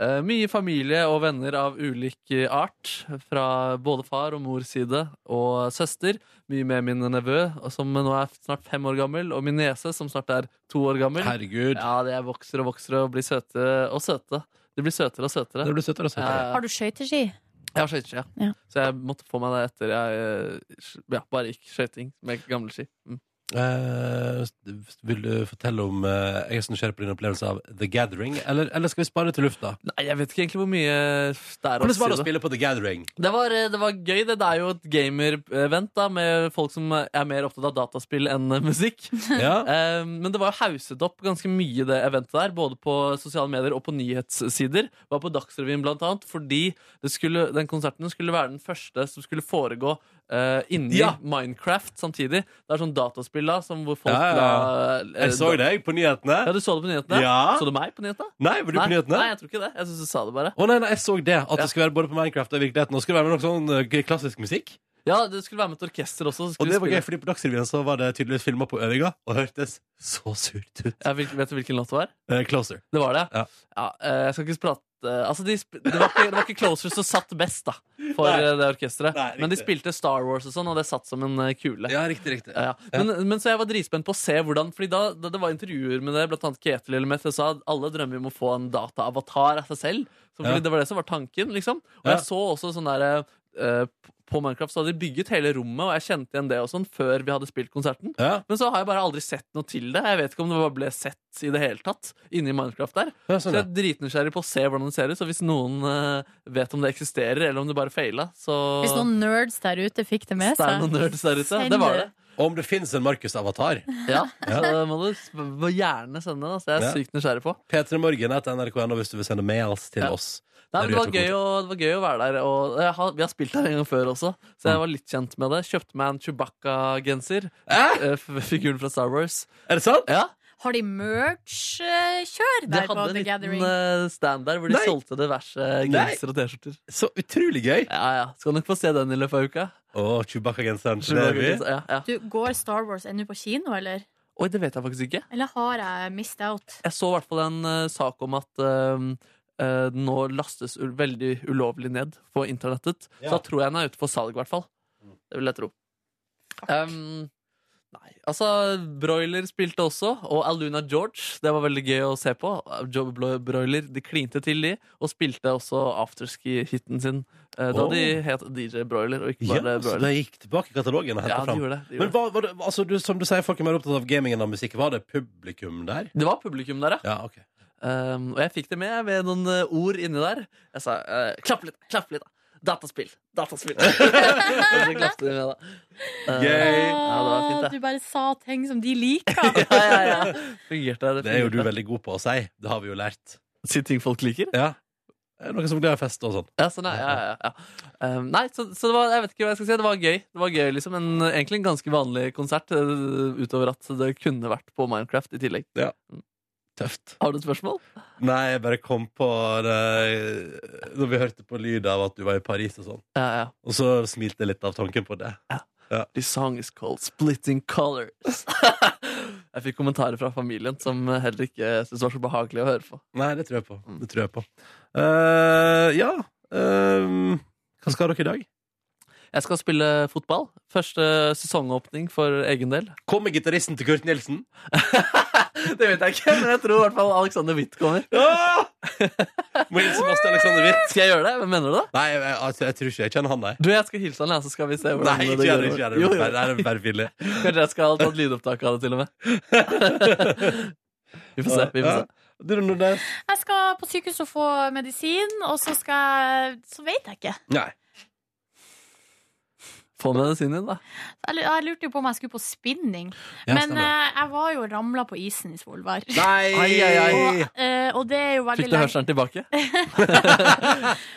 Eh, mye familie og venner av ulik eh, art, fra både far og mors side, og søster. Mye med min nevø, som nå er snart fem år gammel, og min niese, som snart er to år gammel. Herregud. Ja, det er vokser og vokser og blir søte og søte. De blir søtere og søtere. Eh, Det blir søtere og søtere. Ja, ja. Har du skøyteski? Jeg har skøyteski, ja. Ja. Så jeg måtte få meg det etter jeg eh, ja, bare gikk skøyting med gamle ski. Mm. Eh, vil du fortelle om eh, Jeg er så nysgjerrig på din opplevelse av The Gathering, eller, eller skal vi spare det til lufta? Nei, jeg vet ikke egentlig hvor mye det er Hvordan var det si å spille på The Gathering? Det var, eh, det var gøy. Det, det er jo et gamer-event da, med folk som er mer opptatt av dataspill enn eh, musikk. Ja. Eh, Men det var jo hauset opp ganske mye, det eventet der. Både på sosiale medier og på nyhetssider. Var på Dagsrevyen blant annet, fordi det skulle, den konserten skulle være den første som skulle foregå eh, inni Ja. Minecraft samtidig. Det er sånn dataspill spill da, som hvor folk Ja, ja, ja. la- Jeg så deg på nyhetene. Ja, du så det på nyhetene? Eh, Ja. Så du meg på nyhetene? Nei, var du på Nei, nyhetene? nei, jeg tror ikke det. Jeg synes du sa det bare. Å nei, nei, jeg så det. At det skulle være både på Minecraft og i virkeligheten. Og skulle det være med noe sånn eh, klassisk musikk. Ja, det skulle være med et orkester også. så Og skulle det vi var spille. gøy, fordi på Dagsrevyen så var det tydeligvis filma på øvinga, og hørtes så surt ut. Ja, hvil- vet du hvilken låt det var? Eh, closer. Det var det, Ja. ja. eh, Jeg skal ikke prate Altså, de sp det, var ikke, det var ikke Closer som satt best, da, for Nei. eh, det orkesteret. Nei, riktig. men de spilte Star Wars og sånn, og det satt som en eh, kule. Ja, riktig, riktig. Ja, ja. Men, men så jeg var dritspent på å se hvordan Fordi da, da det var intervjuer med det, blant annet Ketil eller Mette sa at alle drømmer om å få en dataavatar av seg selv. Så fordi Ja. Det var det som var tanken, liksom. Og Ja. jeg så også sånn der eh, På Minecraft så hadde de bygget hele rommet, og jeg kjente igjen det og sånn før vi hadde spilt konserten. Ja. Men så har jeg bare aldri sett noe til det. Jeg vet ikke om det bare ble sett i det hele tatt inni Minecraft der. Ja, Så sånn, jeg ja. er dritnysgjerrig på å se hvordan det ser ut. Så hvis noen eh, vet om det eksisterer, eller om det bare feila, så Hvis noen nerds der ute fikk det med Stein og seg. nerds der ute. Send Det var det. det. Og om det fins en Markus-avatar. Ja, Ja. så det må du s- må gjerne sende det. Altså. Jeg er Ja. sykt nysgjerrig på. P3 Morgen etter NRK1 hvis du vil sende mails til Ja. oss. Der Nei, men det, gjør var to gøy å, det var gøy å være der. Og jeg har, vi har spilt der en gang før også, så Mm. jeg var litt kjent med det. Kjøpte meg en Chewbacca-genser. Hæ? Eh, f- Figuren fra Star Wars. Er det sant? Ja, Har de merch-kjør De der på hadde en The liten Gathering? eh, stand der hvor de Nei. solgte diverse Nei. gensere og T-skjorter. Så utrolig gøy! Ja, ja, Skal nok få se den i løpet av uka. Å, Chewbacca-genseren. til Levi. Chewbacca-genser, Ja, ja. Du, går Star Wars ennå på kino, eller? Oi, det vet jeg faktisk ikke. Eller har jeg missed out? Jeg så i hvert fall en eh, sak om at eh, eh, den nå lastes u veldig ulovlig ned på internettet. Så Ja. Mm. da tror jeg den er ute for salg, i hvert fall. Det vil jeg tro. Um, nei, altså Broiler spilte også, og Aluna George. Det var veldig gøy å se på. Jo- Bro- Broiler de klinte til, de, og spilte også afterski-hiten sin. eh, da Oh. de het DJ Broiler, og ikke Ja, bare så Broiler. de gikk tilbake i katalogen og Ja, henta de fram. gjorde det. Men De gjorde. det. hva, var det, altså, du, som du sier, folk er mer opptatt av gamingen enn av musikken. Var det publikum der? Det var publikum der, ja. Ja, ok. Um, og jeg fikk det med ved noen eh, ord inni der. Jeg sa eh, 'klapp litt, klapp litt'. da. Dataspill. Dataspill. og så klappet de med, da. Eh, Gøy! Ja, det var fint, Åh, det. du bare sa ting som de liker. Ja, ja, ja. Fungerte det. Det er jo du fungerte. veldig god på å si. Det har vi jo lært. Si ting folk liker? Ja. Er det Noen som blir i fest og sånn. Ja, sånn, ja, ja, ja, ja. Um, nei, så, så det var, jeg vet ikke hva jeg skal si. Det var gøy. Det var gøy liksom en, Egentlig en ganske vanlig konsert, eh, utover at det kunne vært på Minecraft i tillegg. Tøft. Har du et spørsmål? Nei, jeg bare kom på det når vi hørte på lyd av at du var i Paris og sånn. Ja, ja. Og så smilte jeg litt av tanken på det. This song is called Splitting Colors. jeg fikk kommentarer fra familien som heller ikke syntes var så behagelig å høre på. Nei, det tror jeg på. Det tror jeg på. Eh, ja ehm, Hva skal dere i dag? Jeg skal spille fotball. Første sesongåpning for egen del. Kommer gitaristen til Kurt Nilsen? det vet jeg ikke, men jeg tror i hvert fall Alexander Witt kommer. Ah! Må hilse Mads Alexander Witt. Skal jeg gjøre det? Hvem mener du det? Nei, jeg, altså, jeg tror ikke jeg kjenner han, nei. Du, jeg skal hilse han, ja, så skal vi se hvordan Nei, ikke det gjør går. det. Ikke gjør det. Jo, Nei, jo. det er bare villig. Kanskje jeg skal ta et lydopptak av det, til og med. vi får se. vi får Ja. se. Du, Nordnes? Jeg skal på sykehus og få medisin, og så skal jeg Så vet jeg ikke. Nei. Få medisinen din, da. Jeg lu- jeg lurte jo på om jeg skulle på spinning. Ja, Men stemmer. eh, jeg var jo ramla på isen i Svolvær. Nei! Ai, ai, ai. Eh, og det er jo veldig Fikk du sånn hørselen tilbake?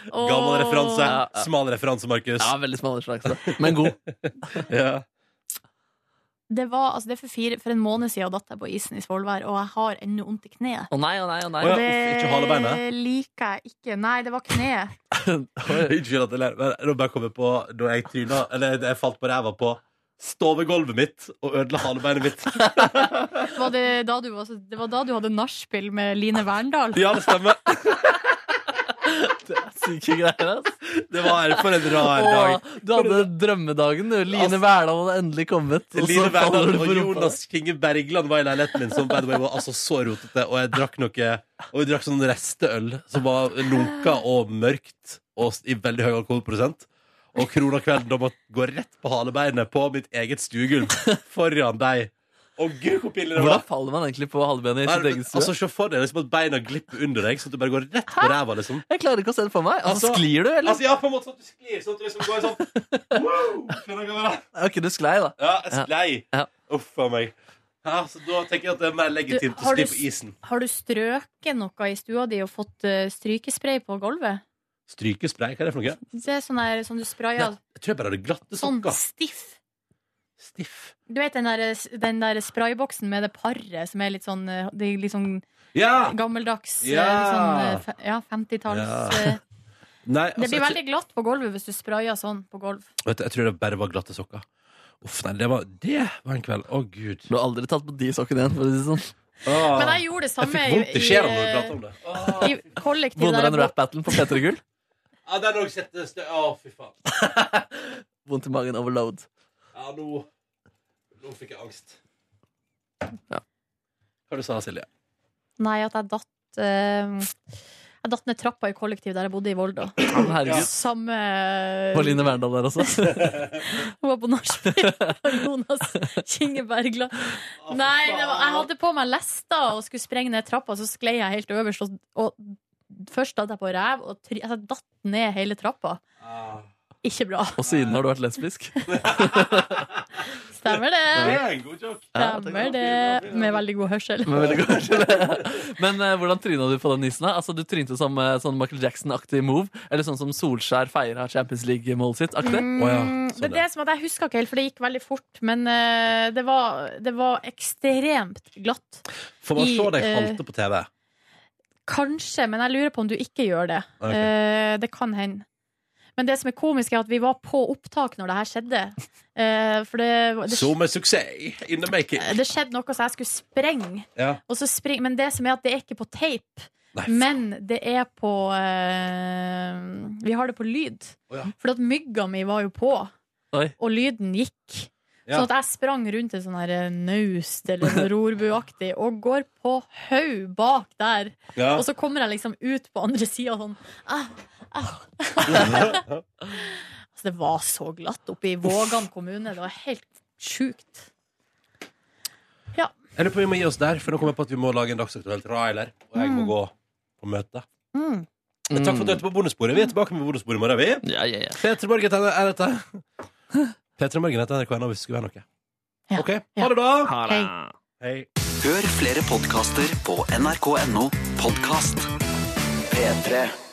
Og- Gammel referanse. Ja, ja. Smal referanse, Markus. Ja, veldig smal slags, da. men god. Ja. Det, var, altså, det er for, fire, for en måned siden datt jeg på isen i Svolvær, og jeg har ennå vondt i kneet. Å nei, å nei, å nei. Å ja, det uff, ikke halebeinet? liker jeg ikke. Nei, det var kneet. Oi. Unnskyld at jeg ler, men nå bare kom jeg på da jeg tryna Eller jeg falt på ræva på stovegulvet mitt og ødela halebeinet mitt. Var det, da du, var så- det var da du hadde nachspiel med Line Verndal. Ja, det stemmer. Det er syke greier, ass. Det var for en rar dag. Åh, du hadde drømmedagen, du. Line Verdal hadde endelig kommet. og så Line Verdal faller du på og rumpa. Jonas Kinge Bergland var i leiligheten min, som by the way var altså så rotete, og jeg drakk noe Og vi drakk sånn resteøl som var lunka og mørkt og s- i veldig høy alkoholprosent. Og krona kvelden da måtte gå rett på halebeinet på mitt eget stuegulv foran deg. Og gud, hvor pinlig det var! Hvordan faller man egentlig på halvbenet i Nei, sitt men, eget stue? altså, Se for deg liksom at beina glipper under deg, sånn at du bare går rett på ræva. Liksom. jeg klarer ikke å se det for meg. Altså, Altså- sklir du, eller? Altså, ja, på en måte sånn at du sklir, sånn at du liksom går sånn wow! Skjønner du hva jeg mener? ok, du sklei, da. Ja, jeg sklei. Ja. Uff a meg. Ja, så da tenker jeg at det er mer legitimt Du, å har skli du på s- isen. Har du strøket noe i stua di og fått eh, strykespray på gulvet? Strykespray, hva er det for noe? Det er sånn, der, sånn du sprayer Jeg tror jeg bare hadde glatte sånn sokker. stiff. Stiff. Du vet den der, den der sprayboksen med det paret som er litt sånn, eh, det er litt sånn Ja! gammeldags eh, Ja. sånn, eh, fe- Ja, 50-talls Ja. eh, Nei, Det altså, blir jeg, veldig glatt på gulvet hvis du sprayer sånn på gulv. vet du, jeg tror det bare var glatte sokker. Uff, nei, det var, det var en kveld. Å, gud. Du har aldri tatt på de sokkene igjen, for å si det sånn. Ah. Men jeg gjorde det Jeg samme eh, fikk vondt i sjela når du pratet om det. Ah, i, i kollektiv der Vunner jeg en bodde. rap-battle på P3 Gull. Ja, den òg setter stø... Å, fy faen. Vondt i magen overload. Ja, nå Nå fikk jeg angst. Ja. Hva du sa du, Silje? Nei, at jeg datt eh, Jeg datt ned trappa i kollektiv der jeg bodde i Volda. Men Herregud. Samme Var Line Verndal der også? Hun var på nachspiel for Jonas Kingebergla. Nei, det var, jeg hadde på meg lester og skulle sprenge ned trappa, så sklei jeg helt øverst. Og, og først datt jeg på ræv, og try, altså, jeg datt ned hele trappa. Ah. Ikke bra. Og siden har du vært lesbisk? Stemmer Det det. er en god joke. Stemmer det. Med veldig god hørsel. Men, veldig god skjønner. Men eh, hvordan tryna du på den nissen? da? Altså, du trynte som eh, sånn Michael Jackson-aktig move? Eller sånn som Solskjær feira Champions League-målet sitt? Aktig? Mm, Å ja, det sånn er ja. det som at jeg husker ikke helt, for det gikk veldig fort. Men eh, det, var, det var ekstremt glatt. Får man I, se deg eh, halte på TV? Kanskje, men jeg lurer på om du ikke gjør det. Ok. Eh, det kan hende. Men det som er komisk, er at vi var på opptak når det her skjedde. Eh, for det, Eh, det, Som en suksess in the making. det skjedde noe så jeg skulle sprenge. Ja. Og så spring, men det som er at det er ikke på tape, Nei, f- men det er på eh, Vi har det på lyd. Å ja. For at mygga mi var jo på, Oi. og lyden gikk. Ja. Sånn at jeg sprang rundt en sånn her eh, naust eller noe rorbuaktig og går på haug bak der. ja. Og så kommer jeg liksom ut på andre sida sånn ah, ah. altså, Det var så glatt oppe i Vågan kommune. Det var helt sjukt. Jeg lurer på om vi må gi oss der, for nå kommer jeg på at vi må lage en dagsaktuell trailer. Og jeg må Mm. gå på møte. Men takk for at du hørte på bonussporet. Vi er tilbake med bonussporet i morgen, vi. Ja, ja, ja. Petra Morgen er dette. Petra Morgen heter NRK hvis det skulle være noe. Ja. OK, Ja. ha det, da. Hei. Hei. Hør flere podkaster på nrk.no podkast P3.